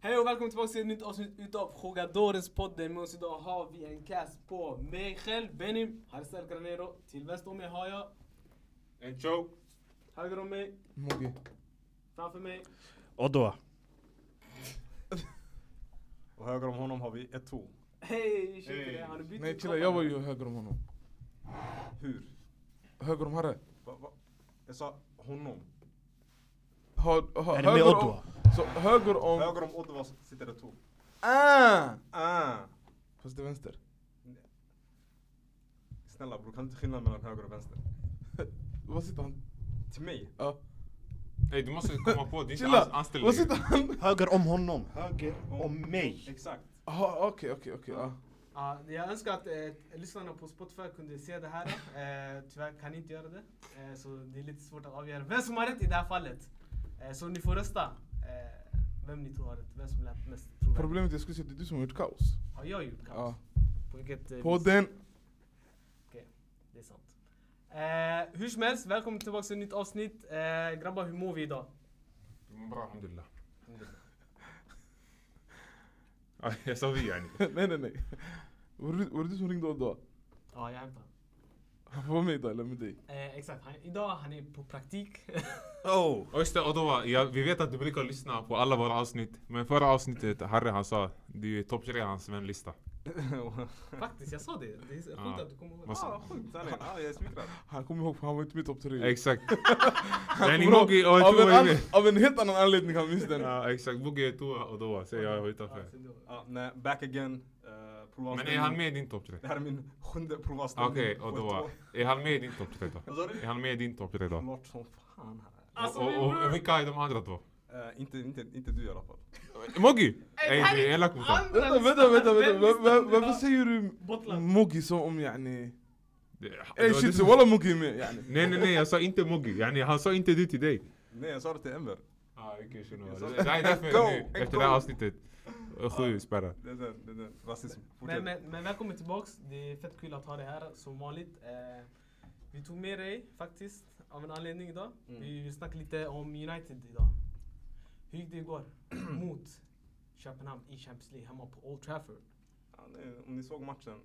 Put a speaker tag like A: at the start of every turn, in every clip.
A: Hej och välkommen tillbaka till ett nytt avsnitt utav Jogadorens podden. Med oss idag har vi en cast på mig själv, Benim, Harsel Granero. Till vänster om mig har jag,
B: En show.
A: höger om mig,
C: Mogi.
A: framför mig.
D: Och då?
B: Och höger om honom har vi ett två.
A: Hej tjejer!
B: Hej.
A: Har du bytt
C: Nej
A: ut
C: killar, jag var ju höger om honom.
B: Hur?
C: Höger om Harre.
B: Va, va? Jag sa honom.
C: Har, har,
D: Är det med
C: höger
D: Oddwa?
C: om... Så höger om...
B: Höger om Ottawa sitter det två.
C: Ah!
B: Ah.
C: Fast det är vänster.
B: Snälla bror, kan du inte skillnad mellan höger och vänster?
C: Vad sitter han?
B: Till mig?
C: Ja.
E: Hey, du måste komma på, det är inte ans-
C: Chilla!
E: anställd
C: Vad
E: längre.
C: sitter han?
D: Höger om honom.
B: Höger
D: om mig.
B: Exakt.
C: Jaha, Okej, okej, okej. ja.
A: Ja, jag önskar att eh, lyssnarna på Spotify kunde se det här. Eh, tyvärr kan ni inte göra det. Eh, så det är lite svårt att avgöra vem som har rätt i det här fallet. Eh, så ni får rösta. Eh, vem ni tror har rätt, vem som lät mest trovärdig.
C: Problemet är jag skulle säga att det är du som har gjort kaos.
A: Har jag gjort kaos?
C: Ja.
A: På vilket eh, vis?
C: Podden!
A: Det är sant. Eh, hur som helst, välkommen tillbaka till ett nytt avsnitt. Eh, grabbar, hur mår vi idag?
E: Bra, alhamdulillah. Ja, Jag sa vi yani.
C: nej, nej, nej. Var det, var det du som ringde Oddwa?
A: Ja, jag hämtar.
C: Han får vara med idag, eller med dig?
A: Eh, exakt, han, idag han är på praktik.
D: Oh!
E: Och just det, och då, var- ja, vi vet att du brukar lyssna på alla våra avsnitt. Men förra avsnittet, Harry han sa, du är topp tre i hans vänlista.
A: Faktiskt, jag sa det. Det är så sjukt
E: Ja.
A: att du kommer ihåg.
E: Vad sa-
B: ah, sjukt sanningen. Ah, jag är smickrad.
C: Han kommer ihåg för han var inte med i topp tre.
E: Exakt. Yani
C: Bra,
E: Mogi och
C: av, en
E: Eto'o är
C: an,
E: med.
C: av en helt annan anledning han minns den.
E: Ja, exakt. Mogi, Eto'o och då säger jag var utanför.
B: Ah, nej, back again. Uh,
E: Men är han med i din topp tre?
B: Det här är min sjunde provanställning.
E: Okej, och då. Är han med i din topp tre då?
B: Vad sa du?
E: Är han med i din topp tre då?
B: Klart som fan. här.
A: Alltså,
E: Och,
A: vi
E: och, och vilka är de andra då?
B: Eh, inte, inte, inte du i alla fall.
E: Mogi!
A: Ey,
E: Ey, du är elak mot honom.
A: Andra
C: Vänta,
A: listan,
C: vänta, vänta,
A: vem
C: vänta. Va- va-
A: listan
C: Varför
A: idag?
C: säger du
A: Botland.
C: Mogi som om yani...
B: يعني.
E: Det- det
B: إيه،
C: Ey
E: var du
C: shit,
E: som-
C: walla Mogi är med yani.
E: Nej nej nej, jag sa inte Moggi. Yani, han sa inte du till dig.
B: Nej, jag sa det till Enver.
E: Ah, okay,
B: Jag
E: det
B: sa-
E: det här är
B: Go,
E: därför nu,
B: go.
E: efter det här avsnittet, eh, sju spärrar.
B: Det är den, det är den. Rasism.
A: Men,
B: Fortsätt.
A: men, men välkommen tillbaks. Det är fett kul att ha dig här som vanligt. Eh, vi tog med dig faktiskt av en anledning idag.
B: Mm.
A: Vi vill snacka lite om United idag. Hur gick det igår mot Köpenhamn i Champions League hemma på Old Trafford?
B: Ja, nej, om ni såg matchen.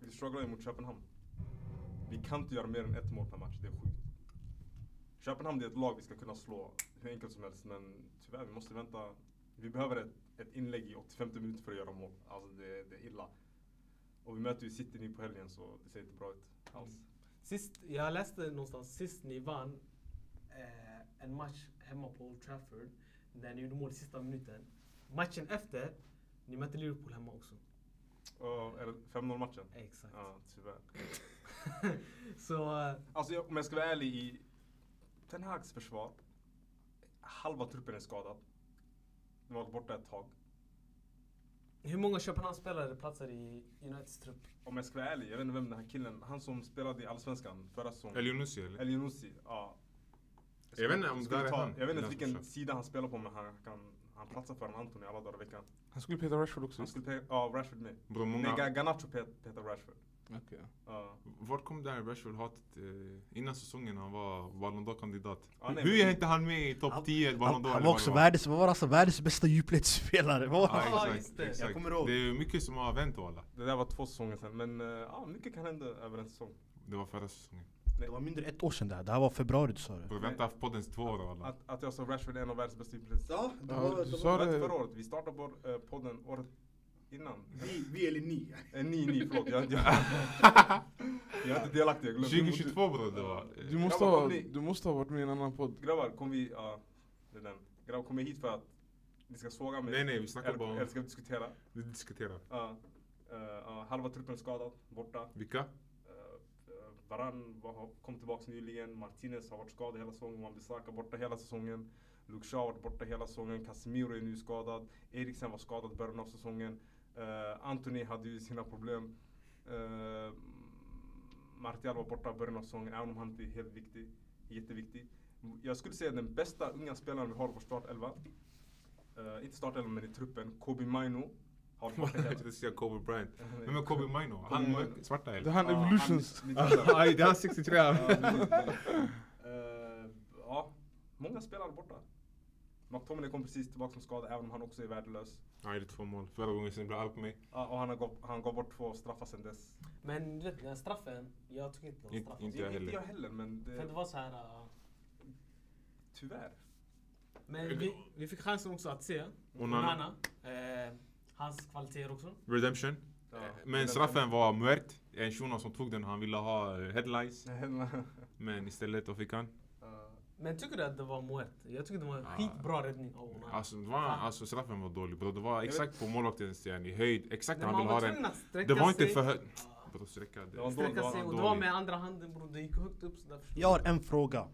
B: Vi strugglade mot Köpenhamn. Vi kan inte göra mer än ett mål per match, det är sjukt. Köpenhamn det är ett lag vi ska kunna slå hur enkelt som helst men tyvärr, vi måste vänta. Vi behöver ett, ett inlägg i 85 minuter för att göra mål. Alltså det, det är illa. Och vi möter ju City nu på helgen så det ser inte bra ut alls.
A: Sist, jag läste någonstans sist ni vann eh, en match hemma på Old Trafford när ni gjorde mål i sista minuten. Matchen efter, ni mötte Liverpool hemma också. Mm.
B: Och, är det 5-0 matchen?
A: Exakt.
B: Ja, tyvärr.
A: Så eh,
B: Alltså jag, om jag ska vara ärlig i Ten Hags försvar. Halva truppen är skadad. De har varit borta ett tag.
A: hur många Köpenhamnsspelare platsar i Uniteds trupp?
B: Om jag ska vara ärlig, jag vet inte vem den här killen, han som spelade i Allsvenskan förra säsongen.
E: Elionussi eller?
B: Elionussi, ja.
E: Jag vet inte om
B: Skulle
E: där är
B: ta-
E: han,
B: Jag vet inte
E: den som
B: vilken
E: kör.
B: sida han spelar på men han, kan, han platsar för en Anton i alla dagar i veckan.
C: Han skulle peta Rashford också.
B: Han skulle peta, ja Rashford med.
E: Bro,
B: Nej, Ga-
E: många...
B: Garnacho pet- petar Rashford.
C: Okej.
B: Ja.
E: Vart kom det här Rashford-hatet eh, innan säsongen han var Ballon d'Or-kandidat?
B: Ja, nej,
E: Hur är
B: men-
E: inte han med i topp
D: Han-
E: 10 Ballon
D: Han,
E: d'Or?
D: han
E: eller
D: var
E: vad det
D: också världens, vad var alltså världens bästa djupledsspelare. Vad var han?
A: Ja,
E: Ja,
A: just det.
E: exakt,
A: Jag
E: exakt.
D: kommer ihåg.
E: Det är mycket som har vänt alla.
B: Det där var två säsonger sedan men eh, ja, mycket kan hända över en säsong.
E: Det var förra säsongen.
D: Det var mindre än ett år sedan det här. Det här var februari du sa det.
E: Bro, vänta poddens två år alla.
B: Att, att jag sa Rashford är en av världens bästa influencers.
F: Ja, det
C: Ja,
F: var,
C: du
F: det
C: sa
F: var,
C: det.
B: Rätt förra året, vi startade vår eh, podden året innan.
F: vi, vi eller ni.
B: Eh, ni, ni, förlåt. Jag, jag, jag är inte delaktig, jag glömde.
E: 2022 bro, det var... eh,
C: Du måste,
B: Grabbar,
C: ha,
B: kom ni.
C: du måste ha varit med i en annan podd.
B: Grabbar, kom vi... Ja, det är den. Grabbar, kom vi hit för att ni ska såga mig?
E: Nej nej, vi snackar
B: Eller,
E: bara om...
B: eller ska vi diskutera?
E: Vi diskuterar.
B: Ja. Eh, ja, halva truppen är skadad, borta.
E: Vilka?
B: Uh, Varann var, har- kom tillbaka nyligen. Martinez har varit skadad hela säsongen. Wan-Bissaka borta hela säsongen. Luke Shaw har varit borta hela säsongen. Casemiro är nu skadad. Eriksen var skadad i början av säsongen. Eh, Anthony hade ju sina problem. Uh, Martial var borta i början av säsongen, även om han inte är helt viktig. Jätteviktig. Jag skulle säga den bästa unga spelaren vi har i vår startelva. Eh, inte startelva, men i truppen. Kobe Maino. Har varit borta
E: Jag
B: hela...
E: tänkte säga Kobe Bryant. Vem är Kobe Mino? Han
B: Mino.
E: är svarta
C: Det
E: eller?
C: här är
B: Ja, han-
C: evolutions.
B: mitt första.
E: Aj, det är han 63
B: Ja, precis. Eh, ja, många spelare borta. McTominay kom precis tillbaka från skada även om han också är värdelös.
E: Han gjorde två mål. Förra gången sen blev allt på mig.
B: Ja, och han, har gått, han gav bort två straffar sen dess.
A: Men du vet, den här straffen, jag tycker inte det
E: Inte-
A: var straff.
E: inte
B: jag
E: jag heller.
B: Inte jag heller men
A: För det
B: det,
A: var så här... ah,
B: tyvärr.
A: men vi, vi fick chansen också att se
E: Onana.
A: Onana. Eh, hans kvaliteter också.
E: Redemption.
B: Ja.
E: Men straffen var muert. En shuno som tog den, han ville ha eh, headlights. Men istället då fick han.
B: Ja.
A: Men tycker du att det var Moet? Jag tycker det var en
E: Ja.
A: skitbra räddning av Onana.
E: Ah. Alltså, det var, alltså straffen var dålig bro. Det var exakt på målvaktens yani, höjd. Exakt
A: Nej,
E: när
A: man
E: han ville ha
A: var
E: den.
A: tvungen att sträcka
E: Det var inte
A: sig.
E: för högt.
A: Ja.
E: Bro sträcka
B: Det var
E: det.
B: en dålig-
A: Sträcka sig
B: en
A: och det var
E: dålig.
A: med andra handen bror. Det gick högt upp så där förstår
D: Jag har en fråga.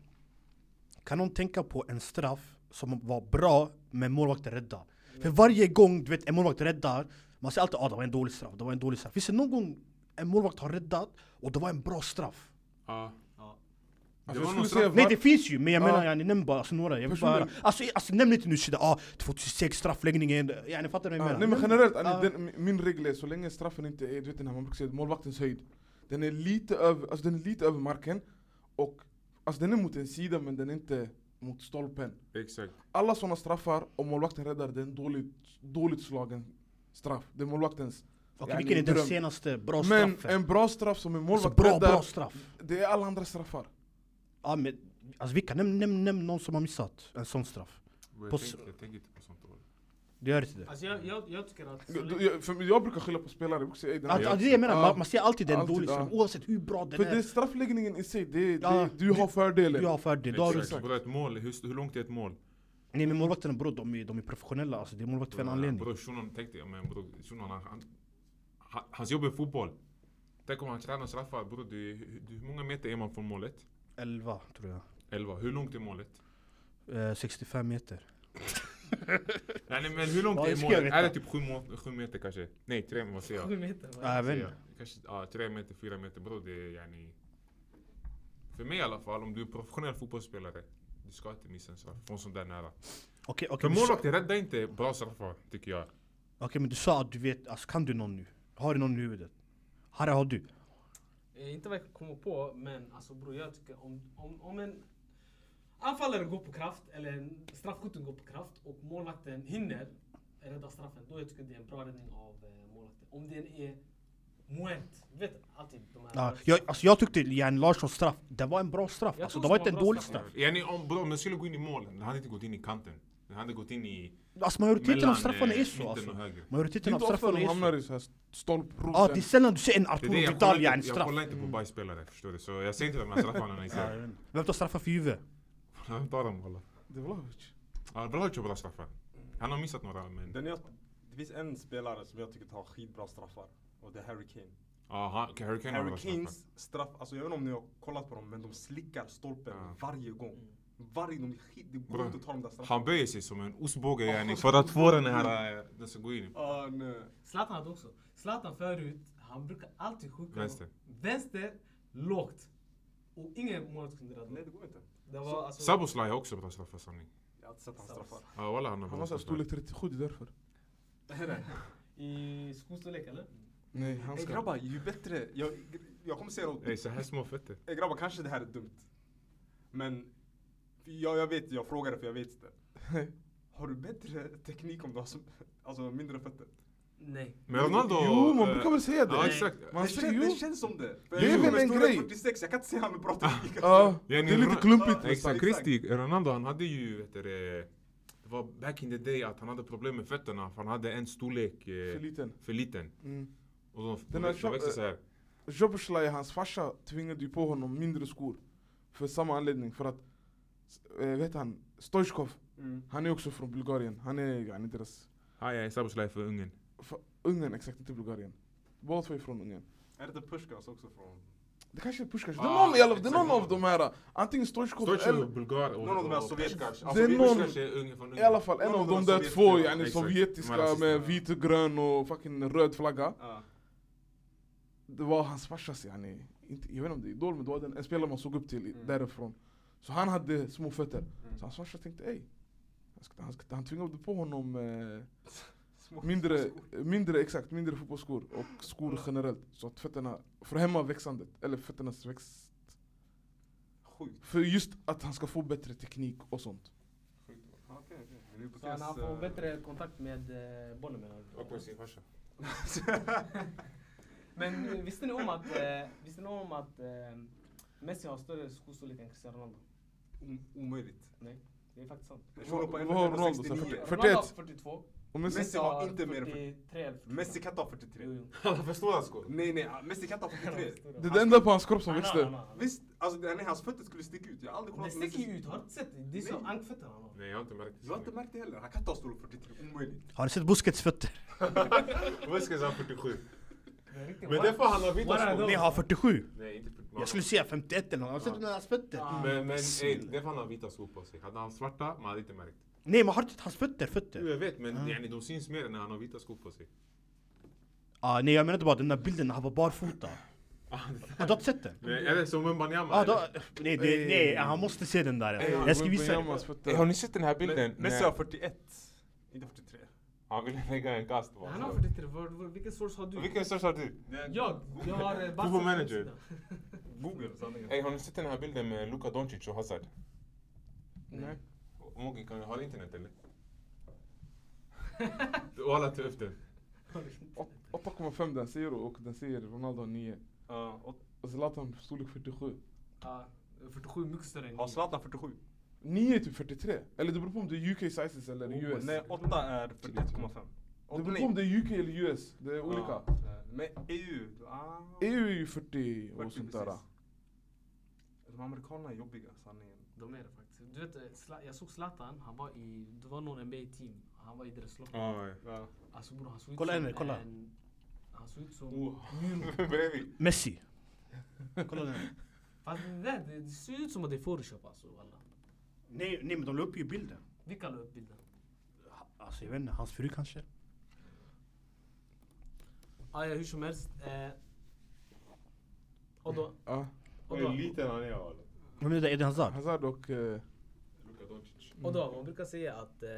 D: Kan någon tänka på en straff som var bra men målvakten räddar? För varje gång du vet en målvakt räddar, man säger alltid att ah, det var en dålig straff, det var en dålig straff. Finns det någon gång en målvakt har räddat och det var en bra straff?
E: Ja.
C: Alltså,
E: var
C: jag
E: någon
C: skulle säga
E: straff.
D: Nej
C: var-
D: det finns ju, men jag
C: Ja.
D: menar yani, nämn bara alltså, några. Jag vill bara, höra.
C: Personligen-
D: alltså, i- alltså nämn inte nu shida, ah, 2006 straffläggningen, yani fattar
B: Ah.
D: du vad jag
C: Ja,
D: menar?
C: nej men generellt,
D: Ja.
C: alltså, den, min regel är så länge straffen inte
B: إيه،
C: är, du vet den här man brukar säga, målvaktens höjd. Den är lite över, alltså den är lite över marken och, alltså den är mot en sida men den är inte mot stolpen.
E: Exakt.
C: Alla sådana straffar, om målvakten räddar, det är en dåligt, dåligt slagen straff. Det är målvaktens.
D: Okej,
C: yani,
D: vilken är den
C: dröm.
D: senaste bra
C: Men
D: straffen?
C: en bra straff som en
D: alltså,
C: målvakt
D: bra,
C: räddar,
D: bra straff.
C: det är alla andra straffar.
D: Ja men, alltså vilka? Nämn, nämn, nämn någon som har missat en sån straff.
E: Bro,
D: På s-
E: Jag tänker jag tänker inte på sånt. bro.
D: Det gör inte det.
A: Alltså jag, jag, jag tycker att... så
C: Jag,
A: länge-
C: jag, för jag brukar skylla på spelare, jag brukar säga, "Ey, den här-
D: Att, att Alltså, det är det jag menar,
C: Ja.
D: man, man ser alltid den
C: Alltid,
D: dåliga
C: ja.
D: straffen oavsett hur bra den
C: För
D: är.
C: det är straffläggningen i sig, det, är- det,
D: Ja,
C: är- du har fördelen.
D: Du har fördel, du har
E: Exakt.
C: exakt.
E: Bro, ett mål. Hur, hur långt är ett mål?
D: Nej men målvakterna bror, de är, de är professionella alltså, det är målvakter för en anledning.
E: Bro, shunon tänkte jag, men bro, shunon han, han, han, hans jobb är fotboll. Tänk om han tränar straffar, bro, du, du, hur många meter är man från målet?
D: 11 tror jag.
E: 11. Hur långt är målet?
D: Eh, 65 meter.
E: Nej, nej, men hur långt
D: Ja, det
E: är
D: ska jag
E: målet?
D: veta.
E: Är det typ 7, sju meter kanske? Nej, 3 vad säger jag?
A: Sju meter. va?
D: Ja, jag vet
E: Säger jag?
D: inte.
E: Kanske ja, 3 meter, 4 meter, bro, det är yani... För mig i alla fall, om du är professionell fotbollsspelare, du ska inte missa en straff från sån där nära.
D: Okej
E: För
D: okej, du sa-
E: målvakter räddar inte bra straffar, tycker jag.
D: okej, men du sa att du vet, alltså kan du någon nu? Har du någon i huvudet? Harry har du?
A: Eh, inte vad jag kommer på, men alltså bror jag tycker om, om, om en anfallare går på kraft, eller en straffskytten går på kraft och målvakten hinner rädda straffen, då jag tycker det är en bra räddning av eh, målvakten. Om den är moment, du vet alltid de här...
D: Ja, jag, alltså, jag tyckte Jan Larssons straff, det var en bra straff.
A: Jag
D: Alltså,
A: tror
D: det var
A: det
D: inte en
A: var
D: dålig
A: bra straff.
D: straff.
E: Yani, om, bro, om den skulle gå in i mål, den hade inte gått in i kanten. Den hade gått in i...
D: Alltså majoriteten av
E: Mellan,
D: straffarna
E: eh,
D: är så
E: mitten
D: alltså.
E: och höger.
C: Det
D: Majoriteten
C: är
D: av
C: inte ofta
D: straffarna
C: de
D: är
C: hamnar
D: så.
C: i så här stolproten.
D: Ja, det är sällan du ser en
E: Det
D: Arturo
E: är det, jag
D: Vidal
E: kollar
D: yani
E: inte- Jag
D: straff. Mm.
E: kollar inte på bajsspelare, förstår du. Så jag ser inte vem jag straffar när jag ser.
D: Vem tar straffar för Juve?
E: Jag tar dem walla.
C: Det är Vlahovic.
E: Ja, Vlahovic har bra straffar. Han har missat några men...
B: Den jag, det finns en spelare som jag tycker tar skitbra straffar. Och det är Harry Kane.
E: Ja, han- Harry Kane har bra
B: Harry
E: straffar.
B: Kanes straff, alltså jag vet inte om ni har kollat på dem men de slickar stolpen
E: Ja.
B: varje gång. Varje gång, de skit, det går
E: Bra.
B: inte att ta de där straffarna.
E: Han böjer sig som en ostbåge yani för att få den här... eh, Den ska gå in.
B: Ah, nej.
A: Zlatan hade också. Zlatan förut, han brukar alltid skjuta
E: Vänster.
A: vänster, lågt. Och ingen målvakt kunde rädda honom.
B: nej det går inte.
A: Det var alltså...
E: Saboslaj har också bra straffar sanning.
B: Jag har inte sett hans
A: Samma.
B: straffar.
E: Ja walla han har
C: Han
E: bra
C: har såhär
E: straffar.
C: storlek 37, det är därför.
A: I skostorlek eller?
C: Nej, han
B: Ey
C: ska...
B: grabbar, ju bättre. Jag, jag kommer säga något.
E: Ey så här små fötter.
B: Ey grabbar, kanske det här är dumt. Men jag, jag vet, jag frågade för jag vet inte. Har du bättre teknik om du har som, alltså mindre fötter?
A: Nej.
E: Men Ronaldo...
C: Jo, man
E: eh,
C: brukar väl säga
E: Ja
C: det?
E: exakt.
C: Man
B: det,
C: säger
B: känns, det
C: jo.
B: känns som det. För
E: Det är
B: jag-
E: väl
B: med
C: en
B: storlek
C: grej. Ah,
B: 46, jag kan inte se han med bra teknik. alltså.
C: Ja, det
E: Ja, ni-
C: är lite klumpigt
B: Ja,
E: Exakt,
C: nästan.
E: Kristi, Ronaldo han hade ju, vet du, det, det var back in the day att han hade problem med fötterna för han hade en storlek eh,
C: För liten.
E: för liten.
C: Mm.
E: Och de, de,
C: Den
E: de,
C: här
E: de växte
C: shop-
E: så här.
C: Jobeslaj, hans farsa, tvingade ju på honom mindre skor. För samma anledning, för att... Eh, vet han? Stojkov,
B: Mm.
C: han är också från Bulgarien. Han är yani deras...
E: Aj, aj, Saboslaj för Ungern.
C: fa- Ungern exakt, inte Bulgarien. Båda två är från Ungern.
B: Är det inte Pushkas också från?
C: Det kanske är Puskas. Det
E: Ah,
C: är någon, i alla, det är
E: exakt.
C: någon av de här. Antingen Stojkov
E: Stoichkov är
C: eller...
E: bulgar och...
B: Någon av de här Alltså,
E: och-
B: sovjetkanske.
E: Alltså,
C: Det är någon-
E: Puskars är Ungern från
C: I alla
E: Ungern.
C: fall en
B: Någon
C: av
B: av
C: de
B: de
C: där
B: sovjetiska,
C: två,
B: ja,
C: yani
E: exakt. De här
C: sovjetiska med
E: rasisterna.
C: vit och grön och fucking röd flagga.
B: Ja.
C: Det var hans farsas yani, inte, jag vet inte om det är idol men det var den, en spelare man såg upp till i-
B: Mm.
C: därifrån. Så han hade små fötter.
B: Mm.
C: Så hans farsa tänkte ey, han, ska, han, ska, han tvingade på honom eh,
B: Små-
C: mindre,
B: små skor.
C: eh, mindre exakt, mindre fotbollsskor och skor generellt. Så att fötterna, för att hämma växandet, eller fötternas växt.
B: Sjukt.
C: För just att han ska få bättre teknik och sånt.
B: Sjukt. Okej, okej. nu
A: Så han
B: brukar
A: han får bättre kontakt med eh, bollen menar du?
E: Och med sin farsa.
A: Men eh, visste ni om att, eh, visste ni om att eh, Messi har större skostorlek än Cristiano Ronaldo?
B: omöjligt.
A: Nej, det är faktiskt sant.
B: Jag tror på
C: Vad har Ronaldo?
B: 1,69.
C: För-
A: Ronaldo har
C: 41.
A: 42.
C: Och Messi,
B: Messi har inte mer än
A: 43 eller 44.
B: Messi kan ta
A: Jo,
B: 43.
A: jo.
E: Alla förstår hans skor.
B: Nej nej, Messi kan ta 43.
C: det är det enda på hans kropp som
A: Han har- han
C: växte.
A: har- han har.
B: Visst, alltså nej, hans fötter skulle sticka ut. Jag har aldrig
A: Det
B: kollat på
A: sticker
B: Messi.
A: ju ut, har du inte sett? det? Det är som
B: Nej.
A: ankfötterna han har.
E: Nej, jag har inte märkt
B: Du har inte märkt det heller. Han kan ta storlek 43, omöjligt.
D: Har du sett Busquets fötter?
E: Vasquez har 47.
A: Det är riktigt
E: Men
A: wild.
E: det får han ha vita
A: What are
E: skor.
A: those?
D: Nej, han har 47.
E: Nej, inte 47.
D: Jag skulle säga 51 eller något. Har du sett hans fötter?
A: Ah.
E: Men, men ey,
D: Snälla.
E: det får han ha vita skor på sig. Hade han svarta, man hade inte märkt.
D: Nej, men har du sett hans fötter? Fötter?
E: Jo, jag vet, men
D: Ah.
E: yani, de syns mer när han har vita skor på sig.
D: Ah, nej, jag menade bara den där bilden när han var barfota.
E: Ah, det-
D: Har du inte sett den?
E: Nej, Är det som en Banyama?
D: Ah,
E: eller?
D: då, nej, det, nej, han måste se den där.
E: Ey,
D: Jag ska visa dig.
C: Wembanyamas
E: Ey,
C: fötter.
E: Har ni sett den här bilden?
B: Men- Messi
E: när
B: har 41. Inte 43.
E: Han ville lägga en kast på
A: Han
E: honom.
A: har 43. Var- var- Vilken source har du?
E: Vilken största har du?
A: Jag? Jag har eh, Barcas
E: Google Manager.
A: hemsida.
B: Google sanningen.
E: Ey, har ni sett den här bilden med Luka Doncic och Hazard?
A: Nej.
E: Mogge, kan du ha internet eller? Walla, ta upp den.
C: Åt- 8,5 den säger och den säger Ronaldo har 9.
B: Ja, och-
C: Och Zlatan storlek 47.
A: Ja, 47 mycket större än
B: Har
A: ni.
B: Zlatan 47?
C: 9 är typ 43. Eller det beror på om det är UK sizes eller US.
B: Oh, Nej, 8 är 41,5.
C: Det
B: Åtta-
C: beror
B: nej.
C: på om det är UK eller US. Det är
B: Ja,
C: olika.
B: Men EU, ah,
C: EU är ju 40 och
B: 40
C: sånt där.
B: precis. De amerikanerna är jobbiga, sanningen.
A: De är det faktiskt. Du vet, eh, Zla- jag såg Zlatan, han var i, det var någon NBA-team. Han var i deras lag.
E: Oj.
A: Alltså bror han såg ut
D: Kolla
A: som
D: Emil, kolla.
A: en... Han såg ut som...
E: Bredvid.
D: Messi. Kolla den.
A: Fast det, där, det, det ser ut som att det är photoshop alltså walla.
D: Nej, nej, men de la upp ju bilden.
A: Vilka la upp bilden?
D: Alltså, jag vet inte. Hans fru kanske?
A: Ah, ja, hur som helst. Eh, och då,
C: Ja.
A: och då,
E: liten han är walla.
D: Vem är det? Eden Hazard?
C: Hazard och... eh,
E: Luka Doncic.
A: och då, Mm. man brukar säga att... Eh,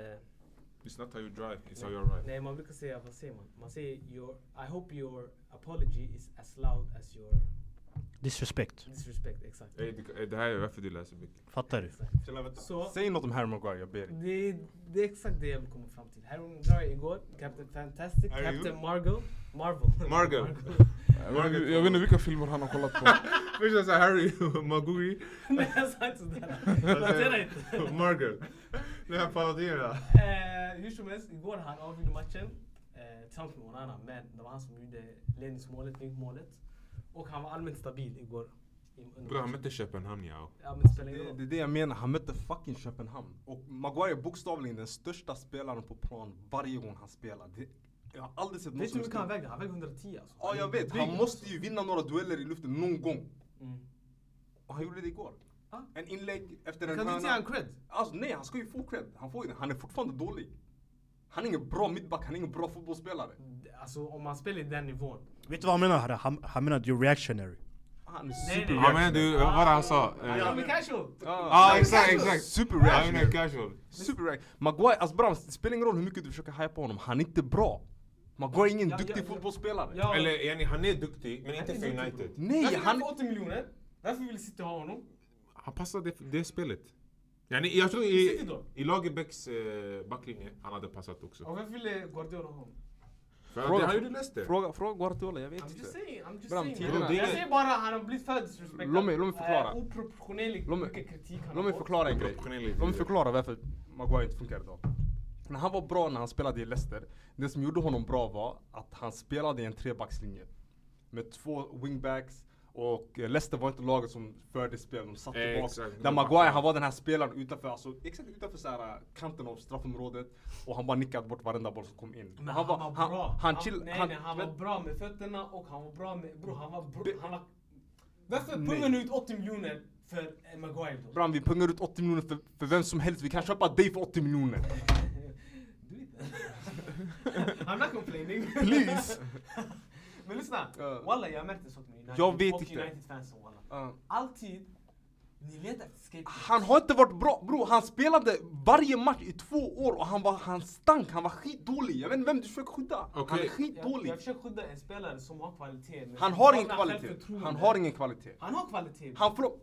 E: It's not how you drive, it's how you arrive.
A: nej man brukar säga, vad säger man? Man säger your, I hope your apology is as loud as your
D: Disrespect.
A: disrespect. Exakt.
E: Ey, det- ey, det här är varför du läser mycket.
D: Fattar du?
A: Så,
B: Säg något om Harry Maguire, jag ber dig.
A: det, är- det är exakt det jag vill komma fram till. Harry Maguire igår, Captain Fantastic,
E: Are you?
A: Captain Margot, Marvel.
E: Margot.
C: Jag vet inte- jag vet inte vilka filmer han har kollat på.
E: Först jag sa Harry, Magui,
A: Nej jag sa inte sådär. Plantera inte.
E: Margot. Den här parodierna.
A: Eh, Hur som helst, igår han avgjorde matchen eh, tillsammans med Onana. Men det var han som gjorde ledningsmålet, målet. Och han var allmänt stabil igår. i- under
E: Bror han
A: matchen.
E: mötte Köpenhamn ja.
A: Ja men det spelar ingen
B: Det, det
A: roll.
B: är det jag menar, han mötte fucking Köpenhamn. Och Maguire är bokstavligen den största spelaren på plan varje gång han spelar. Det, jag har aldrig sett någon
A: Vet du
B: som
A: hur mycket han
B: är
A: vägde? Han vägde 110 alltså.
B: Ja, jag vet. Han måste ju vinna några dueller i luften någon gång.
A: Mm.
B: Och han gjorde det igår.
A: Ja.
B: En inlägg efter en
A: Kan du inte ge
B: hörna.
A: honom cred?
B: Alltså nej, han ska ju få cred. Han får ju det. Han är fortfarande dålig. Han är ingen bra mittback, han är ingen bra fotbollsspelare.
A: Alltså om man spelar i den nivån.
D: Vet du vad han menar? Harry? Han, han menar att du är reactionary.
B: Han är
A: Nej, nej.
B: super
E: Ja men du, vad var det han sa? Eh,
A: Han är casual!
E: Ja exakt, exakt.
B: Super
E: Ja, Han är
B: reaction.
E: casual.
B: Super reaction. Maguire, alltså bram, det spelar ingen roll hur mycket du försöker hypa honom. Han är inte bra. Maguire är ingen
A: Ja,
B: duktig
A: ja, ja.
B: fotbollsspelare.
A: Ja, Alltså,
E: Eller yani, han är duktig men inte
A: är
E: för
A: duktig,
E: United.
B: Nej,
A: Varför han
B: han...
A: får 80 miljoner? Varför vill City ha honom?
E: Han passar det, det spelet. Yani, jag tror
A: I City
E: i,
A: då?
E: i Lagerbäcks eh, backlinje, han hade passat också.
A: Och varför ville Guardiola ha honom?
E: För att
B: Fråga-
E: det, han gjorde Leicester.
B: Fråga, fråga Guardiola, jag vet
A: I'm just
B: inte.
A: saying, I'm just
B: Bram,
A: saying.
B: tiderna.
A: Jag
E: Det är-
A: säger bara han har blivit för disrespektad.
B: Låt mig- låt mig förklara.
A: Eh, Oproportionerligt
B: Låt mig-
A: mycket kritik han
B: Låt mig
A: har fått.
B: förklara en grej.
E: Proportionell
B: Låt mig
E: individ.
B: förklara varför Maguire inte funkar idag. När han var bra när han spelade i Leicester, det som gjorde honom bra var att han spelade i en trebackslinje. Med två wingbacks och eh, Leicester var inte laget som förde spel, de satte
E: Eh,
B: bak.
E: exakt.
B: Där Maguire, han var den här spelaren utanför, alltså, exakt utanför så här, eh, kanten av straffområdet. Och han bara nickade bort varenda boll som kom in.
A: Men
B: Och
A: han, var,
B: han,
A: bra.
B: Han, chill,
A: nej,
B: han,
A: nej, han var
B: men-
A: bra med fötterna och han var bra med... Bro, han var bra.
B: Det-
A: Han var, varför
B: Nej.
A: pungar ni ut 80 miljoner för eh, Maguire då?
B: Bram, vi pungar ut 80 miljoner för, för vem som helst. Vi kan köpa dig för 80 miljoner.
A: Du vet inte. I'm not complaining.
B: Please. Uh.
A: Men lyssna.
B: Ja.
A: Walla, jag har märkt en sak med United.
B: Jag vet
A: och
B: inte.
A: United-fansen walla. Alltid, ni letar efter scapegoats.
B: Han har inte varit bra bror, han spelade varje match i två år och han, var, han stank, han var skitdålig. Jag vet inte vem du försöker skydda. Han är
E: Okej.
A: Jag,
B: skitdålig.
A: jag försöker skydda en spelare som har kvalitet. men
B: Han
A: som
B: har ingen
A: saknar
B: kvalitet.
A: självförtroende.
B: Han har ingen kvalitet.
A: Han har kvalitet.
B: Han förlor...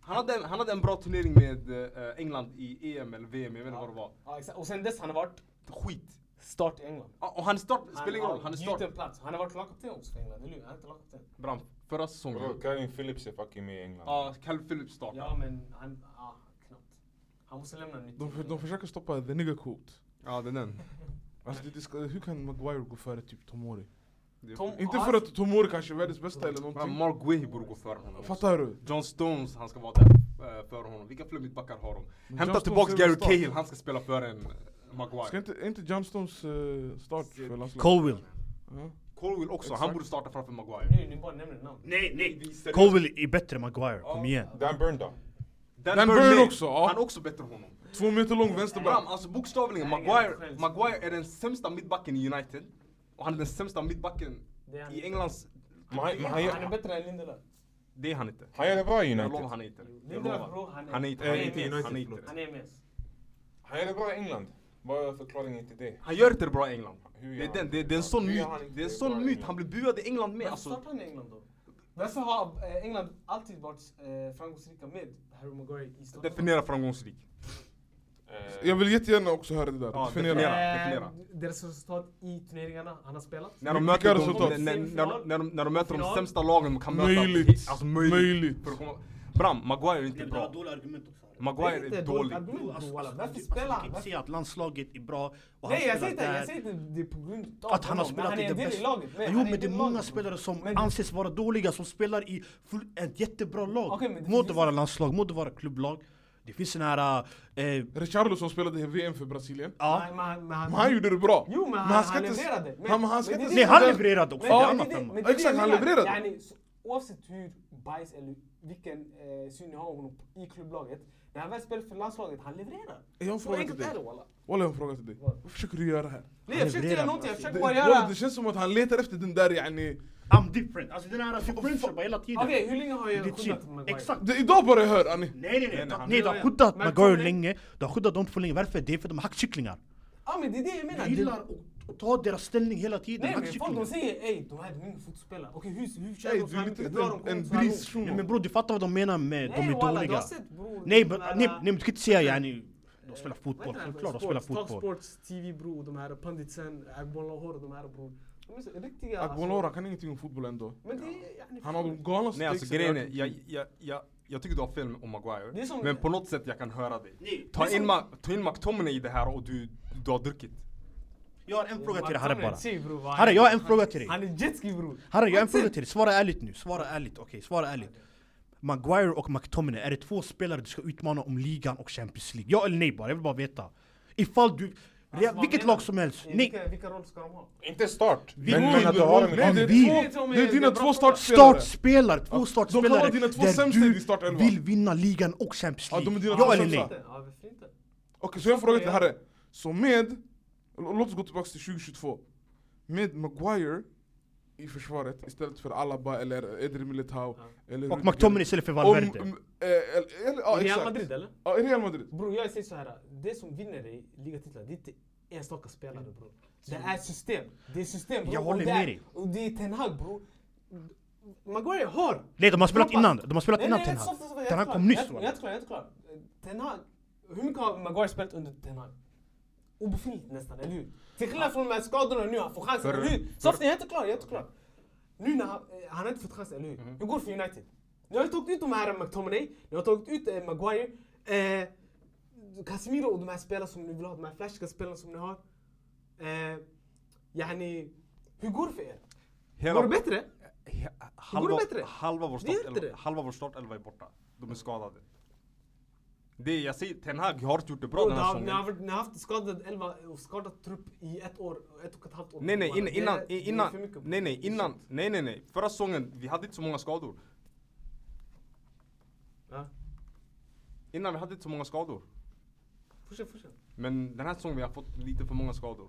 B: Han hade, en, han hade en bra turnering med eh, England i EM eller VM, jag vet inte vad det var.
A: Ja, exakt. Och sen dess han har varit
B: Skit!
A: start i England.
B: Ja, Och han start, spelar ingen
A: har
B: roll, han är
A: gjort
B: start.
A: en plats. Han har varit lagkapten också för England, eller hur? Han är inte lagkapten.
B: Bram, förra säsongen.
E: Bro, Kevin Phillips är fucking med i England.
B: Ja, Calvin Phillips startar.
A: Ja, men han... Ja, knappt. Han måste lämna nytt.
C: De, för- de försöker stoppa the nigger quote.
B: Ja, det är den.
C: Alltså, det, det ska, hur kan Maguire gå före typ Tomori?
B: Det är-
A: Tom-
C: Inte
A: Ja,
C: för att Tomori kanske är världens bästa eller
B: Bram,
C: någonting.
B: Mark Guehi borde gå före honom.
C: Fattar du?
B: John Stones, han ska vara där eh, före honom. Vilka fler mittbackar har de?
C: Men
B: Hämta
C: John
B: tillbaka
C: Stones är
B: Gary
C: väl start?
B: Cahill, han ska spela före en eh,
C: Ska
B: Maguire.
C: inte, är inte John Stones eh, start för landslaget?
D: Colwill.
C: Ja.
B: Colwill också, han
C: Exakt.
B: borde starta framför Maguire.
A: Nu, nu bara nämner namn.
B: Nej, nej! vi seriöst.
D: Colwill är bättre än Maguire, kom igen.
E: Dan Burn då?
B: Dan,
C: Dan
B: Burnley,
C: Burn också, ja.
B: Han är också bättre än honom.
C: Två meter lång
B: Bram,
C: vänsterback.
B: alltså bokstavligen,
A: Nej,
B: Maguire,
A: skämt.
B: Maguire är den sämsta mittbacken i United. Och han är den sämsta mittbacken
A: Det är han
B: i
A: inte.
B: Englands...
E: Men han, men
A: Han
E: han,
A: är
E: gör-
A: bättre än Lindelöf.
B: Det är han inte.
E: han gör det bra i
B: Jag lovar,
E: United.
B: han är inte det. Jag
A: Lindelöf bro,
B: lovar.
A: han är...
B: Han är inte
E: Eh,
B: han är
E: inte
B: inte-
E: United,
B: han är inte
E: förlåt.
A: Han är MS.
E: Han gör det bra i England. Vad är förklaringen till det?
B: Han gör inte det bra i England.
E: Hur gör
B: Det är,
E: han
B: den, det, är, det är en
E: inte
B: sån
E: bra? Hur
B: myt,
E: gör han inte
B: det är en
E: det
B: sån
E: bra i
B: myt.
E: England?
B: Han blev buad i England med
A: Varför
B: alltså.
A: startar han i England då? Varför har eh, England alltid varit eh, framgångsrika med Harry Maguire i starten?
B: Definiera framgångsrik.
E: Eh,
C: Jag vill jättegärna också höra det där.
B: Ja,
C: Definiera.
B: definiera.
A: Eh, deras resultat i turneringarna han har spelat.
B: När de
C: Vilka
B: möter de,
C: resultat?
B: när, när, när, när, de, när de möter de
A: Final.
B: sämsta lagen de kan möta.
C: Möjligt.
B: Alltså möjligt.
C: Möjligt.
B: För att komma- Bram, Maguire är inte bra.
D: dåliga argument också.
B: Maguire
A: inte
B: är
A: ett
B: dålig.
A: argument, bro,
D: Alltså,
A: walla.
D: alltså,
A: Varför
D: du- alltså,
A: spelar
D: du kan
A: han?
D: inte
A: Varför-
D: säga att landslaget är bra och
A: Nej jag
D: spelar
A: säger inte
D: där.
A: jag säger inte det är på grund av
D: Att han har
A: honom, men
D: spelat i
A: är
D: den
A: en del
D: bästa...
A: laget. Nej,
D: jo
A: han är
D: men
A: en
D: det är
A: del i
D: många
A: laget.
D: spelare som
A: Men-
D: anses vara dåliga som spelar i full, ett jättebra lag.
A: Okej, men det
D: må det
A: finns-
D: vara landslag, må det vara klubblag. Det finns såna här... Eh,
C: Richarlison spelade i VM för Brasilien.
D: ja.
A: Nej, men han- men han-
C: Men han gjorde det bra.
A: Jo men han,
C: han ska
A: han
C: inte-
A: levererade. Men-
C: han- men han ska
A: men det
C: inte-
A: är
D: Nej
A: det
D: han
A: jag-
D: levererade också,
A: Men
D: det är
A: det-
D: annat
A: det-
D: än...
A: men det är
C: Exakt,
A: det
C: han
A: jag menar.
C: levererade.
A: Yani, så- Oavsett hur bajs eller vilken eh, syn ni har om honom i klubblaget. När han väl spelar för landslaget, han levererar.
C: Jag har en
A: Så
C: fråga
A: enkelt
C: till dig.
A: är det, walla.
C: Walla jag har en fråga till dig.
A: Vad?
C: Vad försöker du göra här?
A: Nej jag försökte
D: levererar,
A: göra någonting, jag försökte
C: alltså. Det,
A: bara
C: walla,
A: göra...
C: det känns som att han letar efter den där yani...
D: I'm different. Alltså den här differential bara hela tiden.
A: Okej hur länge har
D: Det är
A: jag
D: ditt shit.
A: skyddat Maguire?
D: Exakt.
C: Det, idag bara jag hör yani.
D: Nej nej nej.
B: nej, han-
D: Nej du har
A: Ja, ja.
D: skyddat
A: Men
D: Maguire
A: Colin-
D: länge. Du har skyddat dem för länge. Varför? Det är för de är hackkycklingar.
A: Ja men det är det jag menar.
D: Jag
A: Det-
D: gillar att- att ta deras ställning hela tiden.
A: Nej men folk
D: Hackkycklingar.
A: de säger ey de här är mina fotbollsspelare. Okej hur, hur
C: Ey,
A: känner de
C: du
A: så
C: är
A: här
C: lite
A: mycket? Nu har de
C: en-
A: kommit
C: en
A: så här
C: bris
A: långt.
C: från-
D: Nej men bror du fattar vad de menar med de
A: Nej,
D: är
A: walla, du har
D: dåliga.
A: sett, bror,
D: Nej
A: de
D: men
A: här-
D: nej, nej, men du kan inte säga
A: Vad heter
D: yani, de spelar
A: Vad heter
D: fotboll,
A: den här
D: självklart de spelar
A: sports-
D: fotboll.
A: Talksports, TV bror, de här panditsen, Agbon Lahore, de här bror. De är så riktiga
C: Aguilera kan ingenting om fotboll ändå.
A: Men det är... yani,
C: Han har de galnaste
B: Nej alltså
C: takesen jag
B: grejen är,
C: hört.
B: jag, jag, jag, jag tycker du har fel om
A: Det är
B: Maguire.
A: som-
B: Men på något sätt jag kan höra dig.
D: Nej,
B: Ta
D: det är
B: in,
D: som-
B: Ma- ta in McTominay i det här och du, du har druckit.
D: Jag har en fråga till dig Harre bara.
A: Se, bror, vad
D: Harre
A: han-
D: jag har en
A: han-
D: fråga till dig.
A: Han är jetski bror.
D: Harre jag har en
A: That's
D: fråga
A: it.
D: till dig, svara ärligt nu. Svara ärligt, okej svara ärligt. Maguire och McTominay, är det två spelare du ska utmana om ligan och Champions League? Ja eller nej bara, jag vill bara veta. Ifall du,
A: Alltså, vad
D: vilket
A: menar
D: lag
A: du?
D: som helst,
A: Eh,
D: nej.
A: Vilka, vilka roll ska de ha?
E: Inte start.
C: Vi-
E: Men, men att du
C: Nej,
E: har
C: nej,
E: en...
C: det, är
D: Vi-
C: två, det är dina två startspelare.
D: Startspelare, två
C: de kan
D: startspelare
C: vara dina två sämsta i din startelva.
D: vill vinna ligan och Champions
C: Ja, de är
D: League.
C: dina
D: Ja
C: två
D: eller
C: sämsta.
D: nej?
A: Inte? Ja, varför inte?
C: Okej, så jag frågar till Harry. Så med, låt oss gå tillbaka till 2022. Med Maguire i försvaret istället för Alaba eller Edri Militao. Eller
D: Och McTominay istället för Valverde.
C: Om, eh, eller, eller, ja,
A: Real
C: exakt.
A: Madrid, eh? eller?
C: Ja, i Oh, Real Madrid.
A: Bror jag säger så här. det som vinner i ligatitlar det är inte enstaka spelare bror. Det är system. Det är system bror.
D: Jag håller
A: Och det är-
D: med dig.
A: Och det är Ten Hag bror. Maguire har.
D: Nej de har spelat
A: Droppat.
D: innan, de har spelat
A: Nej,
D: innan
A: nej,
D: Ten
A: jag-
D: Hag.
A: stopp, stopp, stopp,
D: Ten
A: jag
D: Hag
A: är
D: kom
A: klar.
D: nyss.
A: Jag- Jag är klar, jag är klar. Ten Hag, hur mycket har Maguire spelat under Ten Hag? Obefintligt nästan, eller hur? Till skillnad från de här skadorna nu, han får chansen,
B: För-
A: eller hur?
B: för-
A: Soften, jag är inte klar, jag är inte klar. Nu när han, eh, han har inte fått chansen, eller hur?
B: Mhm.
A: Hur går det för United? Ni har ju tagit ut de här McTominay, ni har tagit ut eh, Maguire, eh, Casemiro och de här spelarna som ni vill ha, de här flashiga spelarna som ni har. Eh, yani, hur går det för er?
B: Hela,
A: Går det bättre?
B: he-
A: Går det
B: halva,
A: bättre?
B: halva vår
A: Det gör inte
B: startelva
A: det.
B: halva vår startelva är borta. De är skadade. Det är- jag säger, Ten Hag har inte gjort det bra
A: Bro,
B: den
A: ni,
B: här
A: har, ni,
B: säsongen.
A: har, varit- ni har haft skadad elva och skadad trupp i ett år, ett och ett halvt år.
B: Nej nej,
A: Bara,
B: innan,
A: det är-
B: innan,
A: det är
B: innan,
A: för mycket.
B: nej nej, innan, nej nej nej. Förra säsongen, vi hade inte så många skador.
A: Ja.
B: Innan vi hade inte så många skador.
A: Fortsätt, fortsätt.
B: Men den här säsongen vi har fått lite för många skador.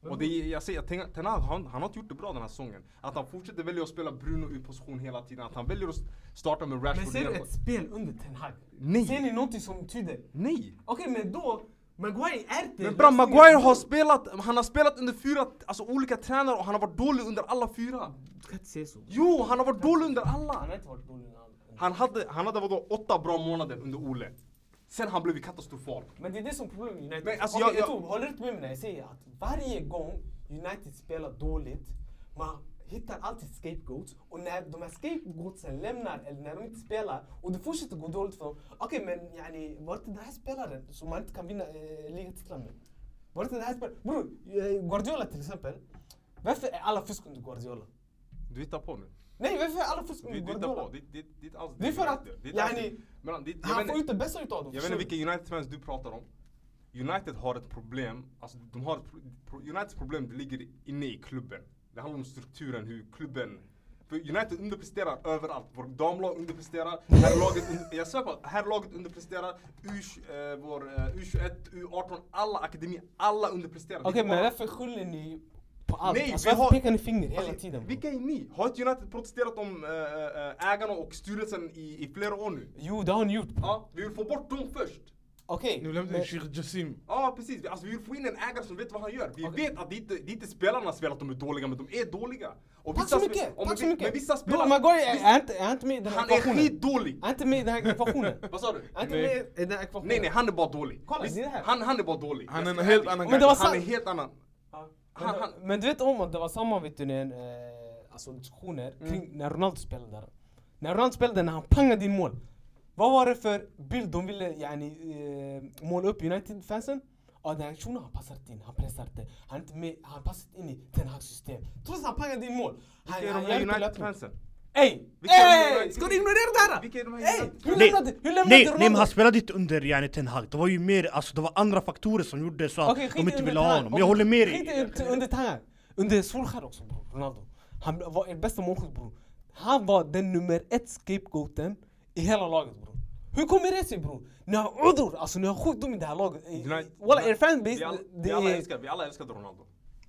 A: Men
B: Och det, är- jag säger, Ten- Ten Hag, han, han har inte gjort det bra den här säsongen. Att han fortsätter välja att spela Bruno ur position hela tiden. Att han väljer att starta med Rashford.
A: Men ser du
B: igen.
A: ett spel under Ten Hag?
B: Nej.
A: Ser ni någonting som tyder?
B: Nej!
A: Okej, men då, Maguire är inte
F: Men bra,
A: lösningen.
F: Maguire har spelat, han har spelat under fyra, alltså olika tränare och han har varit dålig under alla fyra.
A: Du kan inte säga så.
F: Jo, han har varit dålig under
A: Han
F: alla!
A: har inte varit dålig innan.
F: Han hade, han hade vadå, åtta bra månader under Ole. Sen han blev katastrofal.
A: Men det är det som är problemet med United.
F: Men alltså,
A: Okej,
F: jag- jag-
A: tror- håller inte med mig när jag säger att varje gång United spelar dåligt, man hittar alltid scapegoats. Och när de här scapegoatsen lämnar, eller när de inte spelar, och det fortsätter gå dåligt för dem. Okej, men yani, var det den här spelaren som man inte kan vinna eh, ligatitlar med? Var det den här spelaren? Bror, eh, Guardiola till exempel. Varför är alla fusk under Guardiola?
B: Du hittar på nu.
A: Nej, varför är alla fusk
B: Du,
A: under
B: du hittar
A: Guardiola?
B: på. Ditt, ditt, ditt ansikte.
A: Mm, Det är för att,
B: Ditt
A: yani,
B: Men ditt, jag
A: han
B: vet
A: får ut
B: inte-
A: det bästa utav dem.
B: Jag vet
A: förstår
B: inte
A: du?
B: vilka United-fans du pratar om. United har ett problem, alltså de har ett pro- pro- Uniteds problem det ligger inne i klubben. Det handlar om strukturen, hur klubben... För United underpresterar överallt. Vår damlag underpresterar, här laget under, jag svär på att här laget underpresterar, U20, eh, vår eh, U21, U18, alla akademier, alla underpresterar. Det är
A: Okej,
B: bara-
A: men varför skyller ni på allt?
B: Nej,
A: alltså,
B: vi
A: varför
B: har-
A: pekar ni finger hela
B: Alltså,
A: tiden?
B: Vilka är ni? Har inte United protesterat om eh, eh, ägarna och styrelsen i, i flera år nu?
A: Jo, det har ni gjort.
B: Ja, vi vill få bort dem först.
A: Okej.
C: Nu
A: men-
C: lämnade vi Sheikh Jassim.
B: Ja precis, Vi- alltså, vi vill få in en ägare som vet vad han gör. Vi
A: Okej.
B: vet att det inte, det är inte spelarnas fel att de är dåliga, men de är dåliga. Och
A: Tack så
B: spe-
A: mycket!
B: och
A: Tack så
B: vi-
A: mycket!
B: Men vissa
A: Bro,
B: spelare...
A: Maguire
B: vis-
A: är, är, inte, är inte med i den här
B: han e är
A: ekvationen.
B: skitdålig!
A: Är inte med i den här ekvationen.
B: Vad sa du?
A: Är inte med i den här ekvationen.
B: Nej nej, han är bara dålig.
A: Kolla, det är det här.
B: han, han är bara dålig.
C: Han
B: Jag
C: är en
B: ska
C: helt
B: vara ärlig.
C: annan
A: Men det var
C: guy.
B: Han är
A: sant.
B: helt annan.
A: Ja.
B: Han-
A: Men-
B: han-
A: Men du vet om att det var samma vet du, när, en, eh, alltså, diskussioner kring när Ronaldo spelade där. När Ronaldo spelade, när han pangade in mål. Vad var det för bild de ville yani, eh, måla upp United-fansen? Ja, den här shunon han passar inte in, han pressar inte, han, är inte med, han passar inte in i Ten Hag's system. Trots att han pangade in mål. Han,
B: Vilka är de
A: gör
B: här
A: inte löpning.
B: United-fansen?
A: Ey!
B: Vilka är de här
A: Ey!
B: United-
A: Ska du ignorera det här?
B: Vilka är de här
A: Ey!
B: United-
A: Hur
D: Nej,
A: lämnade, hur lämnade
D: nej,
A: Ronaldo?
D: nej men han spelade inte under yani, Ten Hag. Det var ju mer, alltså det var andra faktorer som gjorde så att
A: Okej, skit
D: de
A: i
D: inte
A: under
D: ville ha
A: Ten Hag.
D: honom.
A: Okej,
D: Jag håller med
A: Skit
D: dig.
A: i under- under Tang. Under Solskjaer också bror, Ronaldo. Han var er bästa målskytt bror. Han var den nummer ett scapegoaten i hela laget bror. Hur kommer det sig bror? Ni har udror, alltså ni har sjukdom i det här laget. I-
B: United-
A: Walla er
B: Vi
A: fanbase,
B: alla-
A: det
B: Vi alla
A: är...
B: älskar- vi alla älskade Ronaldo.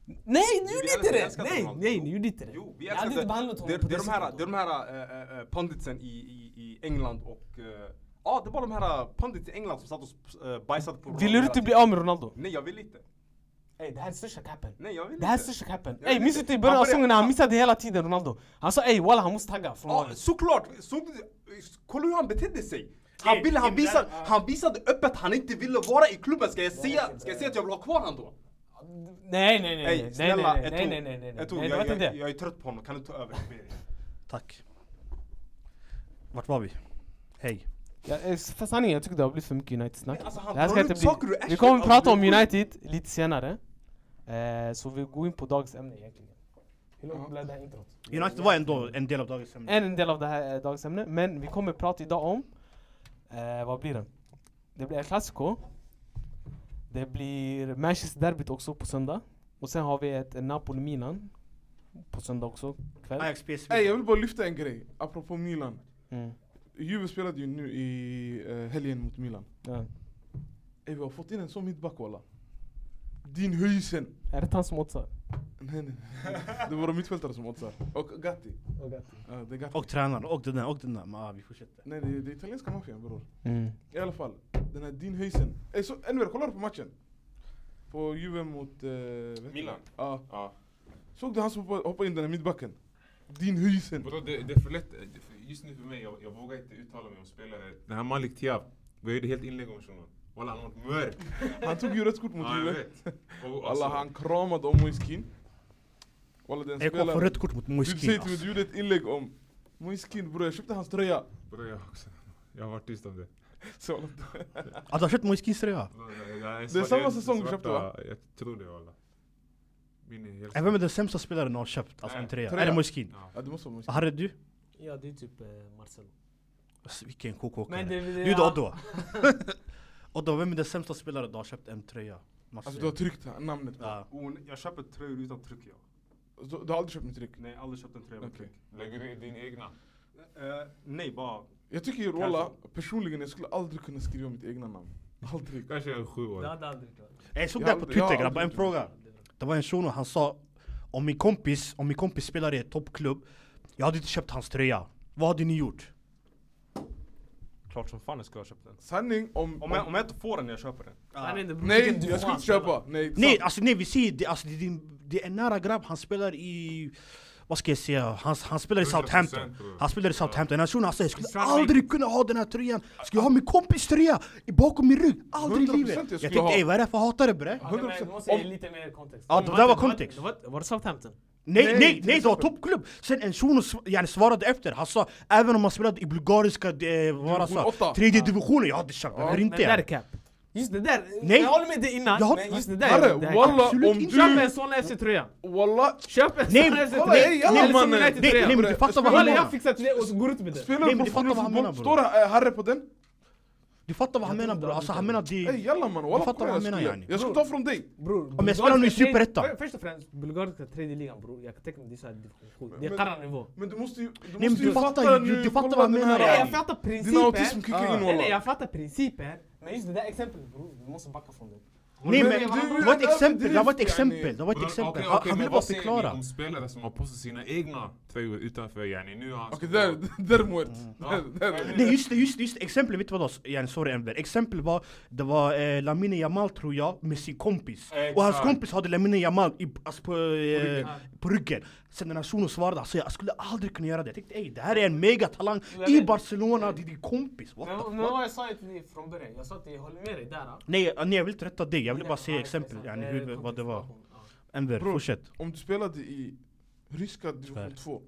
A: Nej ni gjorde
B: Vi
A: inte det!
B: älskar
A: Nej,
B: Ronaldo.
A: nej ni gjorde inte det. typ
B: Jo, vi
A: Ni hade
B: älskar
A: inte behandlat
B: det,
A: honom på
B: det, är de här,
A: sättet.
B: det är de här eh, eh, eh, punditsen i, i, i England och... eh, Ja, det var de här eh, pundits i England som satt och sp- eh, bajsade på
A: Vill du
B: hela
A: inte
B: tiden.
A: bli av med Ronaldo?
B: Nej, jag vill inte.
A: Ey det här är största capen.
B: Nej, jag vill
A: Det här är
B: inte.
A: största capen.
B: Jag
A: Ey
B: vill
A: minns du
B: inte.
A: inte i början av
B: Han började-
A: säsongen när han missade hela tiden Ronaldo? Han sa ey walla han måste tagga från
B: Ja,
A: laget.
B: såklart! Så, kolla hur han betedde sig! Han, ville, han, visade, han visade öppet han inte ville vara i klubben. Ska jag säga, ska jag, säga att jag vill ha kvar honom då?
A: Nej nej nej nej
B: Ey,
A: nej
B: snälla,
A: nej
B: ett
A: nej
B: ord.
A: nej nej nej nej
B: Ett ord.
A: nej det var
B: jag,
A: inte
B: jag,
A: det.
B: jag, är trött på honom, kan du ta över?
D: Tack. Vart var vi? Hej.
A: Ja, eh, för sanningen, jag tycker det har blivit för mycket United-snack.
B: Men alltså, han
A: Det här ska
B: drar
A: inte
B: ut
A: bli-
B: saker ur
A: Vi
B: arslet,
A: kommer
B: alltså,
A: prata
B: det är
A: om
B: sjukt.
A: United lite senare. Eh, så vi går in på dagens ämne egentligen. Hur långt blev det här introt?
D: United var ändå en del av dagens ämne.
A: En del av det här eh, dagens ämne, men vi kommer prata idag om... Eh, vad blir det? Det blir El Clasico. Det blir Manchester-derbyt också på söndag. Och sen har vi ett Napoli-Milan. På söndag också kväll.
D: Ajax PSV.
C: Ey, jag vill bara lyfta en grej, apropå Milan.
A: Mm.
C: Juve spelade ju nu i eh, helgen mot Milan.
A: Ja.
C: Ey, vi har fått in en sån mittback walla. Din Höysen.
A: Är det han som åtsar?
C: Nej, nej, nej. Det var de mittfältare som åt så här. Och Gatti. Ja, det är Gatti.
D: Och tränaren, och den där, och den där. Men, ah, vi fortsätter.
C: Nej, det är, det är italienska maffian bror.
A: Mm.
C: I alla fall, den här Din Höysen. Ey, så Enver, kollar du på matchen? På Juve mot... Eh, vet du?
B: Milan?
C: Ja.
B: Ja.
C: Såg du han som hoppade hoppade in den här mittbacken? Din Höysen.
E: Bro, det, det är för lätt. Det- för- Just nu för mig, jag, jag vågar inte uttala mig om spelare. Den här Malik Diab, vi gjorde helt inlägg om shunon. Walla han har varit mörk.
C: Han tog ju rött kort mot
E: Ja, jag
C: Juve.
E: vet. Och, alltså,
C: Alla han kramade om Moiskin. Walla den
D: Jag kommer få
C: spelaren.
D: rött kort mot
C: Du säger
D: Moiskin.
C: till mig, du
D: Alltså.
C: gjorde ett inlägg om Moiskin bror, jag köpte hans tröja.
E: Bro, jag, också, jag har varit tyst om det.
C: Så,
D: Ah, du har köpt Moiskins tröja?
E: Bro, jag- jag
C: Det är
E: svart-
C: samma
E: jag-
C: säsong du
E: svarta-
C: köpte, va?
E: Jag tror det walla. Min är helt
D: Äh, Vem är den sämsta spelaren du har köpt? Alltså
E: Nej,
D: en tröja?
C: tröja.
D: Är det Moiskin?
E: Ja.
C: ja, det måste vara Moiskin.
D: Harry du?
A: Ja, det är typ Marcelo.
D: Alltså, Vilken kokåkare.
A: Men det- det-
D: Du då
A: ja.
D: Oddo. Oddo, vem är den sämsta spelaren du har köpt en tröja? Mats
C: Alltså du har
D: säger.
C: tryckt här- namnet på.
D: Ja.
B: Oh, jag köper tröjor utan tryck jag.
C: Du, du har aldrig köpt mitt tryck?
B: Nej, aldrig köpt en tröja med
C: Okej.
B: tryck.
E: Lägger du i din egna?
B: Eh, nej, bara...
C: Jag tycker walla, personligen jag skulle aldrig kunna skriva mitt egna namn. Aldrig.
E: Kanske en sjuåring.
A: hade aldrig varit.
D: Jag såg
C: Jag
D: det
C: har
D: här på
C: aldrig- jag har
D: Twitter grabbar, en
C: aldrig
D: fråga. Det var en shuno, han sa om min kompis, om min kompis spelar i en toppklubb, jag hade inte köpt hans tröja. Vad hade ni gjort?
B: Klart som fan jag ska köpa den.
C: Sanning om...
B: Om jag, om jag inte får den, jag köper den.
A: Han är inte bror,
C: Nej,
A: vilken
C: jag skulle
A: dua.
C: inte köpa. Nej,
D: Nej,
C: sant.
D: alltså nej vi ser det, alltså, det, är din- det är en nära grabb, han spelar i... Vad ska jag säga? Han, han spelar i
E: 100%
D: Southampton.
E: bror.
D: Han spelar i Southampton. Han shunon, han säger jag skulle
E: Sannolikt.
D: aldrig kunna ha den här tröjan. Skulle jag ha min kompis tröja i bakom min rygg? Aldrig i
C: 100%
D: livet.
C: jag
D: Jag
C: skulle
D: tänkte
C: ha.
D: ey vad är det för hatare bre?
C: Okej, men
G: Du
C: 100%.
G: måste ge lite mer kontext.
D: Ja,
A: Det
D: det där var
A: det
D: kontext.
A: det var- Var det Southampton?
D: Nej,
C: Nej,
D: nej,
C: till
D: nej det var
C: exempel.
D: toppklubb! Sen en shuno sv- yani, svarade efter, han sa även om han spelade i bulgariska eh, vad han
C: Division åtta.
D: sa, tredje divisionen, jag hade köpt den,
C: Ja,
D: varför
A: Men
D: inte?
A: det där är
D: yani?
A: cap. Just det där,
D: Nej.
A: jag håller med dig innan.
D: Jag har-
A: men just det där,
C: Herre,
A: det här
C: walla
D: absolut
C: om
D: inte.
A: Köp
C: du...
A: en sån FC-tröja.
C: Walla,
A: Köp en sån
D: Nej,
A: FC-tröja.
C: kolla, ey, jalla,
A: Eller som
C: mannen.
D: Nej,
A: United-tröja.
D: nej men du fattar vad han
A: Walla jag
D: menar!
A: fixar till dig och så går ut med det.
C: spelar
D: Nej,
C: du
D: men du fattar
C: professionell
D: vad han menar,
C: fotboll?
D: bror.
C: Står eh, Harry på den?
D: Du fattar vad han menar bror, alltså han menar
C: Ey
D: det...
C: jalla man, walla
D: fattar
C: kolla, jag
D: vad han menar,
C: skulle-
D: yani.
C: Jag skulle ta från dig.
G: Bror,
D: Om jag spelar nu i
A: Bulgariska tredje-
D: Superettan.
A: för- Först och främst, Bulgariska tredje ligan bror. Jag kan tänka mig det är såhär division 7. Det är
C: men-
A: Karra-nivå.
C: Men du måste ju... Du
D: men
C: måste
D: du
C: ju
D: fattar
C: fatta
D: ju,
C: nu,
D: du fattar
C: kolla
D: vad
C: den
D: jag menar,
C: här-
D: yani.
A: Jag fattar
C: Din autism
A: principen.
C: kickar in
A: Nej, nej,
C: walla.
A: jag fattar principen. Men just det där exemplet bror, vi måste backa från det.
D: Nej men,
C: Men du-
D: det var ett exempel, det var ett
C: yani.
D: exempel, det var ett
E: Bror,
D: exempel.
E: okej,
D: Han
E: okej,
D: han
E: men
D: ville bara
E: vad säger ni
D: förklara.
E: Om spelare som har postat sina egna tröjor utanför yani, nu har han...
C: Okej, där, där muert.
D: Mm.
C: Där, där.
D: Nej just det, just det, just det. Exempel, vet du vad då? Yani, sorry Enver. Exempel var, det var eh, Lamine Jamal tror jag, med sin kompis.
E: Exakt.
D: Och hans kompis hade Lamine Jamal i, alltså, på, eh, på ryggen. Sen den här shunon svarade, han sa jag skulle aldrig kunna göra det. Jag tänkte ey, det här är en megatalang
A: Jag
D: i
A: vet.
D: Barcelona, det är din kompis. What the
A: Men,
D: fuck?
A: men vad jag sa till dig från början, jag sa att jag håller med dig där. ah.
D: Nej, eh, nej jag vill inte rätta dig, jag ville bara säga
A: Ja,
D: exempel,
A: exakt.
D: yani,
A: Eh,
D: hur, vad det var.
A: kontextsituation,
D: Enver,
C: Bror.
D: fortsätt.
C: Om du spelade i ryska division
D: Tyvärr.
C: 2.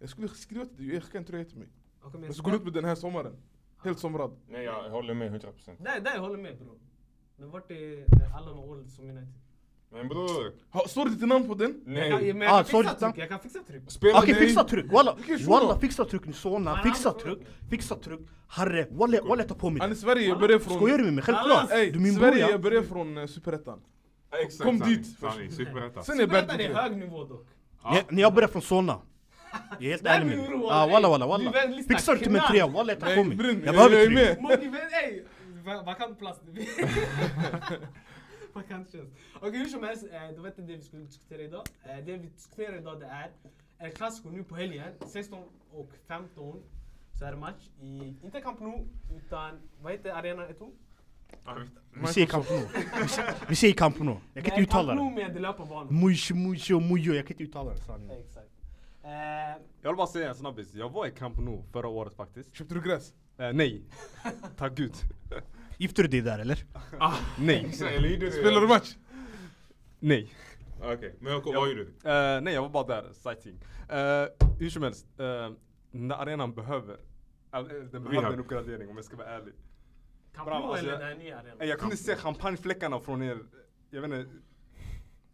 C: Jag skulle skriva till dig, jag skickar en tröja till mig.
A: ja. Okej, men
C: Jag skulle gå ut med den här sommaren. Helt somrad.
E: Nej jag håller med 100%.
A: Där, där jag håller med bror. Det vart det när alla de åren som United.
E: Men bror,
C: Ha, står det ditt namn på den?
A: Jag kan,
E: nej.
A: men jag,
D: Ah,
A: kan
D: sorry,
A: fixa tryck,
D: utan-
A: jag kan fixa tryck.
E: Spela
D: Okej,
E: nej.
D: fixa tryck! Walla,
C: Vilken shuno?
D: walla fixa tryck nu sona,
A: Han
D: fixa
A: aldrig
D: tryck, fixa tryck. Harre, walla, walla ta på mig
C: Han är
D: det.
C: i Sverige, jag börjar från...
D: Skojar du med mig? Självklart! Du
C: Ey,
D: är min bror
C: Sverige,
D: ja.
C: jag börjar från eh, Superettan.
E: Exakt,
C: Kom
E: sanning,
C: dit.
E: Sanning, superettan.
C: Sen är jag
A: Superettan är
C: Bertil.
A: hög nivå dock.
D: Ja, När jag började från Solna. Jag är helt
A: Där
D: ärlig med
A: blir
D: dig.
A: du oroad,
D: Ah,
A: ey.
D: walla walla
A: Du
D: walla.
A: är väldigt
D: Fixar du till mig en
A: stark.
D: trea, walla ta på
C: Nej,
D: mig.
C: brun,
D: Jag
C: jag,
D: behöver
C: jag är
D: tryck.
C: med.
A: Många vänner, ey! va- Vakant plats. det blir. Vakant tjänst. Okej hur som helst, eh, det var inte det vi skulle diskutera idag. Eh, Det vi diskuterar idag det är en klassiker nu på helgen. 16 och 15 så är det match i, inte Camp Nou, utan vad heter arenan Eto?
D: Vi ser Camp Nou. Vi ser- Vi ser Camp Nou. Jag kan
A: Nej,
D: inte uttala
A: Eh, Camp Nou
D: det.
A: med löparbanan.
D: Mujo, mujo, mujo. Jag kan inte uttala det. sanningen.
A: Exakt. Eh,
B: Jag vill bara säga en snabbis. Jag var i Camp Nou förra året faktiskt.
C: Köpte du gräs?
B: Eh, nej. Tack gud.
D: Gifter du dig där eller?
B: Nej.
E: Exakt, eller gjorde
C: Spelar du match?
B: Nej.
E: Okej, men jag- vad gjorde du?
B: Eh, nej, jag var bara där. Sightseeing. Eh, hur som helst. eh, den där arenan behöver... eh, den behöver
E: Rehab.
B: en uppgradering om jag ska vara ärlig.
A: Camp
B: Bra,
A: Nou
B: alltså,
A: eller
B: jag-
A: den här nya arenan?
B: Eh, jag kunde se champagnefläckarna från er... Jag vet inte,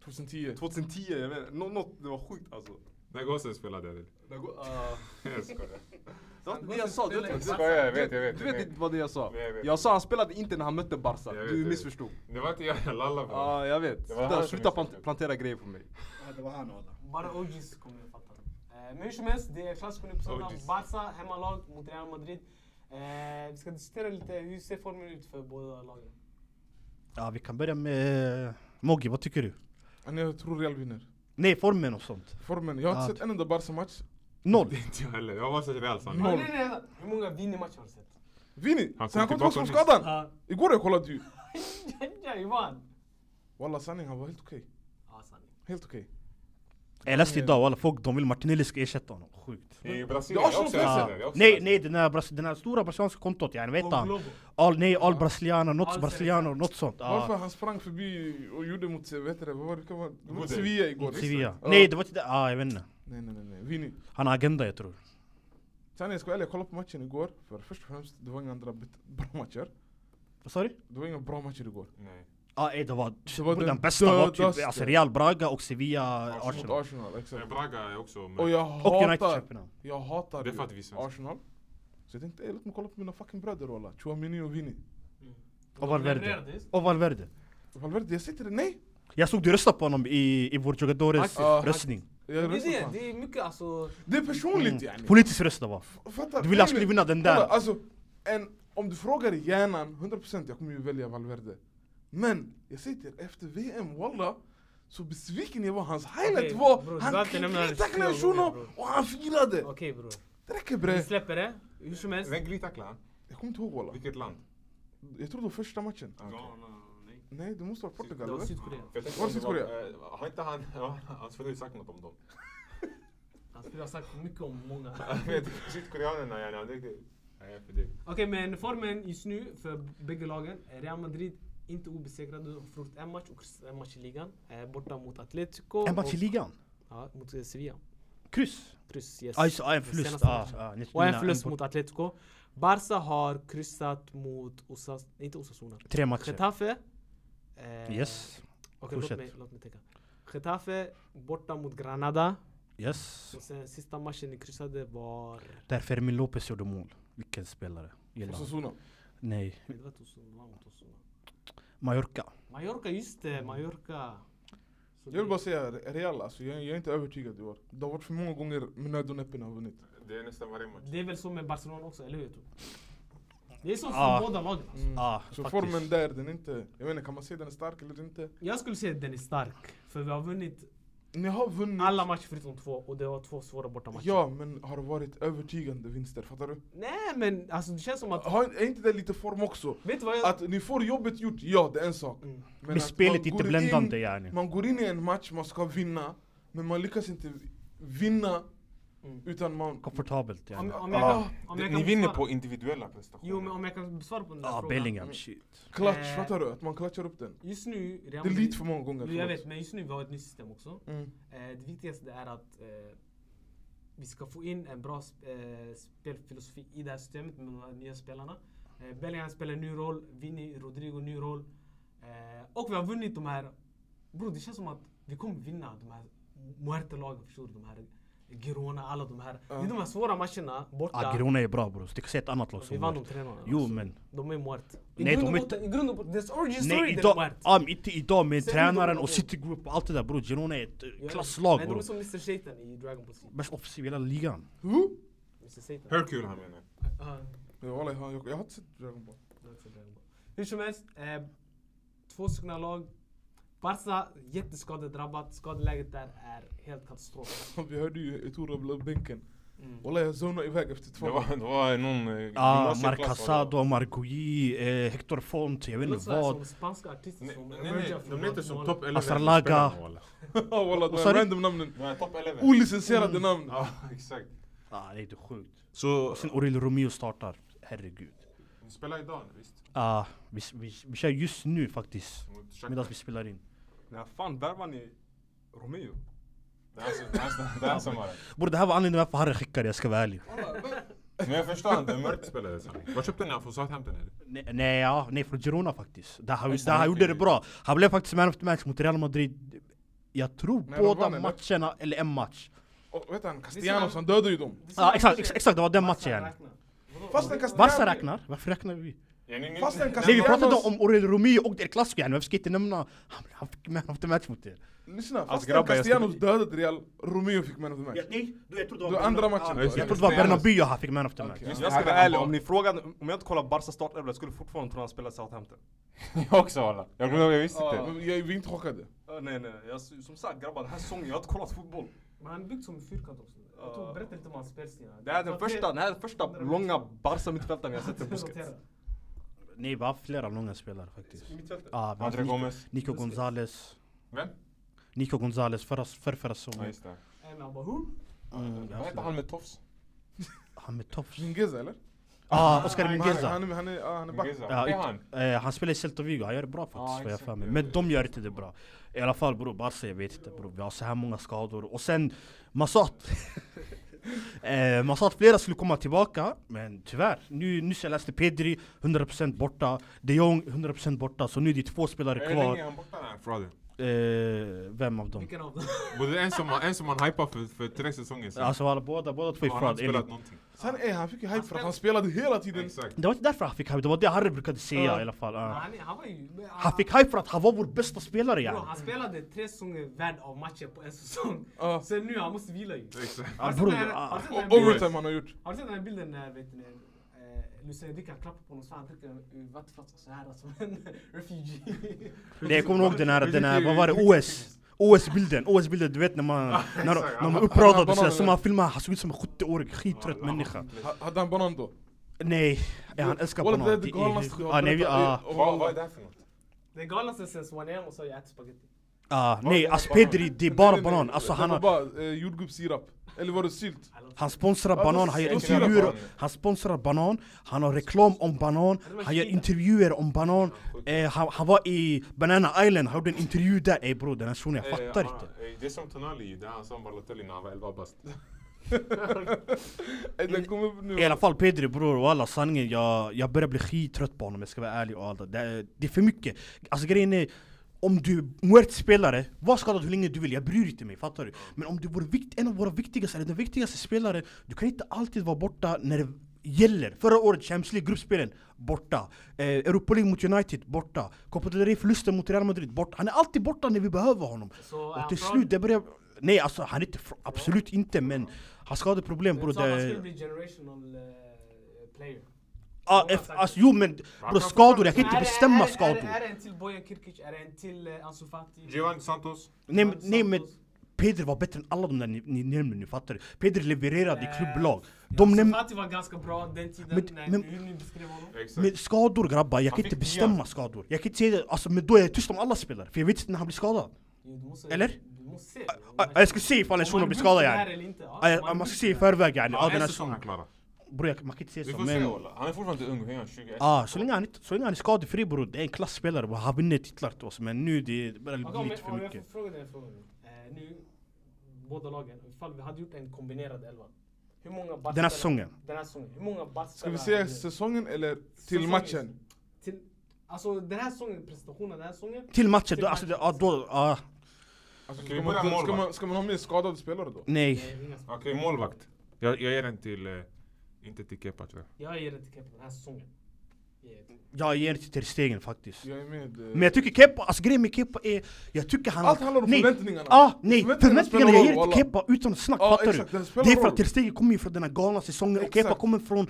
C: 2010.
B: 2010, jag vet inte. Nå- Något, det var sjukt alltså.
E: När gossen spelade eller?
B: Det går- eh,
E: Jag skojar.
B: det var inte det jag sa. Du
E: Jag
B: vet,
E: skojar, jag vet, jag vet.
B: du vet inte vad det jag sa.
E: Jag vet.
B: Jag sa han spelade inte när han mötte Barca.
E: Jag vet,
B: Du
E: jag
B: missförstod.
E: Det var inte jag, jag lallade
B: Ja,
E: på
B: jag vet.
E: Det var han
B: Sluta-
E: som
B: Sluta
E: missade.
B: plant- plantera grejer på mig.
D: Det var han walla.
A: Bara OGs kommer jag fatta. Eh, Men hur som helst, det är klassiker nu på söndag.
E: OGs.
A: Barca, hemmalag mot Real Madrid. Eh, vi ska diskutera lite, hur ser formen ut för båda lagen?
D: Ja vi kan börja med... Moggi, vad tycker du?
C: Men Jag tror Real vinner.
D: Nej, formen och sånt.
C: Formen, jag har
D: Ah.
C: inte sett en enda Barca-match.
D: Noll.
E: Inte jag heller, jag var så rejäl sanning.
A: Ah,
C: Noll.
A: nej, nej, nej. Hur många Vini-matcher har du sett?
C: Vini!
E: Han
C: Sen han
E: kom
C: kom tillbaka från
E: tillbaka
C: skadan!
A: Ja,
C: Igår jag kollade ju.
A: ja, Ivan.
C: Walla sanning, han var helt okej.
A: Ja, sanning.
C: Helt okej.
D: Jag läste idag walla, folk de vill Martinelli ska ersätta honom. Sjukt.
E: I
C: Det
E: Brasilien,
C: är
E: jag också
C: Arsenal
E: jag
D: Ja.
E: också jag också
D: Nej,
E: läste.
D: nej, den här, bras- den här stora brasilianska kontot, yani vet
A: Och
D: han?
A: Globo.
D: All, nej, all brasilianer, något
A: All
D: brasilianer, något sånt.
C: Varför
D: Ja.
C: han sprang förbi och gjorde mot, eh, vad heter det, vad var det? Vad var det? Mot
E: Mot
C: Sevilla igår.
D: Mot Sevilla.
C: Ja.
D: Nej, det var inte det. Ja, jag vet inte.
C: Nej nej nej, nej. Vini.
D: Han har agenda jag tror.
C: Sanning, jag ska vara ärlig, jag kollade på matchen igår. För först och främst, det var inga andra bet- bra matcher.
D: Vad sa du?
C: Det var inga bra matcher igår.
E: Nej.
D: Ja, eh, det var,
C: Det var
D: den,
C: den
D: bästa var typ
C: dödaste.
D: alltså Real Braga och Sevilla
E: Alltså,
D: Arsenal.
C: Mot Arsenal, exakt.
E: Men Braga är också med.
C: Och jag
D: Och United
C: hatar,
D: Köpenhamn.
C: jag hatar
E: Det är
C: ju
E: för att vi är svenskar.
C: Arsenal. Så jag tänkte, ey, låt mig kolla på mina fucking bröder walla. Chouamini och Vini.
D: Och
A: levererar det,
D: Valverde.
A: just.
D: Och Valverde.
C: Valverde, jag sitter nej!
D: Jag såg du röstade på honom i, i vår Jogadores
C: Ja.
D: röstning. Mm.
C: Jag
A: Det
C: röstar
A: är
C: på
A: det,
C: honom.
A: det är mycket alltså...
C: Det är personligt yani.
D: Politisk röst det var.
C: Fattar
D: Du ville han skulle vinna den
C: Kolla,
D: där.
C: Alltså, en, om du frågar i hjärnan, 100% jag kommer ju välja Valverde. Men jag sitter efter VM, walla. Så besviken jag var. Hans highlight
A: Okej,
C: var,
A: bror, du
C: han
A: behöver inte nämna det
C: tacklade
A: flera gånger,
C: shunon
A: bror.
C: och han firade.
A: Okej bror.
C: Det räcker
A: Vi
C: bre.
A: släpper det. Hur som helst.
E: Vem glidtacklade han?
C: Jag kommer inte ihåg walla.
E: Vilket land?
C: Jag tror det var första matchen.
E: Ah, okej.
B: Ghana, nej.
C: Nej, det måste vara Portugal
A: Det var
C: eller?
A: Sydkorea.
E: För jag tänkte
C: Var
E: om det
C: Sydkorea?
E: eh, Har inte han, ja, hans fru sagt något om dem?
A: Han skulle ha Alltså, sagt mycket om många.
E: Jag vet, Sydkoreanerna yani, han är riktigt... Nej, för det.
A: Okej, men formen just nu för bägge lagen. Eh, Real Madrid inte obesegrade. De har förlorat en match och kryssat en match i ligan. Eh, borta mot Atletico.
D: En match i
A: och-
D: ligan.
A: Ja, mot eh, Sevilla.
D: Kryss.
A: Kryss, yes.
D: Ja just det, ja, en
A: Den
D: förlust.
A: senaste
D: Ja,
A: matchen.
D: ja, ni-
A: Och en
D: ni-
A: förlust
D: bort-
A: mot Atletico. Barca har kryssat mot Osas... Inte Osasuna.
D: Tre matcher.
A: Getafe. Eh,
D: Yes.
A: Okej, låt
D: Fortsätt.
A: mig, låt mig tänka. Getafe borta mot Granada.
D: Yes.
A: Och sen sista matchen ni kryssade var...
D: Där Fermin Lopez gjorde mål. Vilken spelare. Gillar han.
C: Osasuna.
D: Nej.
A: Nej, Det var Tosuna, det var mot Osasuna.
D: Mallorca.
A: Mallorca, just
D: Mm.
A: det. Mallorca. Så
C: Jag vill
A: det-
C: bara säga, Real alltså, jag, jag är inte övertygad i år. Det har varit för många gånger med nöd och näppe ni har vunnit.
E: det är nästan varje match.
A: Det är väl så med Barcelona också, eller hur? Tor? Det är så för
D: Ja.
A: båda lagen. Alltså.
D: Ja,
C: Så
D: Ah, faktiskt.
C: formen där, den är inte... Jag vet inte, kan man säga den är stark eller inte?
A: Jag skulle säga att den är stark. För vi har vunnit
C: Ni har vunnit.
A: alla matcher förutom två och det var två svåra bortamatcher.
C: Ja, men har det varit övertygande vinster? Fattar du?
A: Nej men alltså det känns som att...
C: Har, är inte det lite form också?
A: Vet du vad jag...
C: Att ni får jobbet gjort, ja det är en sak.
A: Mm.
C: Men
D: Men
C: att
D: spelet
C: man
D: är inte
C: går
D: bländande
C: in-
D: yani.
C: Man går in i en match, man ska vinna. Men man lyckas inte vinna
A: Mm.
C: utan man...
D: Komfortabelt
A: Om,
D: yani.
A: om jag kan, om jag
E: Det,
A: kan
E: ni vinner
A: besvara-
E: på individuella prestationer.
A: Jo men om jag kan besvara på den där
D: Ja,
A: frågan.
D: Ah, Bellingham. Shit.
C: Klatsch,
A: Eh.
C: fattar du? Att man klatschar upp den.
A: Just nu... Real
C: Det är
A: Madrid-
C: lite för många gånger.
A: Jo, Jag
C: förlåt.
A: vet men just nu vi har ett nytt system också.
C: Mm.
A: Eh, det viktigaste är att eh, vi ska få in en bra sp- eh, spelfilosofi i det här systemet med de här nya spelarna. Eh, Bellingham spelar en ny roll, Vinny Rodrigo ny roll. Eh, och vi har vunnit de här... Bro, det känns som att vi kommer vinna de här Muerte-lagen, förstår du? De här Girona, alla de här. Det är de här svåra matcherna borta.
D: Ja, Ah, Girona är bra bror. Du kan se ett annat lag
A: vi
D: som
A: vann
D: vann.
A: de tre noll,
D: Jo,
A: alltså.
D: men-
A: De är Muerte. I
D: Nej,
A: grund
D: de
A: och
D: är
A: botten, i grund och botten, deras origin story
D: Nej
A: den är
D: idag,
A: Muerte.
D: ja, men inte idag med
A: Sen
D: tränaren
A: idag-
D: och City Group och allt det där bror. Girona är ett eh,
A: Ja,
D: klasslag
A: Men de
D: bror.
A: är som Mr Satan i Dragon Ball Z.
D: Bäst offensiv i hela ligan.
A: Mr Satan.
E: Hercule han menar.
A: Ja.
C: Ja, walla, jag, har- jag, jag har inte sett Dragon Ball.
A: Hur som helst, eh, två stycken lag. Barca jätteskadedrabbat, skadeläget där är helt katastrof.
C: Vi hörde ju Eto'o rabbla upp bänken. Walla jag zonade iväg efter två
E: Det var, det var någon eh,
D: Ah,
E: gymnasieklass,
D: Marc
E: var det.
D: Casado, Margui, eh, Hector Font, jag
A: Det
D: vet
A: låter
D: inte
A: sådär som
D: vad.
A: spanska artister
E: Nej,
A: som
E: nej, nej, de är inte som
A: Guatemala.
E: topp 11
D: Astralaga.
E: spelarna, walla.
C: Walla, de
D: Vad
C: här
D: sa du?
C: random namnen.
E: De är topp 11.
B: Mm.
C: Olicenserade namn.
E: Ja, exakt.
D: Ah, det är inte sjukt.
E: Så,
D: Och sen Aurelio Romeo startar. Herregud.
E: ni spelar idag visst?
D: Ah, vi, vi, vi kör just nu faktiskt.
E: Mot Shakhtar.
D: Medan vi spelar in.
B: När fan värvar ni Romeo?
E: Det här- det här- Det här sommaren.
D: Bror det här var anledningen varför Harry skickade, jag ska vara ärlig.
E: Men jag förstår inte, mörkt spelare. sa ni. Var köpte ni han från Southampton eller?
D: Nej, nej, ja, nej från Girona faktiskt. Där han,
E: Just
D: där
E: det,
D: han
E: han
D: gjorde det
E: fick-
D: bra. Han blev faktiskt man of the match mot Real Madrid. Jag tror
C: Nej, de
D: båda
C: vann, eller?
D: matcherna, eller en match.
C: Och vet han, Castellanos han dödade ju dem.
A: Det är
D: Ja ah, exakt,
A: matcher-
D: ex- exakt, det var den
A: Barca
D: matchen yani.
A: räknar. Vadå?
C: Fastän
D: Barca
C: Castellanos...
D: räknar, varför räknar vi?
E: Ja, ni- ni-
C: Fastän
E: ni-
D: Nej vi
C: Castellanos...
D: pratade om Aurelio Romeo och El Clasico yani, varför ska jag inte nämna... Han, han fick man of the match mot er.
C: Lyssna,
B: Alltså,
C: fastän
B: grabbar, jag
C: Castellanos dödade Real, Romeo fick man of the match.
D: nej, jag trodde
C: Det var andra matchen då,
D: Jag
C: eller?
D: trodde det var Bernabéu han fick man of the match.
C: Okej.
B: Jag ska vara ärlig, om ni frågade, om jag inte kollar Barca startelva, jag skulle fortfarande tro han spelar Southampton.
E: Jag också walla. Jag glömde, jag visste
B: Ja.
E: inte.
C: Men jag, vi är inte chockade.
B: Ja, nej nej, jag, som sagt grabbar den här säsongen, jag har inte kollat fotboll.
A: Men han är byggd som en fyrkant också. Jag tog, berätta lite om hans spelstil.
B: Det här är den första, den här är den första långa Barca mittfältaren jag sett i Busquets.
D: Nej vi har haft flera långa spelare faktiskt.
B: Mittfältet?
D: Ah, vi har haft
E: André
D: Nico,
E: Gomes.
D: Nico Gonzales.
E: Vem?
D: Nico Gonzales förra, för förra
E: Ja
D: säsongen.
E: just det.
A: En av bara, who?
D: Mm, jag
E: Vad
D: har
E: hette
D: flera.
E: han med tofs?
D: han med tofs.
C: Mingueza eller?
D: Ah, Oscar
C: Han,
D: Mingueza.
C: han, är- han, är, ja, han är back.
E: Giza.
D: Ja,
E: Det är
D: ut-
E: han.
D: Eh, han spelar i Celta Vigo, han gör det bra faktiskt
E: Ja,
D: vad jag
E: exakt.
D: för mig.
E: Ja,
D: Men
E: ja.
D: de gör inte det bra. I alla fall bror, Barca jag vet inte bror. Vi har så här många skador. Och sen, man sa att... eh, man sa att flera skulle komma tillbaka, men tyvärr. Nu, nyss jag läste Pedri, 100% borta. De Jong, 100% borta. Så nu är det två spelare
E: Hur länge är
D: kvar.
E: han borta den här fraden?
D: Eh, vem av dem?
A: Vilken av dem?
E: Både en som, en som han hypade för, för tre säsonger sedan.
D: Alltså alla, båda, båda två är
E: har han
D: fraud.
E: inte spelat
D: enligt-
E: någonting.
C: Sen, eh, han fick ju hype för att han spelade hela tiden.
E: Exakt.
D: Det var inte därför han fick hype, det var det Harry brukade säga
C: Ja.
D: i alla fall. ja.
A: Han är- han var ju... men,
D: Han fick hype för att han var vår bästa spelare
A: Bro,
D: yani.
A: han spelade tre säsonger värd av matcher på en säsong.
C: Ja.
A: Sen nu, han måste vila ju.
E: Exakt.
A: Har du
D: Ja,
A: sett
D: bror,
A: den här-
D: ah.
A: har du sett den här
C: Och
A: bilden-
C: overtime han har gjort.
A: har du sett den här bilden när vet ni, eh, Lucien Dick han klappar på någon så han dricker ur vattenflaskan så här som en refugee.
D: Nej jag kommer ihåg den här, den här, vad var det,
E: Vilket-
D: OS? OS-bilden, OS-bilden du vet när man, när,
E: exakt,
D: när man
E: alla-
D: uppradade
C: alla
D: såhär,
C: bananer.
D: som man filmade, han såg ut som en 70-årig skittrött människa
C: Ha- Hade han banan då?
D: Nej, ja, han älskar
C: Walla,
D: banan.
C: det är det galnaste jag
D: ah, nej, vi, ah,
C: berättat.
E: Vad, vad är det här för något?
A: Det galnaste sen 1am och så har jag ätit spagetti.
D: ah, nej,
E: banan?
D: alltså Pedri, det är bara
C: Nej, nej, nej.
D: banan. Alltså
C: Det
D: han,
C: var
D: har-
C: bara eh, jordgubbssirap. Eller var det sylt?
D: han sponsrar
C: Ja,
D: banan,
C: då-
D: han gör
C: då
E: ser jag
D: intervjuer.
E: banan.
D: Han sponsrar banan, han har reklam om banan,
A: var
D: han gör
A: Kina.
D: intervjuer om banan.
E: sjukt.
D: Eh, han, han var i Banana Island, han gjorde en intervju där. Ey bror, den här shunon, jag fattar
E: Eh,
D: inte.
E: ah, eh, Det är som Tonali, det han sa om Balotelli när han var 11 bast.
C: Eh, Den kom upp nu.
D: I alla fall Pedri bror, walla sanningen jag, jag börjar bli skittrött på honom om jag ska vara ärlig och allt det. det är- Det är för mycket. Alltså grejen är, om du är Muert-spelare, var skadad hur länge du vill, jag bryr inte mig, fattar du? Men om du vore vikt, en av våra viktigaste, eller den viktigaste spelaren, du kan inte alltid vara borta när det gäller. Förra året, Champions League, gruppspelen, borta. Eh, Europa League mot United, borta. Copa del Rey, förlusten mot Real Madrid, borta. Han är alltid borta när vi behöver honom.
A: Så är
D: Och
A: han
D: till
A: fraud?
D: slut, det börjar... Nej alltså han är inte, fra- absolut inte men han skadeproblem bror.
A: De sa att han
D: det-
A: skulle bli generational eh, player.
D: Ja,
A: Många
D: eff,
A: säkert.
D: alltså, jo men bro, skador, jag kan
A: Är
D: inte
A: det-
D: bestämma
A: är det- Är, det-
D: skador.
A: är det en till Bojan Kirkic? Är det en till eh, Ansu Fati?
E: Giovanni Santos.
D: Nej, men-
A: Santos?
D: nej men Pedri var bättre än alla de där ni, ni nämner nu, fattar du? Pedri levererade i
A: Eh,
D: klubblag. De
A: Ansu
D: näm-
A: Fati var ganska bra den tiden,
D: Men-
A: när,
D: men-
A: hur ni beskrev honom.
E: Exakt.
D: men skador grabbar, jag
E: Han
D: kan inte
E: fick
D: bestämma
E: nian.
D: skador. Jag kan inte säga det, alltså, men då är jag tyst om alla spelare, för jag vet inte när han blir skadad.
A: Jo, du måste-
D: Eller? ah,
A: Du måste se.
D: Ja, Jag ska se ifall en
A: Om
D: shuno
A: man
D: blir
A: vill
D: skadad
A: det här
D: yani.
A: eller inte, ja.
D: Ja,
A: Om
D: ja,
A: man
D: Man
A: vill
D: ska se i
A: det här.
D: förväg yani. Ja,
E: Ja,
D: den
E: en
D: här
E: säsong
D: shunon.
E: han klarar.
D: Bror jag- man kan inte säga
E: Vi
D: så
E: får se
D: men...
E: walla. Han är fortfarande ung, hur är han? 20?
D: Ah, så, länge han inte, så länge han är skadefri bror, det är en klassspelare. bror. Han vinner titlar till oss men nu det det börjar
A: Okej,
D: bli
A: om
D: lite
A: jag-
D: för
A: om jag får
D: mycket.
A: fråga dig en fråga nu. Eh, Nu, båda lagen, ifall vi hade gjort en kombinerad elva. Hur många
D: Den här
A: backspelare-
D: säsongen.
A: Den här säsongen. Hur många
C: Ska vi
A: backspelare
C: säga
A: hade-
C: säsongen eller till
A: Säsongen.
C: matchen?
A: Till, alltså den här säsongen, prestationen den här säsongen.
D: Till matchen,
A: Till
D: då, alltså, det-
A: matchen.
D: ja, då, ah,
C: Alltså,
E: Okej,
C: ska,
E: börja
C: man, ska,
E: målvakt.
C: man, ska man ha med skadade spelare då?
D: nej.
A: Eh, inga-
E: Okej, målvakt. Jag, jag ger den till... Eh, inte till Kepa tror jag.
A: Jag ger det till Kepa den här säsongen. Jag ger det.
D: Jag ger det till Ter Stegen faktiskt.
C: Jag är med. eh,
D: Men jag tycker Kepa, alltså grejen med Kepa är, jag tycker han...
C: Allt handlar om
D: nej.
C: förväntningarna.
D: Ah, nej,
C: Förväntningarna
D: förväntningarna,
C: spelar roll,
D: jag ger det till
C: wallah.
D: Kepa utan snack,
C: Ja,
D: fattar
C: exakt,
D: du?
C: den spelar
D: Det är för
C: roll.
D: att Ter Stegen kommer ju från den här galna säsongen och
C: Exakt.
D: Kepa kommer från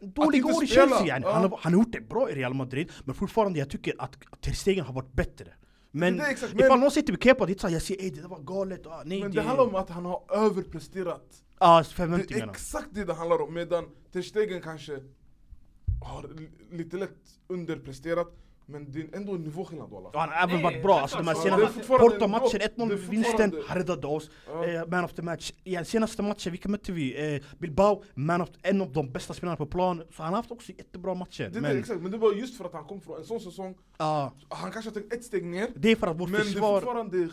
D: dåliga
C: inte
D: år i
C: spela,
D: Chelsea yani.
C: ja.
D: han, har, han har gjort det bra i Real Madrid, men fortfarande jag tycker att Ter Stegen har varit bättre. Men
C: Det är exakt, men-
D: ifall någon säger till mig Kepa, det är inte såhär jag ser ey det där var galet, ah, nej
C: Men
D: det...
C: det handlar om att han har överpresterat.
D: ah,
C: Det är
D: förväntningarna.
C: exakt det det handlar om. Medan Ter Stegen kanske har li- lite lätt underpresterat. Men det är ändå en nivåskillnad walla.
D: Och han har även
A: Nej,
D: varit bra,
A: självklart.
D: alltså de här
A: Ja,
C: det är
D: senaste
C: fortfarande
D: Porto-matchen,
C: ändå- det är
D: 1-0 vinsten,
C: fortfarande-
D: han räddade oss.
C: Ja.
D: Eh, man of the match. I den senaste matchen, vilka mötte vi? Eh, Bilbao, man of, en av de bästa spelarna på plan. Så han har haft också jättebra matcher.
C: Det, är det,
D: men,
C: exakt, men det var just för att han kom från en sån säsong.
D: ja,
C: Han kanske har tagit ett steg ner.
D: det är för att vårt
C: Men det är
D: försvar,
C: fortfarande...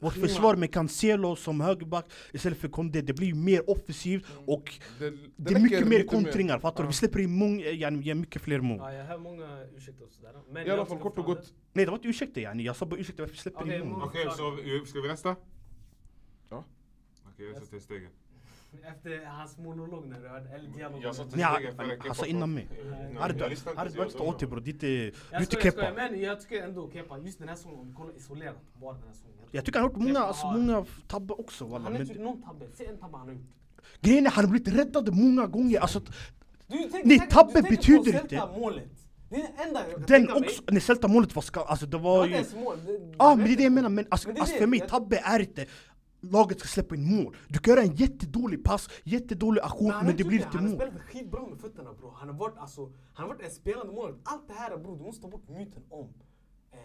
D: vårt
C: skillnad.
D: försvar med Cancelo som högerback istället för Conde, det blir mer offensivt och
C: Det,
D: det är mycket mer kontringar, fattar du? Vi släpper in många, eh, yani, vi gör mycket fler mål.
A: Ah, Ja, jag hör många ursäkter och sådär. Men
C: I alla
A: jag
C: fall
A: tycker
C: kort och
A: fan
C: gott.
D: Nej det var inte ursäkter yani, jag sa bara ursäkta varför vi släpper
A: Okej,
D: in mål.
A: mål.
E: Okej, så vi- ska vi resta?
C: Ja.
E: Okej, jag sätter
A: det-
E: stegen.
A: Efter hans monolog när du hörde, eller dialog.
E: Jag satte
D: Nej,
E: stegen före
D: han-
E: Kepa.
D: han sa innan alltså mig. Arda,
E: Eh, Jag lyssnade
D: Arda,
E: inte,
D: du har
E: jag
D: inte
E: var
D: åter
E: dum.
D: bror, det är inte- du är
A: Jag skojar,
D: inte
A: jag
D: Kepa.
A: skojar, men jag tycker ändå Kepa, just den här säsongen, om vi kollar isolerat, bara den här säsongen.
D: Jag tycker han har gjort många,
A: Kepa
D: alltså,
A: har-
D: många tabbar också walla.
A: Han har inte gjort
D: Men
A: någon tabbe, se en tabbe han har gjort.
D: grejen är han har blivit räddad många gånger. Alltså, att
A: Du tänker,
D: Nej,
A: säkert-
D: tabbe
A: du tänker
D: betyder
A: på
D: inte.
A: Celta-målet. Det är det enda jag kan
D: den
A: tänka mig.
D: också, när Celta-målet var ska, alltså det
A: Det
D: var
A: var inte
D: ju...
A: ens mål. Det-
D: Ja ah, men det är det jag menar, men alltså,
A: Men det är
D: alltså
A: det,
D: för mig,
A: jag-
D: tabbe är inte laget ska släppa in mål. Du kan göra en jättedålig pass, jättedålig aktion, men,
A: har
D: det
A: gjort
D: blir inte
A: Han
D: mål.
A: har spelat skitbra med fötterna bro. Han har varit, alltså, han har varit en spelande mål. Allt det här bro, du måste ta bort myten om eh,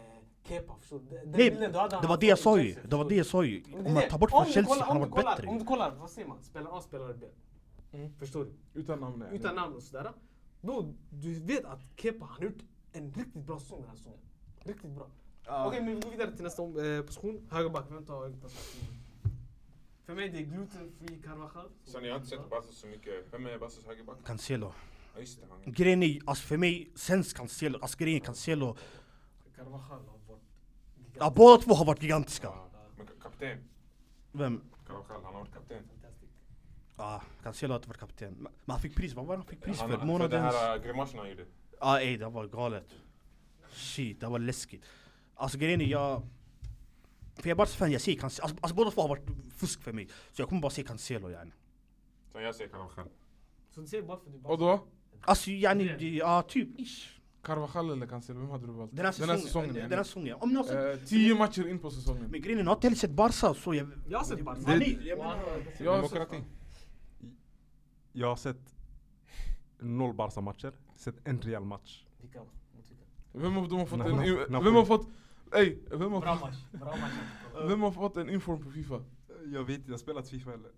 A: Kepa. Förstår du? Den- den
D: Nej,
A: bilden du hade
D: det
A: han
D: var det
A: från
D: jag sa ju,
A: Chelsea,
D: det
A: förstår
D: var det
A: du?
D: jag sa ju.
A: Men det är
D: Om man
A: det.
D: tar bort
A: Om
D: från
A: du
D: Chelsea,
A: kollar-
D: han
A: om
D: har
A: du
D: varit
A: kollar-
D: bättre
A: Om du
D: ju.
A: kollar, vad säger man? Spelare A, spelare B. Förstår du?
C: Utan namn. ja.
A: Utan namn och sådär. Då, du vet att Kepa han har gjort en riktigt bra säsong den här säsongen. Riktigt bra. Okej, men vi går vidare till nästa om- eh, position. Högerback, vem tar högerback? För mig det är gluten-free Carvajal.
E: Sen jag har inte sett Bastos så mycket. Vem är Bastos högerback?
D: Cancelo.
E: Ja just det, han är...
D: Grejen är, alltså för mig, sen Cancelo, alltså grejen är Cancelo,
A: Carvajal har varit
D: ja, båda två har varit gigantiska.
E: Ja. Men ka- kapten.
D: Vem?
E: Carvajal, han har varit kapten.
A: fantastisk.
D: Ja, Cancelo har inte varit kapten. Men men han fick pris, vad var det han fick pris
E: Han,
D: för?
E: för den
D: Månadens...
E: här äh, grimasen han gjorde.
D: Ja ey, det var galet. Shit, det var läskigt. Alltså grejen är jag... För jag är bara så fan, jag ser Cancelo. Alltså, alltså båda två har varit fusk för mig. Så jag kommer bara se Cancelo yani.
E: Sen jag säger Carvajal.
A: Så du säger bara för att du bara...
C: Och då?
D: Alltså yani, det- ja typ ish.
C: Carvajal eller Cancelo, vem hade du valt?
D: Den här säsongen. Den här säsongen.
C: ja.
D: Om ni har sett...
C: Eh, tio matcher in på säsongen.
D: Men grejen är, ni har inte heller sett Barca så jag...
A: Jag har sett Barca.
D: Ja, ni- jag menar-
C: Jag har
E: Demokrati.
C: sett-
B: Jag har sett noll Barca-matcher. Sett en Real match.
A: Vilka? Mot vilka?
C: Vem av dem har fått
B: Na-
C: en...
B: na-
C: i-
B: Napoli.
C: Vem har fått... Ey, vem
A: Bra
C: har,
A: match. Bra match.
C: vem har fått en inform på Fifa?
B: Jag vet inte, jag spelat Fifa heller.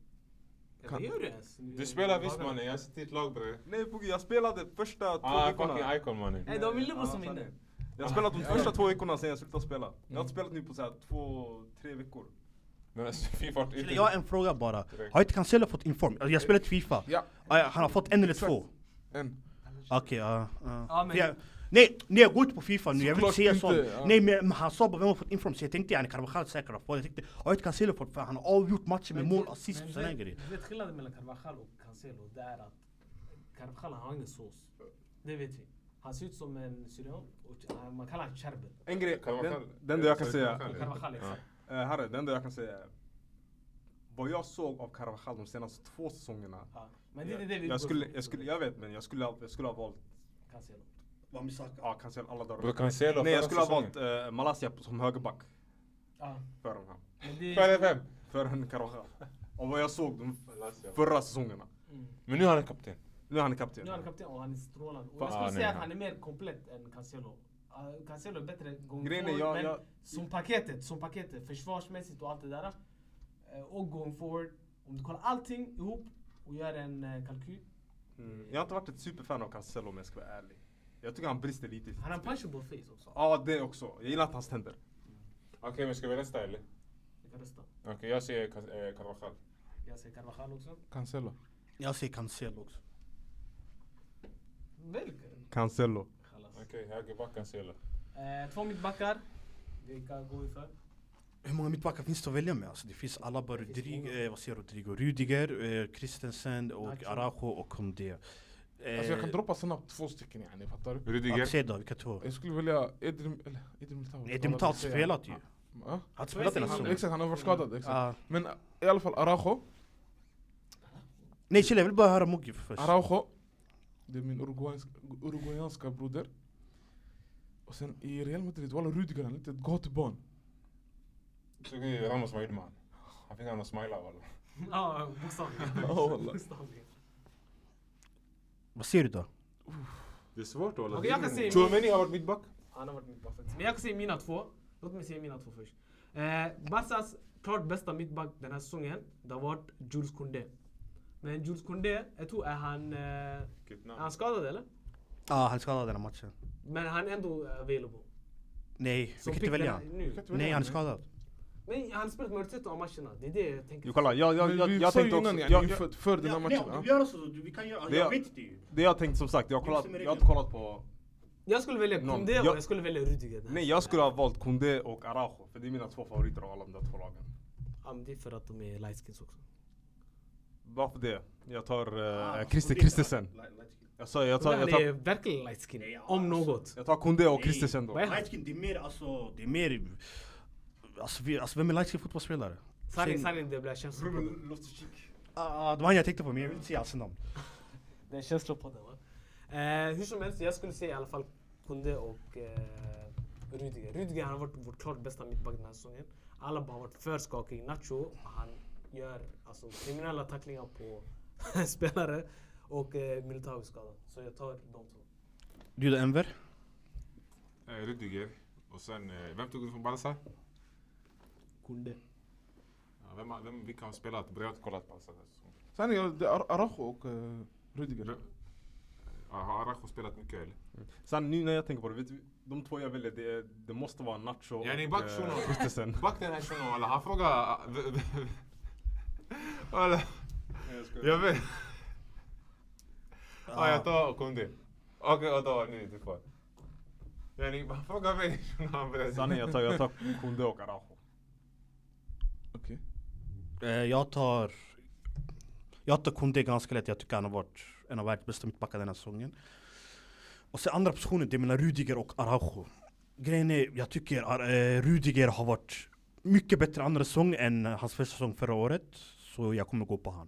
A: Ja, det gör du ens.
E: Du spelar visst mannen, jag sitter i ett lag bre.
B: Nej Boogie, jag spelade första två
E: Ah, fucking
B: veckorna.
E: icon mannen.
A: Nej, det var min lillebror
B: Ja,
A: som
B: sant.
A: vinner.
B: Jag har spelat de första två veckorna sen jag slutade spela. Jag
A: Mm.
B: har inte spelat nu på så här två, tre veckor.
E: Men alltså Fifa har
D: Eller
E: inte...
D: Jag har en fråga bara.
E: Direkt.
D: Har inte Cancelo fått inform? Alltså, Jag spelat Fifa.
C: Ja.
D: Ah, ja, Han har fått en eller
C: Exakt.
D: två.
C: En.
D: Okej, ja. ja.
A: Ja, men-
D: Ja, Nej, nej jag går inte på Fifa nu, jag vill
C: Såklart
D: inte säga
C: inte,
D: sånt.
C: ja.
D: Nej men men han sa bara vem har fått inform, så jag tänkte yani Carvajal säkert har fått. Jag tänkte, har inte "Oh, Cancelo fått för han har avgjort matcher med mål, assist och sådana här grejer.
A: Du vet skillnaden mellan Carvajal och Cancelo, det är att Carvajal han har ingen sås. Det vet vi. Han ser ut som en syrian och han- man kallar honom Cherbe.
B: En grej,
E: Carvajal.
B: den, den där jag kan
E: Sorry,
B: säga.
E: Carvajal.
A: Carvajal exakt.
B: Eh, herre, det enda jag kan säga är vad jag såg av Carvajal de senaste två säsongerna.
A: Ja. Men det är det vi går
B: Jag skulle,
A: för.
B: jag skulle, jag vet men jag skulle, ha- jag skulle ha valt,
A: Cancelo.
D: Vad med Saka?
B: ja Cancel alla dagar.
E: Bro Cancelo
B: Nej jag
E: förra
B: skulle ha
E: säsongen.
B: valt eh, Malasia som högerback
A: Ja.
B: för honom.
A: Men det
E: Fan, vem?
B: För en Carvajal. Av vad jag såg de förra säsongerna.
A: Mm.
E: Men nu är han en kapten.
B: Nu är han
A: Nu är han
B: kapten.
A: kapten och han är strålande. Och
E: Fan,
A: jag skulle
E: ah,
A: säga
E: nej,
A: att
E: han-
A: han är mer komplett än Cancelo. Uh, Cancelo är bättre gång
B: Grejen är,
A: forward,
B: jag-
A: men
B: jag-
A: som paketet, som paketet, försvarsmässigt och allt det där. eh, och going forward. Om du kollar allting ihop och gör en eh, kalkyl.
B: Mm. Jag har inte varit ett superfan av Cancelo om jag ska vara ärlig. Jag tycker han brister lite. i sitt
A: Han har
B: spel.
A: punchable face också.
B: Ja det också. Jag gillar inte hans tänder.
E: Okej men ska vi rösta eller?
A: Du kan rösta.
E: Okej jag säger Can- eh, Carvajal.
A: Jag säger Carvajal också.
C: Cancelo.
D: Jag säger Cancelo också.
A: Välj
B: Cancelo.
A: Carvajal.
E: Okej högerback Cancelo.
A: Eh, två mittbackar. Vilka går vi för?
D: Hur många mittbackar finns det att välja med? Alltså, det finns Alaba,
A: Det finns många.
D: Rodrigo, eh, vad säger Rodrigo? Rudiger, eh, Christensen och
A: Nacho.
D: Araujo och Kondé. Eh, ah,
C: Alltså jag kan droppa snabbt två stycken yani, fattar du?
E: Rudiger.
D: Axel då, vilka två?
C: Jag skulle välja Edrim... Eller Edrim Militao.
D: Edin Tat
C: Ja.
D: spelat ju. Han
C: Ja.
D: har inte spelat den här
C: Han,
D: säsongen.
C: exakt, han har varit skadad. Exakt.
D: Ah.
C: Men ä, i alla fall Araujo.
D: Nej chilla, jag vill bara höra Mogge först.
C: Araujo. Det är min uruguayanska, uruguayanska broder. Och sen i Real Madrid, walla Rudiger han är inte ett gatubarn.
E: Såg ni Ramos vad gjorde man? Han fick honom att smila walla.
A: Ja, bokstavligen.
C: Ja, wallah.
A: Bokstavligen.
D: Vad säger du då?
E: Det är svårt walla.
A: Okej, jag kan säga-
E: Tchouameni har varit mittback.
A: Han har varit mittback faktiskt. Men jag kan säga mina två. Låt mig säga mina två först. Eh, Barcas klart bästa mittback den här säsongen, det har varit Jules Koundé. Men Jules Koundé, jag tror är han... Eh, är
E: Vilket
A: han
E: namn.
A: skadad eller?
D: Ja, han skadade den här matchen.
A: Men han är ändå available.
D: Nej, vi
A: Så
D: kan
A: pick
D: inte välja
A: den här
D: han.
A: Nu.
D: Nej, han är skadad.
A: Nej, han har spelat majoriteten av matcherna. Det är det jag tänker.
B: Jo kolla, jag, jag,
C: Men
B: jag,
C: vi
B: jag
C: sa ju
B: tänkte också...
C: innan
B: Jag,
C: yani,
B: jag,
C: inför, för den här matchen. ja. Eh,
D: gör så, vi kan göra,
B: Det- jag vet
D: det ju.
B: det jag tänkte som sagt, jag har, kollat,
D: Liksom är det
B: jag har inte kollat på...
A: Jag skulle välja
B: Någon.
A: Koundé och
B: Jag-
A: jag skulle välja Rudiger.
B: Nej jag skulle ha valt Koundé och Araujo, för det är mina två favoriter av alla de där två lagen.
A: Ja, men det är för att de är lightskins också.
B: Varför det? Jag tar
D: Ah,
B: uh, Christer
D: Koundé.
B: Christensen. Jag, sa, jag, tar,
A: Han
B: jag, tar,
A: är verkligen lightskin.
D: Ja,
A: Om
D: alltså.
A: något.
B: jag tar Koundé och Christensen då.
A: vad är han?
D: Lightskin, det är mer alltså, det är mer... Alltså, vi, alltså vem är lightskin fotbollsspelare?
A: Sanning,
D: Sen-
A: sanning, det blir känslopodden.
D: Ah, ah, det var han jag tänkte på, men jag vill inte säga hans namn.
A: Det är känslopodden va? Eh, hur som helst, jag skulle säga i alla fall Kunde och eh, Rudiger. Rudiger han har varit vårt klart bästa mittback den här säsongen. Alaba har varit för skakig. Nacho, han gör alltså kriminella tacklingar på spelare. Och eh, Militao är skadad. Så jag tar de två.
D: Du då Enver?
E: Eh, Rudiger. Och sen, eh, vem tog du från Balsa?
A: Kunde.
E: Ja, vem, har- vem, vilka har spelat? Bro, jag har inte kollat Balsa. den här säsongen.
C: Sen är jag- det är Ar- Araujo och eh, Rudiger.
E: Vem- Ja, Har Araujo spelat mycket eller?
B: Sen nu när jag tänker på det, vet du, de två jag väljer det, är- det måste vara Nacho och
E: Ja, ni är back,
B: eh,
E: shunon.
B: Christensen.
E: Back den här shunon walla, han frågar... ah, Walla, jag vet. Ja, jag tar Kondi. Okej, och då, ni är kvar. Yani, han frågar mig shunon, han
B: Sanne
E: berättar.
B: jag tar, jag tar Koundé och Araujo.
C: Okej.
D: Eh, jag tar... Jag tar Kunde ganska lätt, jag tycker han har varit en av världens bästa mittbackar den här säsongen. Och sen andra positionen, det är mellan Rudiger och Araujo. Grejen är, jag tycker Ar- eh, Rudiger har varit mycket bättre andra säsong än hans första säsong förra året. Så jag kommer gå på han.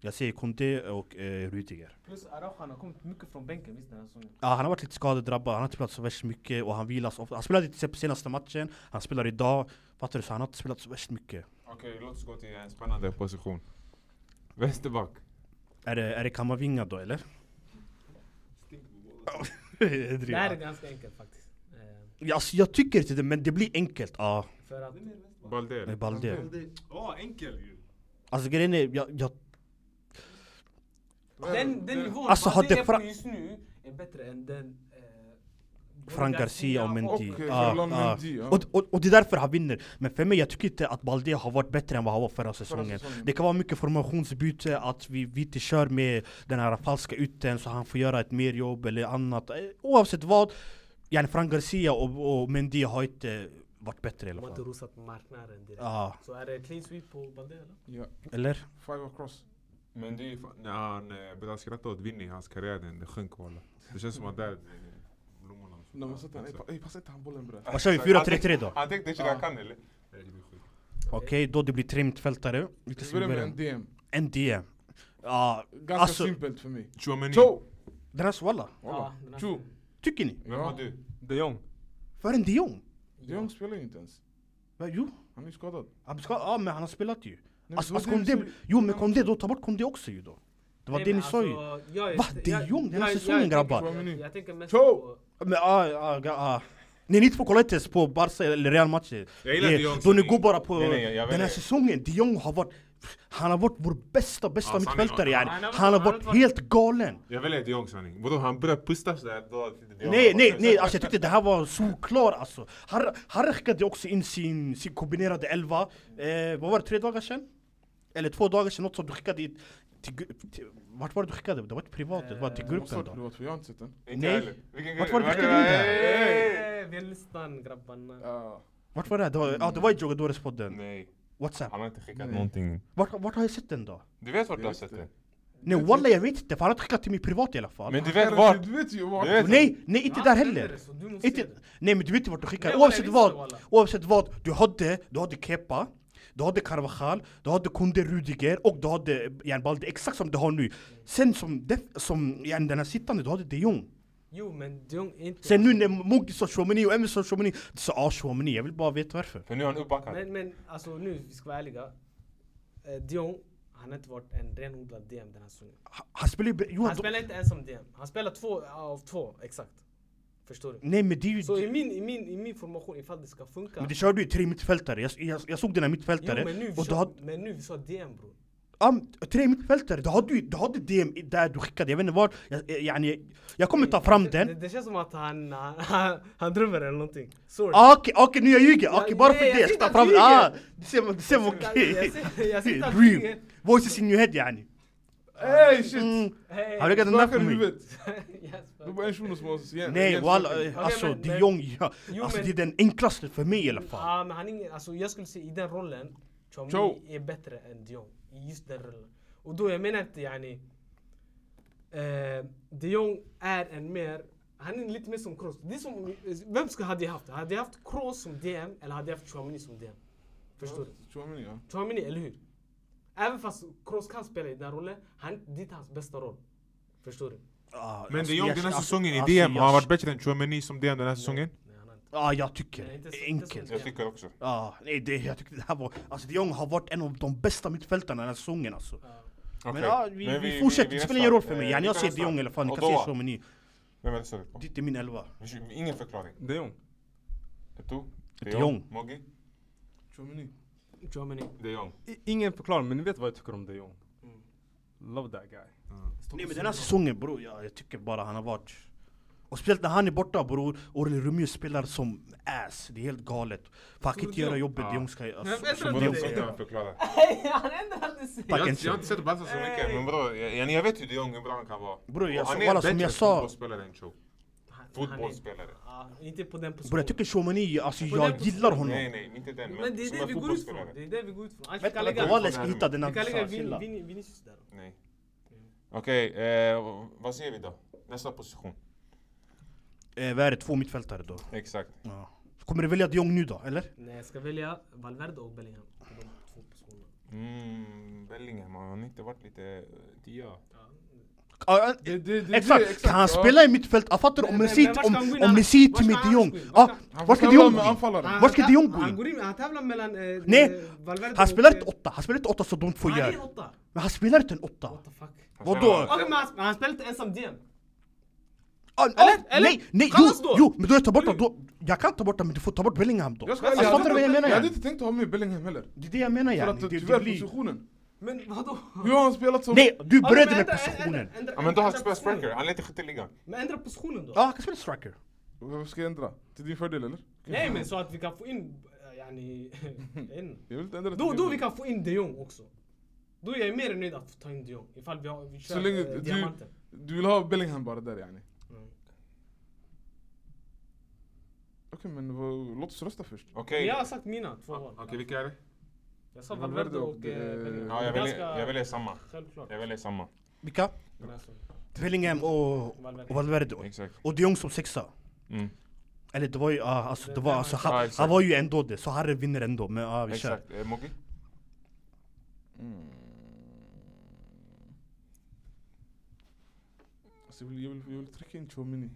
D: Jag säger Kunde och eh, Rudiger.
A: Plus Araujo han har kommit mycket från bänken visst den här säsongen.
D: Ja, han har varit lite skadedrabbad, han har inte spelat så värst mycket och han vilas ofta. Han spelade till exempel senaste matchen, han spelar idag. Fattar du? Så han har inte spelat så värst mycket.
E: Okej, låt oss gå till en spännande position. Vänsterback.
D: Är det, är det Kamavinga då eller?
A: Det här är
D: Edri.
A: ganska enkelt faktiskt. Eh,
D: Ja, alltså, jag tycker inte det, men det blir enkelt. Ja,
A: För att...
E: Balder.
D: med Balder.
B: Åh, enkel ju!
D: Alltså grejen är, jag, jag,
A: Den, den nivån
D: Alltså,
A: Balder
D: hade
A: är på
D: Fra-
A: just nu är bättre än den... eh,
D: Frank Garcia och Mendy.
C: Okej,
D: Ja,
C: Ferland
D: ja.
C: eh, Mendy, ja.
D: Och, och, och det är därför han vinner. Men för mig, jag tycker inte att Balde har varit bättre än vad han var förra säsongen.
C: säsongen.
D: Det kan vara mycket formationsbyte, att vi, vi inte kör med den här falska ytten så han får göra ett mer jobb eller annat. Eh, Oavsett vad, yani Frank Garcia och, och Mendy har inte varit bättre i alla
A: De har inte
D: fall.
A: rosat marknaden direkt.
D: Ja,
A: Så är det clean sweep på Balder eller?
C: Ja,
D: eller?
C: five across.
E: Men det är ju fan, när han eh, började skratta åt Vinny, hans karriär den den sjönk walla. Det känns som att där, eh, blommorna... Alltså.
C: När man sätter den, ey, pa- ey passa inte han bollen bre.
D: Vad kör vi? 4-3-3 då?
E: Han tänkte Chirakan kan eller? Nej, det blir skit.
D: Okej, då det blir tre mittfältare. Vilka
C: Vi
D: ska vi
C: börjar med
D: börja
C: en
D: med?
C: DM.
D: NDM. Ja,
C: Ganska
D: Alltså-
C: simpelt för mig.
E: Chouameni,
C: Tjo!
D: den här Swalla.
C: Walla.
A: den här-
C: Tjo!
D: Tycker ni?
E: vem har du?
B: De Jong.
D: För en de Jong?
C: De Jong spelar ju inte ens.
D: Va, Jo,
C: Han är ju skadad.
D: han ska, ja men han har spelat ju.
C: men det
D: Alltså,
C: var
D: alltså
C: det vi
D: Kondé,
C: sa-
D: jo men Kondé, då ta bort Kondé också ju då. Det var
A: Nej,
D: det
A: men
D: ni sa ju.
A: alltså, jag är-
D: Va? De
A: jag-
D: Jong, den här
A: jag- jag
D: säsongen,
A: tänker-
D: grabbar.
A: jag- Jag tänker mest
C: Tjo!
A: på...
E: alltså-
D: Men ah, ah, ga- ah. Ni, ni två kollar inte ens på Barca eller Real matcher.
E: Jag gillar
D: Ni-
E: de Jong
D: Då ni
E: säsong.
D: går bara på
E: Nej, nej, jag- jag
D: den här
E: väljer-
D: säsongen. De Jong har varit, han har varit vår bästa, bästa
E: Ja, sanning.
D: mittfältare yani.
A: Han har-
D: Han har
A: han har
D: varit
A: varit-
D: helt galen.
E: Jag väljer de Jong sanning. Vadå, han började pusta sådär då...
D: Nej, nej, nej, alltså jag tyckte det här var solklar alltså. Han, han räckade också in sin, sin kombinerade elva, eh, vad var det, tre dagar sedan? Eller två dagar sedan, något som du skickade i, till, gru- till, vart var det du skickade? Det var inte privat, det var
A: Eh,
D: till
C: Vad sa
D: gruppen
C: du
D: då.
C: privat för jag har inte sett den.
E: Inte
D: nej.
E: heller. Vilken
D: Vart
E: grej?
D: var det du skickade in det här?
A: Eh, Vi är nästan grabbarna.
C: Ja,
D: Vart var det? här? Det var, ah, det var i Jogadores podden,
E: Nej,
D: Whatsapp.
E: han har inte skickat
C: Nej.
E: någonting.
D: Vart, vart har jag sett den då?
E: Du vet vart du har
C: Just
E: sett
C: det.
E: det?
D: Nej walla jag vet inte, för han har inte skickat till mig privat i alla fall.
E: Men du vet
C: Herregud,
E: vart?
C: Du vet ju
E: Du
C: vart.
E: vet-
D: Nej, nej inte
A: Ja,
D: där
A: det är
D: heller.
A: det, så du måste se
D: Inte,
A: det.
D: nej men du vet inte vart du skickar.
A: Nej,
D: oavsett
A: walla, jag
D: vad,
A: visste det,
D: oavsett vad. Du hade, du hade Kepa, du hade Carvajal, du hade Kunde Rudiger och du hade yani Balde, exakt som du har nu. Sen som, def, som yani den här sittande, du hade de Jong.
A: Jo men de Jong är inte...
D: Sen nu när Mogi sa Chouameni och Emil sa Chouameni, du sa ah Chouameni, jag vill bara veta varför.
E: För nu är han uppbackad.
A: Men, men alltså nu, vi ska vara ärliga. Eh, de Jong, han har inte varit en renodlad DM den här säsongen.
D: Han- Han spelar ju... Johan,
A: Han spelar inte ens som DM. Han spelar två av två, exakt. Förstår du?
D: nej men det är ju...
A: Så i min, i min, i min formation, ifall det ska funka.
D: Men det körde ju tre mittfältare, jag, jag, jag såg den här
A: jo,
D: mittfältare.
A: men, nu vi
D: och du
A: kör,
D: hade,
A: men nu vi sa DM bror.
D: ja, men tre mittfältare, du hade ju du hade DM i- där du skickade, jag vet inte vart. Jag, jag, yani, jag kommer ta fram
A: Det,
D: den.
A: det känns som att han, han, han, han drömmer eller någonting. Sorry.
D: Ah, Okej, okej nu jag ljuger, okej bara
A: nej,
D: för det,
A: jag
D: jag ska
A: sitter
D: ta fram den.
A: och
D: Ah,
A: ljuger.
D: du ser, du ser
A: sitter- jag sitter- jag sitter och
D: okej.
A: ljuger.
D: Dream. Voices in your head yani.
C: Ey shit!
D: Mm,
A: Hey.
D: har du räknat den där
C: Snacka
D: för
C: i
D: mig?
C: huvudet.
A: Yes,
C: Det är bara en shuno som har... igen-
D: Nej
C: igen-
D: walla, eh, alltså
A: men-
D: de
A: men-
D: Jong, ja.
A: Jo,
D: Alltså
A: men-
D: det är den enklaste för mig i alla fall.
A: Ja, men han är ingen, alltså jag skulle säga i den rollen,
C: Cho.
A: Chomini är bättre än Dion. I just den rollen. Och då jag menar inte yani... Eh, Dion är en mer, han är lite mer som Kroos. Det är som, vem ska hade jag haft? Hade jag haft Kroos som DM eller hade jag haft Chomini som DM? Förstår du?
C: Chouameni, ja.
A: Chomini, eller hur? Även fast Kroos kan spela i den rollen, han, det är inte hans bästa roll. Förstår du?
D: Ah,
E: Men
D: alltså,
E: de Jong
D: jag-
E: den här
D: alltså,
E: säsongen i
D: alltså,
E: DM,
D: jag-
E: har han varit bättre än Chouameni som DM den här säsongen?
A: Nej, han har inte.
D: Ja jag tycker
A: Nej, inte så-
D: det,
A: inte så-
D: enkelt.
A: Jag
E: tycker också.
D: Ja, nej det, jag tycker det här var, alltså de Jong har varit en av de bästa mittfältarna den här säsongen alltså. Men ja, vi, vi, fortsätter, det spelar ingen roll för
E: Eh,
D: mig. Yani, jag ser de Jong i alla fall, ni kan se Chouameni.
E: Vem är det större på?
D: Det är inte min elva.
E: Ingen förklaring.
B: De Jong.
E: Eto?
D: De Jong.
E: Mogi?
C: Chouameni.
A: Chomini.
E: De Jong.
B: I- Ingen förklaring, men ni vet vad jag tycker om De Jong.
E: Mm.
B: Love that guy.
D: Nej men den här säsongen bror, jag, jag tycker bara han har varit... Och speciellt när han är borta bror, Orel Rumio spelar som ass, det är helt galet. För han kan inte göra jobbet
E: Ja.
D: de Jong ska...
A: Men
D: Alltså,
A: vänta
D: som
A: lite.
D: de Jong ska
E: Som
D: göra.
E: kan förklara.
A: Han ändrade sig!
D: Fucking
E: Jag, jag har
D: shit.
E: inte sett Barca så mycket, men bror, jag, jag vet hur de Jong hur bra han kan vara.
D: Bror, jag
E: Och han
D: sa-
E: är
D: walla, som
E: bättre
D: jag sa-
E: fotbollsspelare än Cho.
A: Han- han är-
E: Fotbollsspelare.
A: Ja, inte på den positionen.
D: Bror jag tycker Shomani, alltså
A: På den
D: jag gillar honom.
E: Nej, nej, inte den.
A: Men det är
E: som
A: det
E: en
A: vi går ut från.
E: fotbollsspelare.
A: Det är det vi går ut från. Annars vi
D: Vänta
A: kan
D: vänta
A: lägga,
D: walla jag ska hitta den
A: vi kan lägga
D: här.
A: Vin-
D: chilla.
A: Vin- Vinicius där.
E: Nej. Okej, eh, vad säger vi då? Nästa position.
D: Eh, Vad är det, två mittfältare då?
E: Exakt.
D: Ja. Kommer du välja de Jong nu då, eller?
A: Nej, jag ska välja Valverde och Bellingham. på De två positionerna.
E: Mm, Bellingham, har han inte varit lite... eh, Tia?
D: Ah, eh,
C: Det- det- det- det-
D: Exakt! Kan han
C: ja.
D: spela i mittfält? Jag fattar
A: Men-
D: om
A: men-
D: ni ser
A: men vart ska han gå in
D: om ni
A: annars?
D: ser
A: Vart
D: till
A: ska
D: mig
A: han
D: de Jong.
A: annars gå in?
D: Ja,
A: Vart ska-
C: Han
D: Vart ska
C: får
D: de Jong
C: tävla med
D: gå in?
C: anfallaren.
D: Vart ska
A: Han-
D: De Jong gå
A: Han
D: in?
A: går in, han tävlar mellan eh,
D: Nej,
A: eh, Valverde
D: Han
A: och,
D: spelar
A: eh,
D: inte åtta, han spelar inte åtta så de två
A: Han är en
D: gör.
A: åtta!
D: Men han spelar inte en åtta.
A: What the fuck?
E: Han
D: Vadå?
E: spelar-
A: Okej, men han- han spelar inte ensam DM.
D: Ah, ah,
A: Eller- eller-
D: nej, nej, jo,
A: kallas då.
D: jo, men då jag tar bort honom, då, jag kan ta bort honom, men du får ta bort Bellingham då.
C: Jag ska
D: Alltså,
C: ärlig,
D: fattar du vad jag
C: hade inte-
D: menar?
C: jag hade
D: yani?
C: inte tänkt att ha med Bellingham heller.
D: Det är det jag menar
C: För
D: yani.
C: att
D: Det, det,
C: tyvärr
D: blir...
C: positionen.
A: Men vadå?
C: Hur har han spelat som...
D: Nej, du
A: Ja, men
D: började med
A: ändra-
D: positionen.
A: ändra- ändra-
E: Ja men då
A: ändra
E: har han spelat
A: positionen.
E: striker, han är inte skytt i ligan.
A: Men ändra positionen då.
D: Ja, han kan spela striker.
C: Varför ska jag ändra? Till din fördel eller?
A: Nej men så att vi kan få in, eh, yani, en.
C: Jag vill inte ändra till
A: Då,
C: din
A: då
C: fördel.
A: vi kan få in de Jong också. Då är jag mer än nöjd att få ta in de Jong. Ifall vi, har, vi kör
C: Så länge
A: eh,
C: du-
A: diamanten.
C: Du vill ha Bellingham bara där yani?
A: Mm.
C: Okej men vad- låt oss rösta först.
E: Okej.
A: Jag har sagt mina två val.
E: Okej vilka är det?
A: Jag sa
C: Valverde
A: Valverde och
C: och, eh,
A: eh, Bellingham.
E: Ja jag
A: Det är
E: väljer,
A: ganska
E: jag väljer samma.
A: Självklart.
E: Jag väljer samma.
D: Vilka?
A: Den här stunden.
D: Bellingham och, och Valverde.
E: Exakt.
D: Och de Jong som sexa.
E: Mm.
D: Eller det var ju, ah, alltså, det
A: Det
D: var,
A: var-
D: alltså,
E: Ja,
D: han,
E: exakt.
D: han var ju ändå det, så Harry vinner ändå. Men ja, vi kör.
E: Exakt. Eh, Moggi?
C: Alltså, jag, vill, jag, vill, jag vill trycka in Chomini.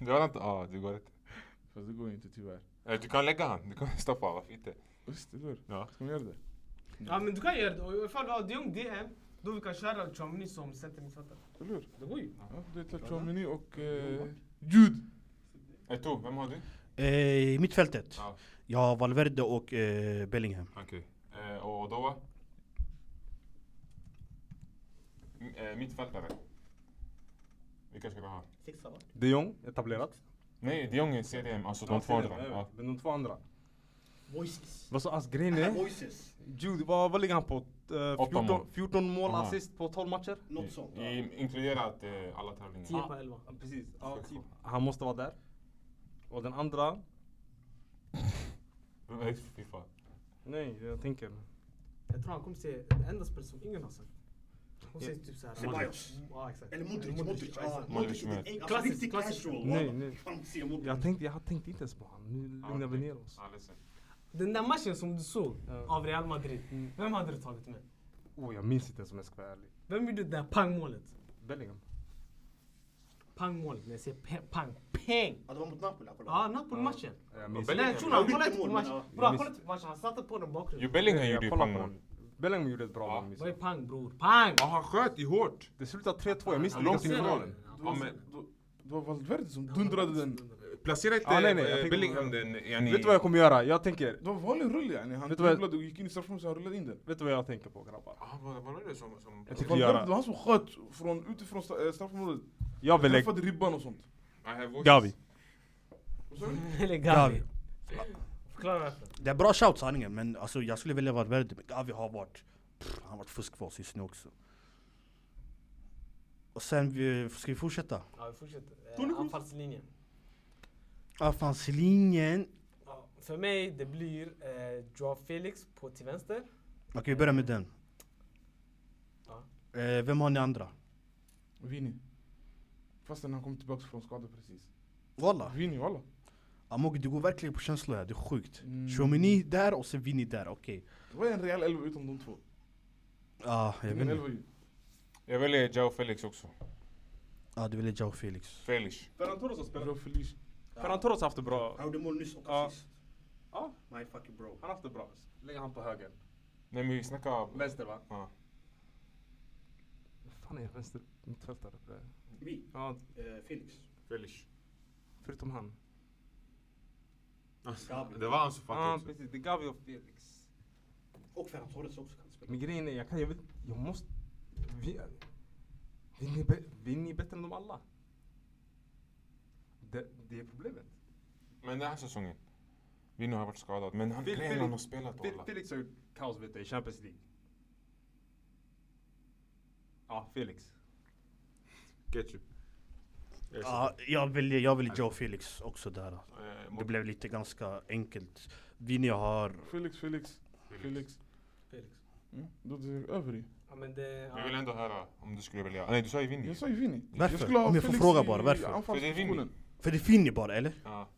E: Du har inte? Ja det går inte.
C: Fast det går ju inte tyvärr.
E: Eh, Du kan lägga han, du kan stoppa varför inte?
C: Visst eller hur?
E: Ja.
C: Ska man göra det?
A: Ja men du kan göra det. Och Ifall vi har de Jong DM, då vi kan köra Chomny som centermittfältare.
C: Eller hur?
A: Det går ju.
C: Ja, det är Chomini och... Eh, Jude!
E: Eh, Tob, vem har du?
D: Eh, mittfältet.
E: Ja.
D: Jag har Valverde och eh, Bellingham.
E: Okej. Eh, Och då? va? M- eh, Mittfältare. Vilka ska du ha?
A: Sexa va?
B: De Jong, etablerat.
E: Nej, de Jong är CDM, alltså de två andra. Ja.
B: Men de två andra.
A: Voices.
B: Vad så, alltså grejen
E: Äh,
B: är,
D: Voices.
B: Jude, vad, vad ligger han på? Eh,
E: Åtta
B: 14,
E: mål.
B: 14 mål,
E: Aha.
B: assist på 12 matcher?
D: Något
E: I, i, inkluderat eh, alla tävlingar.
A: 10 på 11.
B: Ja, Precis.
E: Ja,
B: Sex
E: typ.
B: mål. Han måste vara där. Och den andra?
E: Vem är det för FIFA?
B: Nej, jag tänker.
A: Jag tror han kommer säga den enda spelare som ingen har sagt. Hon säger typ såhär.
D: Ceballos.
A: Ja exakt.
D: ja.
E: Modric Modric med.
A: Klassisk, riktigt klassisk. casual,
B: Nej, nej. Jag tänkte, jag tänkte inte ens på honom. Nu lugnar vi
E: okej.
B: ner oss.
E: Ja, ledsen.
A: Den där matchen som du såg
B: Ja.
A: av Real Madrid.
E: Mm.
A: Vem hade du tagit med?
B: Oh, jag minns inte ens om jag ska vara ärlig.
A: Vem gjorde det där pangmålet?
B: Bellingham.
A: Pangmålet, när jag säger pe- pang. Peng!
D: det var mot Napoli.
A: Ja, Napoli-matchen.
B: Eh, Jag minns
E: Bellingham.
A: Nej, shunon, kolla inte på
D: Mål, men
A: matchen.
B: ja.
A: Bra, kolla inte på matchen. Han satte på den
E: Jo,
A: bakgrunden.
E: Bellingham
B: Nej, jag
E: gjorde ju
B: kollar på
E: pangmål.
B: honom. Bellingham gjorde ett bra
E: Ja.
B: mål. minns
A: Vad är
B: jag.
A: pang bror? Pang!
E: Ja, han sköt i hårt.
B: Det slutade 3-2, jag minns
A: Ja,
B: inte
E: Långt in i
A: ser det.
E: målen.
A: Ja,
E: Ja,
A: ser
E: men
C: Det var Valverde som dundrade den.
E: Placera inte
B: Ja, nej, nej,
E: eh,
B: jag tänker-
E: Bellingham den. eh, yani-
B: Vet du vad jag kommer göra? Jag tänker...
C: Det var vanlig rull yani. Han
B: Vet du vad-
C: dribblade och gick in i straffområdet så han rullade in den.
B: Vet du vad jag tänker på grabbar?
E: Ja, vad vad var det som... som
B: Jag
C: Det
B: tycker
C: var
B: göra.
C: Valverde, det var han som sköt från, utifrån stra- eh, straffområdet.
B: Jag vill lägga...
C: Träffade ribban och sånt.
E: I have voices.
B: Gavi.
C: Vad sa du?
A: Eller
D: Gavi.
A: Gavi. Förklara varför.
D: Det är bra shout sanningen, men alltså, jag skulle välja Valverde. Men Gavi har varit... Pff, han har varit fusk för oss just nu också. Och sen, vi, ska vi fortsätta?
A: Ja, vi fortsätter. Eh, Anfallslinjen.
D: Anfallslinjen.
A: Ja, För mig, det blir eh, Joao Felix på till vänster.
D: Okej, vi börjar med den.
A: Ja.
D: Eh, vem har ni andra?
C: Vini. Fastän han kom tillbaka från skada precis.
D: Walla.
C: Vini walla.
D: Amog, du går verkligen på känslor här. Det är sjukt.
C: Mm.
D: Chomini där och sen Vini där. Okej.
C: Det var en rejäl elva utan de två.
D: Ja, jag vet
C: Ingen
D: inte.
C: elva ju.
E: Jag väljer Jao Felix också.
D: Ja, du ville Jao Felix.
E: Felix.
B: Ferran Torres har
C: Bra Felice.
B: Ferran Torres har haft det bra.
D: gjorde mål nyss
B: och assist. Ja.
D: My fucking bro.
B: Han har haft det bra. Lägger han på höger.
E: Nej men vi snackar...
B: Vänster va?
E: Ja.
B: Vad fan är vänster mittfältare?
D: Vi, eh,
B: Ja,
D: Felix.
E: Felix.
B: förutom han.
D: Gabi.
E: Det var han som
B: Ja,
E: fattade också.
B: precis. Det är Gavi och Felix.
D: Och Ferran Torres också kan
B: Men grejen är, jag kan... Jag, vill, jag måste... Vi, Vinny är bä- Vinny är bättre än dem alla. Det, det är problemet.
E: Men den här säsongen. Vino har varit skadad, men han
B: Fel-
E: grejen är
B: fel-
E: han har spelat
B: Fel,
E: alla.
B: Felix har gjort kaos vet du, i Champions League. Ja, Felix.
E: Ketchup.
D: Ja, jag väljer, jag väljer Jao Felix också där.
E: Eh,
D: Det
E: mot
D: blev lite ganska enkelt. Vini har...
C: Felix, Felix, Felix.
A: Felix.
C: Mm. Då är det över ju.
A: Ja, men det...
E: Vi
A: Ja.
E: vill ändå höra om du skulle välja. Nej du sa ju Vinny.
C: Jag sa ju Vini.
D: Varför?
C: skulle ha
D: Om jag får
C: Felix
D: fråga
C: i
D: bara, varför?
C: anfallspositionen.
E: För det är
D: För det är Vini bara, eller?
E: Ja.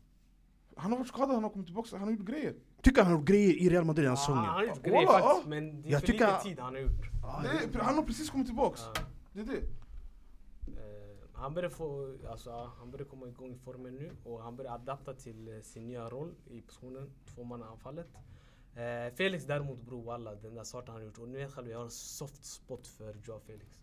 C: Han har varit skadad, han har kommit tillbaka, han har gjort grejer.
D: Tycker han har gjort grejer i Real Madrid den här
A: Ja, han
D: säsongen?
A: har gjort
C: Ja,
A: grejer
C: walla,
A: faktiskt,
C: ja.
A: men det är
D: Jag
A: för
D: tycker-
A: lite tid han har gjort.
D: Ah,
C: Det är, han har precis kommit tillbaka.
A: Ja.
C: Det är det.
A: Eh, han börjar få, alltså ja, han börjar komma igång i formen nu och han börjar adapta till eh, sin nya roll i positionen, tvåmannaanfallet. Eh, Felix däremot bror walla, den där starten han gjort och nu vet själv jag har en soft spot för Joao Felix.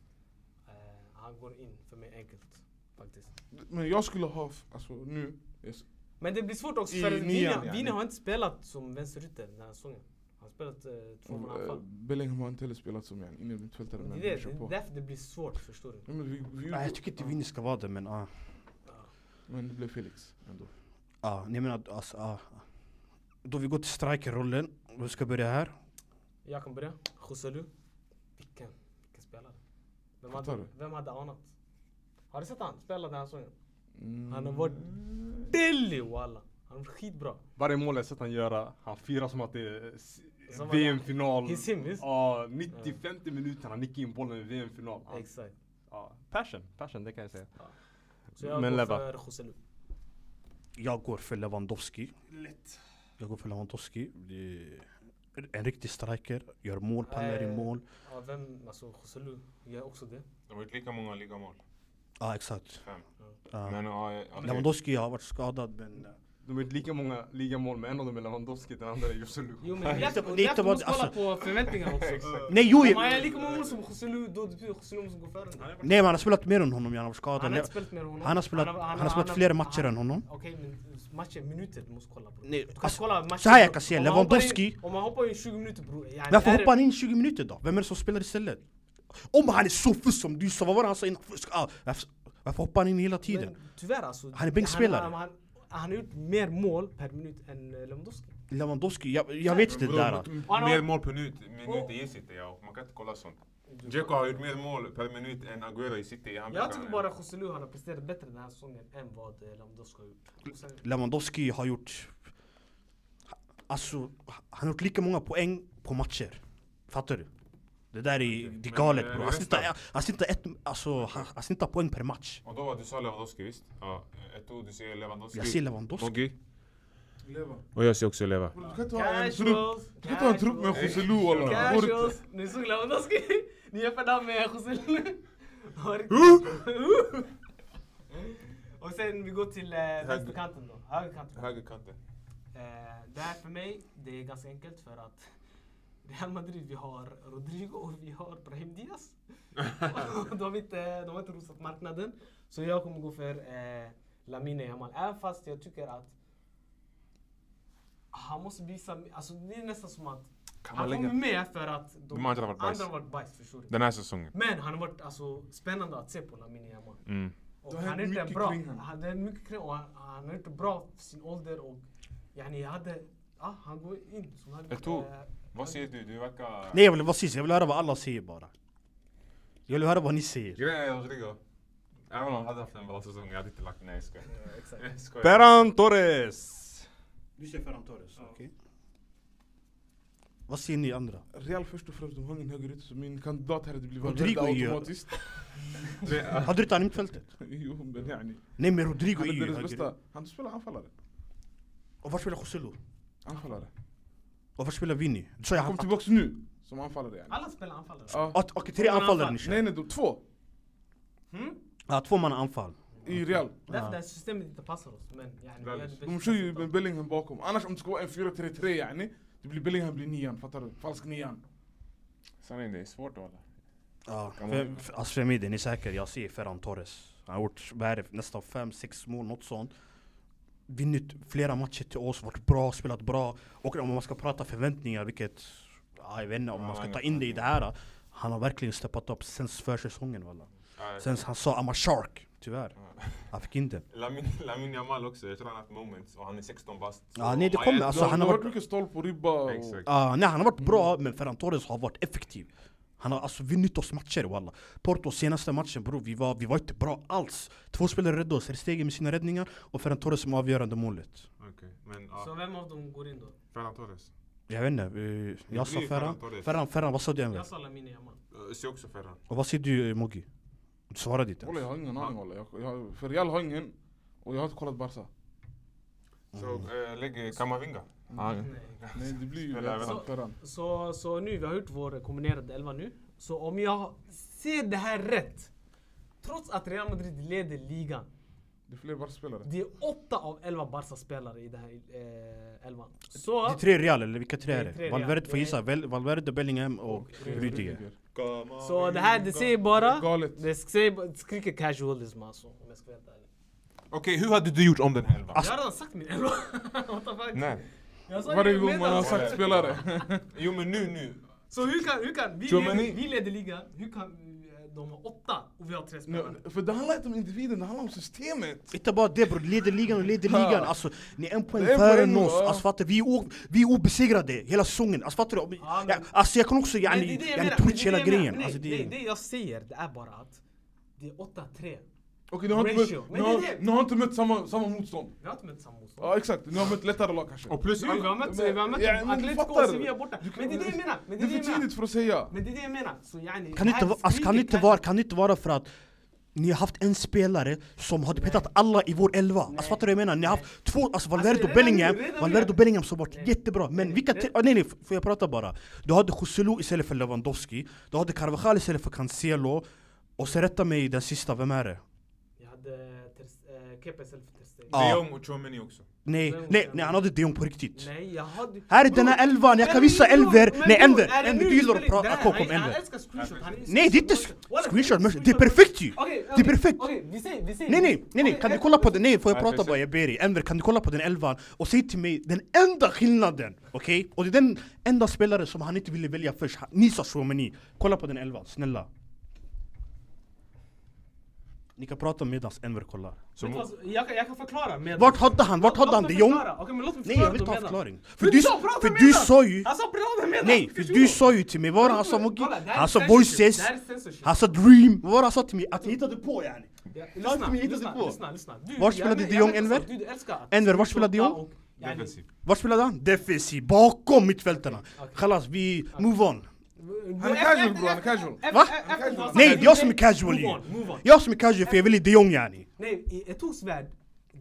A: Eh, han går in för mig enkelt. faktiskt.
C: Men jag skulle ha, f- alltså nu, yes.
A: Men det blir svårt också
C: I
A: för
C: nian,
A: Vini,
C: yani.
A: Vini har inte spelat som vänsterytter den här säsongen. Han har spelat eh, två från
C: Eh,
A: anfall.
C: Bellingham har inte heller spelat som en innermittfältare
A: Det
C: men
A: är
C: vi
A: det,
C: kör
A: det är
C: på.
A: därför det blir svårt, förstår du?
C: Nej, men, vi, vi,
D: Nej, Ah, jag tycker inte Vini ska vara det men ah.
C: men det blev Felix ändå.
D: Ah, ni menar alltså, ah. Då vi går till strikerrollen, vi ska börja här.
A: Jag kan börja. Joselu. Vilken, vilken spelare. Vem
C: Fattar
A: hade,
C: du?
A: vem hade anat? Har du sett han spela den här säsongen?
C: Mm.
A: Han har varit billig walla. Han har varit skitbra.
F: Varje mål jag sett han göra, han firar som att det är s-
A: Som att
F: VM-final.
A: He's him, visst?
F: Ja, 90-50 minuter han nickar in bollen i VM-final. Han-
A: Exakt.
F: Ja, passion, passion det kan jag säga.
A: Så jag
F: Men
A: går
F: Leva.
A: för Joselu.
D: Jag går för Lewandowski. Jag går för Lewandowski. Det är En riktig striker, gör mål, pallar
A: Eh.
D: i mål.
A: Ja, vem, alltså Joselu gör också det.
E: De har gjort lika många ligamål.
D: Ja ah, exakt.
E: Fem.
D: Ah.
E: Men ja, jag- okej.
D: Lewandowski har varit skadad men... eh,
F: De har gjort lika många ligamål men en av dem är Lewandowski, den andra är Joselu.
A: Jo men det är därför-
D: Lite-
A: det är
D: lite
A: därför du
D: vad-
A: måste kolla
D: alltså-
A: på förväntningarna också. Exakt.
D: Nej jo!
A: Om
D: jag-
A: han gör lika många mål som Joselu, då betyder det Joselu måste gå före. den.
D: Nej men han har spelat mer än honom, han har varit skadad.
A: Han har inte spelat mer än honom.
D: Han har spelat- han har spelat fler matcher än honom.
A: Okej, men matcher, minuter, du måste kolla bror.
D: Nej,
A: Du kan
D: alltså,
A: kolla matcher.
D: så här jag kan se,
A: Om han hoppar in-
D: Lewandowski-
A: Om han hoppar in 20 minuter bror. yani,
D: Varför
A: är det-
D: hoppar han in 20 minuter då? Vem är det som spelar istället? Om han är så fusk som du sa, vad var det han sa innan? Fusk, ah, varför, varför hoppar han in hela tiden?
A: Men Tyvärr alltså.
D: Han är bänkspelare.
A: Han, han, han, han har gjort mer mål per minut än eh, Lewandowski.
D: Lewandowski, jag, jag vet inte det
E: Bro,
D: där.
E: m-
A: Han har-
E: Mer mål per minut,
A: Oh.
E: minut i City, ja. Man kan inte kolla sånt. Dzeko har gjort mer mål per minut än Aguero i City. Han
A: Jag
E: brukar-
A: tycker bara Joselu han har presterat bättre den här säsongen än vad eh, Lewandowski har gjort. Och sen,
D: Lewandowski har gjort... Alltså, han har gjort lika många poäng på matcher. Fattar du? Det där är, det
E: men,
D: är galet Alltså,
E: eh,
D: bror. Han
E: resten?
D: snittar- Han snittar ett, alltså, han- han snittar poäng per match.
E: Och då var du sa Lewandowski visst? Ja, ett ord du säger Lewandowski.
D: Jag ser Lewandowski.
E: Moggi.
C: Leva.
E: Och jag ser också Leva.
C: Bro, du kan inte ha en trupp,
A: Casuals!
C: du kan inte ha en trupp med
A: casuals,
C: Joselu walla. Det går inte.
A: Casuals! Ni såg Lewandowski? Ni jämförde han med Joselu. Har inte- Och sen vi går till eh, vänsterkanten då. Högerkanten.
E: Högerkanten.
A: Eh, det här för mig, det är ganska enkelt för att Real Madrid, vi har Rodrigo och vi har Brahim Diaz. de, har inte, de har inte rosat marknaden. Så jag kommer gå för eh, Lamine Yamal. Även fast jag tycker att han måste visa... Alltså det är nästan som att
E: Kan man
A: han
E: lägga?
A: kommer med för att
E: De andra har varit bajs.
A: andra har varit bajs. Förstår du?
E: Den här säsongen.
A: Men han har varit alltså, spännande att se på Lamine Yamal.
E: Mm.
A: Och
C: Det har
A: han är
C: hänt
A: inte en
C: mycket
A: bra.
C: kring honom.
A: Han det är mycket kring och han, han är inte bra för sin ålder och yani jag hade, ah, han går in som han
E: Jag tror-
A: eh,
E: Vad säger du? Du verkar...
D: Nej jag vill vara sist, jag vill höra vad alla säger bara. Jag vill höra vad ni säger.
E: Grejen är Rodrigo. Även om han hade haft en bra säsong, jag hade inte lagt... Nej jag skojar.
A: exakt.
E: Jag skojar.
F: Ferran Torres!
D: Du ser Ferran Torres, okej. Vad säger ni andra?
C: Real först och främst, de har ingen högerytter så min kandidat här hade blivit Valverde
D: Rodrigo är ju-
C: automatiskt.
D: Hade du inte han i mittfältet?
C: Jo men yani.
D: Nej men Rodrigo
C: Ah. Han
D: är
C: är
D: ju
C: deras
D: höger.
C: bästa. Han spelar anfallare.
D: Och var spelar Joselu?
C: Anfallare.
D: Och var spelar Vinny? Du sa jag
C: Han kom
D: han...
C: tillbaks nu som anfallare yani.
A: Alla spelar anfallare.
C: Ja.
D: Ah, Okej, tre anfallare ni kör.
C: Nej nej, de, två
D: Ja, två man anfall.
C: i Real.
A: Därför det här systemet inte passar oss. Men yani, vi gör det bästa
C: De kör ju
A: resultat.
C: med Bellingham bakom. Annars om det ska vara en 4-3-3 yani, det blir Bellingham blir nian, fattar du? Falsk nian.
E: Sanningen, det är svårt att hålla.
D: Ja,
E: Kan
D: för,
E: man-
D: för, alltså för mig, den är säker. Jag ser Ferran Torres. Han har gjort vad är det, nästan 5-6 mål, något sånt. Vunnit flera matcher till oss, varit bra, spelat bra. Och om man ska prata förväntningar, vilket... Ja, jag vet inte om
E: Ja,
D: man ska
E: inga
D: ta in det i det här. Han har verkligen steppat upp sen försäsongen walla.
E: Ja,
D: Sen han sa I'm a shark, tyvärr.
E: Ja.
D: Han fick inte.
E: Lamine, Lamine Yamal också, jag tror han har haft moments och han är 16 bast. Så
D: Ja, nej, det
E: om
D: kommer,
E: är-
D: alltså,
C: Så
D: han
C: han
D: har
C: har
D: varit-
C: varit mycket stolp och ribba och...
E: Exakt.
D: Ah, nej han har varit bra men Ferran Torres har varit effektiv Han har alltså vunnit oss matcher walla Porto senaste matchen bror, vi var, vi var inte bra alls Två spelare räddade oss, Restegen med sina räddningar och Ferran Torres med avgörande målet
E: Okej, men
A: Så
E: ja.
A: vem av dem går in då?
E: Ferran Torres.
D: Jag vet inte, eh, jag sa
E: blir Ferran
D: Ferran
E: Torres.
D: Ferran, Ferran vad sa du Enver?
A: Jag sa Lamine Yamal.
E: Jag ser också Ferran.
D: Och vad säger du eh, Mogi? Du svarade inte
C: Walla
D: ens
C: jag har ingen aning walla. Jag, jag, för Real har ingen, och jag har inte kollat Barca.
E: Så äh, lägg Kamavinga.
A: Nej.
C: Nej det blir ju
E: Spelar
C: Real
E: även-
C: Ferran.
A: Så, så nu, vi har gjort vår kombinerade elva nu. Så om jag ser det här rätt. Trots att Real Madrid leder ligan.
C: Det är fler Barca-spelare.
A: Det är åtta av elva Barca-spelare i den här eh, elvan. Så...
D: Det är tre Real eller vilka tre
A: Det är
D: är
A: tre
D: det?
A: Real.
D: Valverde får
A: Det är-
D: gissa, Vel- Valverde, Bellingham och
C: Rudiger.
D: Rudiger
G: Come on.
A: Så det här, det säger bara...
C: Galet.
A: Det säger bara- det skriker casualism alltså, om jag ska vara helt ärlig.
E: Okej, hur hade du gjort om den här elvan?
A: Jag har redan sagt min elva. What the fuck?
E: Nej.
A: Jag sa
C: Varje
A: ju
C: gång man har
A: medans.
C: sagt spelare.
E: Jo men nu, nu.
A: Så hur kan, hur kan vi,
E: Germany-
A: leder, vi leder ligan, hur kan eh, de ha åtta och vi har tre spelare?
C: Nu- För det handlar inte om individen, det handlar om systemet.
D: Inte bara det bror, leder ligan och leder ligan. Alltså, ni är en poäng
C: Det är en
D: före
C: poäng,
D: oss.
C: ja.
D: Alltså, fattar, du? vi, är o- vi är obesegrade hela säsongen. Alltså, fattar du? Om-
A: Ja,
D: ja,
A: men-
D: alltså, jag kan också
A: Men
D: yani,
A: det är det jag
D: yani,
A: menar, men det
D: twitch
A: är det
D: hela
A: jag menar.
D: grejen.
A: Nej,
D: Alltså, det,
A: nej, det jag säger det är bara att det är 8-3.
C: Okej, ni har inte
A: Ratio.
C: mött,
A: Men det
C: ni
A: är
C: har,
A: det.
C: ni har inte mött samma, samma motstånd.
A: Vi har inte mött samma motstånd.
C: Ja exakt, ni har mött lättare lag kanske.
E: Och plus,
A: Vi har mött, vi har mött
C: Ja, men du
A: Atletico och
C: fattar.
A: Sevilla borta.
C: Du kan-
A: Men det är det jag menar. Men
C: Det
A: det
C: är
A: är det
C: för
A: jag menar.
C: tidigt för att säga.
A: Men det är det jag menar. Så yani,
D: kan,
A: det
D: inte,
A: här
D: va- alltså, kan,
A: skriker
D: inte
A: casual-
D: vara, kan inte vara för att ni har haft en spelare som hade petat alla i vår elva. Alltså, fattar du vad jag menar? Ni har haft två, alltså Valverde
A: redan
D: och Bellingham,
A: nu, redan nu.
D: Valverde och Bellingham som varit
A: Nej.
D: jättebra. Men
A: Nej,
D: vilka...
A: det-
D: te- ah, Nej nej, f- får jag prata bara? Du hade Joselu istället för Lewandowski, du hade Carvajal istället för Cancelo, och så rätta mig den sista, vem är det?
A: Jag hade Ter- eh, Kepa istället för Ter Stegen.
D: Ja.
E: De Jong och Chouameni också.
D: Nej,
A: Vem-
D: nej,
A: vem-
D: nej han hade De Jong på riktigt.
A: Nej, jag hade...
D: Här är denna
A: Bror,
D: elvan, jag
A: men
D: kan visa
A: bror,
D: elver!
A: men
D: Nej
A: bror,
D: elver!
A: är det
D: Enver,
A: nu
D: du gillar att
A: spelar-
D: prata,
A: Där,
D: jag kom om
A: han- han
D: elver.
A: älskar screenshot, han
D: Nej det är inte
A: screenshot. Walla,
D: screenshot, men det är
A: screenshot.
D: perfekt ju!
A: Okej,
D: Det
A: okej,
D: är perfekt!
A: Okej, vi säger, vi säger...
D: Nej nej, nej nej,
A: Okej,
D: kan du
A: ett-
D: kolla på den? Nej får jag
E: Nej,
D: prata
E: precis.
D: bara, jag ber dig. Enver kan du kolla på den elvan och säg till mig den enda skillnaden, okej? Och det är den enda spelare som han inte ville välja först, Han- ni sa Shomeni. Kolla på den elvan, snälla. Ni kan prata medans Enver kollar.
E: Så
A: Vet du
E: mo-
A: vad, Jag kan, jag kan förklara med...
D: Vart hade han, vart
A: Låt
D: hade han
A: mig
D: de Jong?
A: förklara. Okej, men låt mig
D: Nej
A: förklara
D: jag vill
A: då
D: ta en
A: medan.
D: förklaring.
A: Men
D: För du,
A: sa prata
D: för
A: med Alltså,
D: du
A: den!
D: sa ju...
A: Han sa prata med den!
D: Nej, för
A: Förstår
D: du sa ju till mig, vad var det han sa Moggi?
A: Kolla, det här är
D: Han sa
A: censorship.
D: voices,
A: Det här är Alltså, censorship.
D: han sa dream, vad var det han sa till mig? Att jag hittade på yani
A: Ja,
D: Varför
A: Lyssna,
D: vi hittade
A: lyssna,
D: på?
A: lyssna, lyssna. Du,
D: Var
A: jag
D: spelade
A: vet-
D: de
A: jag
D: Jong
A: vet
D: Enver?
A: exakt, du älskar att-
D: Enver, var spelade de Jong?
A: Och- Ja, ni-
E: Defensiv.
D: Var spelade han? Defensiv, bakom mittfältarna Chalas, vi, move on
A: Alltså,
C: Han är casual bro, han är casual.
A: Efter-
D: Va?
A: efter- efter vad
D: Nej,
A: som
D: jag
A: hände-
D: som är casual
A: Move
D: ju
A: on, move on.
D: Jag som är casual för jag vill i de Jong yani
A: Nej, i Etos värld,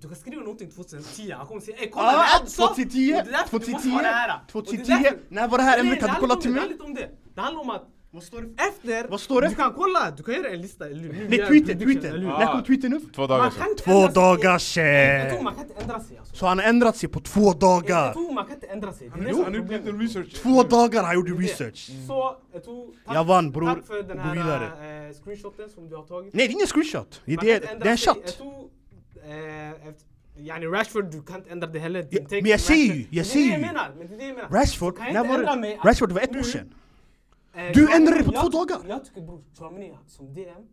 A: du kan skriva någonting 2010, han kommer säga ey kolla det
D: Ah,
A: här du sa! Och
D: 2010,
A: det är därför du måste
D: 2010,
A: ha det här. Och det är
D: 2010
A: därför-
D: När var det här
A: Nej,
D: Enver? Kan du
A: handlar
D: kolla
A: om
D: till
A: det, Det
D: mig?
A: handlar inte om det, det handlar om att
D: Vad står det för?
A: efter,
D: Vad står det?
A: du kan kolla, du kan göra en lista eller hur? Nu gör
D: Nej
A: jag
D: tweeten,
A: prediction,
D: tweeten!
A: eller hur?
D: När kom tweeten upp?
E: Två
A: Man
E: dagar
A: kan
E: sedan.
A: inte
D: Två
A: ändra sig.
D: dagar
A: Jag tror
D: sedan!
A: man kan inte ändra sig alltså.
D: Så han har ändrat sig på två dagar!
A: Jag tror man kan inte ändra sig. Det är det som
C: Han
A: är
C: har gjort
A: problemet.
C: lite research.
D: Två dagar han
A: Det är
D: gjorde
A: det.
D: research!
A: Så, jag tror, tack,
D: Jag vann, bror.
A: tack för den
D: Gå
A: här
D: vidare.
A: eh, screenshoten som du har tagit.
D: Nej det är ingen screenshot, det
A: Man kan
D: är,
A: inte ändra
D: det är en
A: sig.
D: chatt
A: Jag tror, eh, efter- Yani Rashford, du kan inte ändra det heller. Din
D: Ja,
A: take
D: men jag
A: på
D: ser ju,
A: Rashford.
D: jag
A: Men
D: ser
A: det är det
D: ju.
A: jag menar, men det är det jag menar.
D: Rashford,
A: Kan jag
D: när
A: inte
D: var
A: ändra mig
D: det?
A: att-
D: Rashford var ett
A: nu-
D: år sedan.
A: Eh,
D: Du
A: Chouameni,
D: ändrade det på
A: jag-
D: två dagar.
A: Jag tycker bror, Chouameni som DM,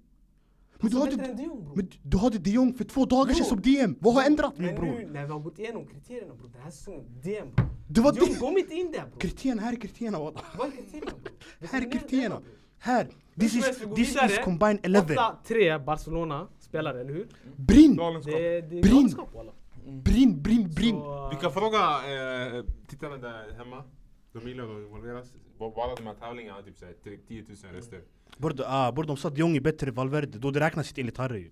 D: Men du
A: så bättre
D: hade,
A: än de Jong bror.
D: men du hade de Jong för två dagar sedan
A: Bror.
D: som DM. Vad har ändrat nu
A: Men
D: bror?
A: nu när vi har gått igenom kriterierna bror, den här säsongen, DM bror.
D: Det var
A: de Jong
D: det-
A: kom inte in där bror.
D: Kriterierna, här är kriterierna walla.
A: Vad är kriterierna bror? Vet
D: Här
A: du
D: är
A: vad jag menar,
D: kriterierna.
A: bror?
D: Här. This
A: Hur
D: is,
A: som helst, vi går
D: this is
A: vidare.
D: combined 11.
A: 8-3 Barcelona spelare, eller hur?
D: Brinn,
C: Galenskap.
A: Det, det är
D: Brinn.
A: galenskap walla.
D: brinn, brinn, brinn.
A: Så,
E: Vi kan fråga eh, tittarna där hemma. De gillar att involveras. Bara- Bara de här tävlingarna har typ såhär 10 000 röster.
A: Mm.
D: Bror ah, bror, de sa att de Jong är bättre än Valverde, då det räknas inte enligt Harry.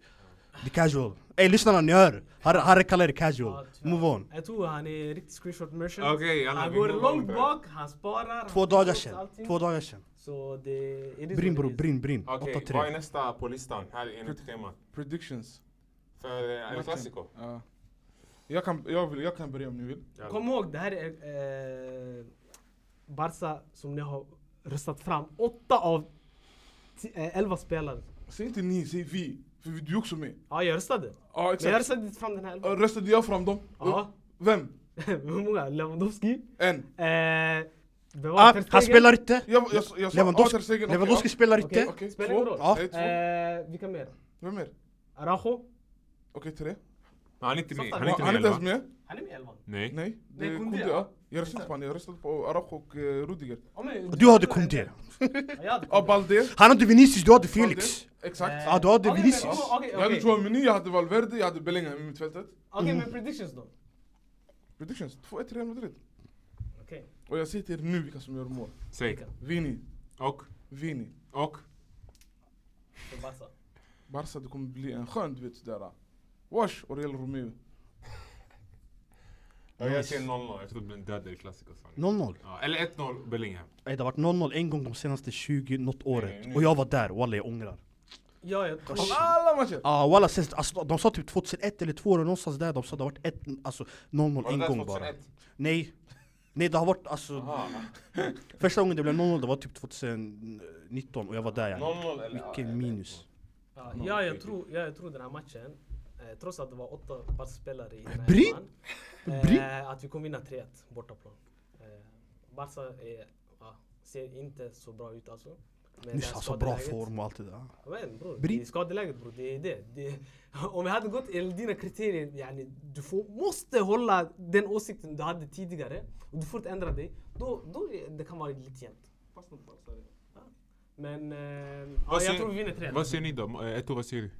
D: Det är casual. Ey lyssnarna ni hör! Harry, Harry kallar det
A: ja,
D: casual.
A: tyvärr.
D: Move on.
A: Jag tror han är riktigt screenshot merchant.
E: Okej, alla,
A: han
E: vi
A: går
E: move on,
A: långt
E: bro.
A: bak, han sparar.
D: Två
A: han
D: dagar
A: tar
D: sedan.
A: allting.
D: Två dagar sedan.
A: Så det... it is
D: Brinn
A: what
D: bror,
A: it is.
D: brinn, brinn.
E: Okej, vad är
D: 8-3.
E: nästa på listan här enligt schemat?
C: Predictions.
E: För eh, El
C: Matchen.
E: Clasico?
C: Ja. Jag kan, jag, vill, jag kan börja om ni vill.
A: Kom ihåg, det här är eh, Barca som ni har röstat fram. Åtta av ti- eh, elva spelare.
C: Säg inte ni, säg vi. För vi- du är också med.
A: Ja, jag röstade.
C: Ja
A: Men jag
C: exakt.
A: röstade inte fram den här elvan.
C: Röstade jag fram dem?
A: Ja.
C: Vem?
A: Hur många? Lewandowski?
C: En.
A: Eh, vem var
D: Ah,
A: Ter
D: han
A: Stegen?
D: spelar inte!
C: Jag, jag, jag, jag sa
D: Lewandowski-
C: ah, Ter Stegen, okej,
D: Lewandowski Ah.
C: ja.
D: spelar
A: Okej.
D: inte.
C: Okej,
A: Spelar
C: två.
A: ingen roll.
D: Ja.
C: Nej, två.
A: Eh, vilka mer?
C: Vem mer?
A: Araujo?
C: Okej, tre.
E: Han är inte med. Han är
C: Ja,
E: inte
C: Han är
E: med
C: inte ens
E: elva.
C: med.
A: Han är med i elvan.
E: Nej.
C: Nej. Det
A: Nej,
C: är
A: Kunde,
C: Kunde.
A: ja.
C: ah. ja. Jag röstade på honom. Jag röstade på Araujo och eh, Rudiger.
A: Ja, men-
D: Du hade Kunde.
A: Ja, jag hade
C: Ja,
A: Kunde.
C: Balde.
D: Han hade Vinicius, du hade Felix.
C: Balde. Exakt.
A: Eh,
D: Ja, Ah, du hade
A: Okej,
D: Vinicius.
A: men- Okej, okej.
C: Jag hade Chouameni, jag hade Valverde, jag hade Bellingham i mittfältet.
A: Okej,
D: Mm.
A: men predictions då?
C: Predictions, 2-1 till Real Madrid. Oh,
A: Okej.
C: Och jag säger till er nu vilka som gör mål.
E: Säg.
C: Vini,
E: Och?
C: Vini.
E: Och?
A: för Barca.
C: Barca det kommer bli en skön du vet sådär. ah. Wash och Real Romeo.
E: Ja, Jag ser 0-0. Jag tror det blir en död El Clasico. sa ni.
D: 0-0.
E: Ja, Eller 1-0 Bellingham.
D: Nej, det har varit 0-0 en gång de senaste 20, något året.
E: nu-
D: Och jag var där, walla jag ångrar.
A: Ja, jag
C: Av alla matcher!
D: Ja ah, walla, sen- alltså, de sa typ 2001 eller 2 eller någonstans där, de sa det har varit ett, alltså 0-0
E: Var det
D: en
E: där
D: gång bara.
E: 2001?
D: Nej. Nej det har varit alltså, första gången det blev 0-0 det var typ 2019 och jag var där yani.
B: 0-0 eller?
D: Mycket minus.
A: Ja, ja, jag tror, ja, jag tror den här matchen, eh, trots att det var åtta Barca-spelare i den här
D: Bri?
A: elvan,
D: Bri?
A: eh, att vi kommer vinna 3-1 bortaplan. Eh, Barca är, ja, ser inte så bra ut alltså. Men det
D: Nyss
A: här
D: alltså bra
A: skadeläget-
D: form och allt det där.
A: Men bror,
D: Bri-
A: det är skadeläget bror. Det är det. det om jag hade gått enligt dina kriterier, yani, du får, måste hålla den åsikten du hade tidigare och du får inte ändra dig. Då, då är- det kan vara lite jämnt.
F: Fast mot Barca, det-
A: Men eh, ja,
E: Vad
A: jag
E: ser-
A: tror vi vinner 3
E: Vad ser ni då? Eh, Ett år, vad ser du?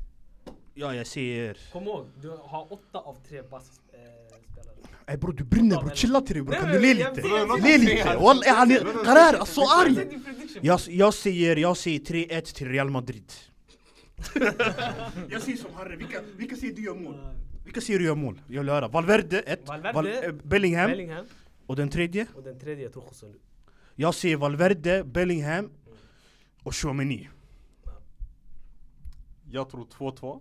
D: Ja jag ser.
A: Kom ihåg, du har åtta av tre eh, Barca-spelare.
D: Ey Eh, bror du brinner bror, chilla till dig bror. Kan du le lite? Le lite! Walla han är, Karar, alltså arg! Jag, jag säger, jag säger 3-1 till Real Madrid. jag säger som Harry, vilka, vilka säger du gör
A: Eh,
D: mål? Vilka säger du gör mål? Jag vill höra. Valverde 1,
A: Valverde,
D: Bellingham
A: Bellingham
D: och den tredje?
A: och den tredje jag tror José Lu.
D: Jag säger Valverde, Bellingham och Chouameni.
B: Jag tror 2-2.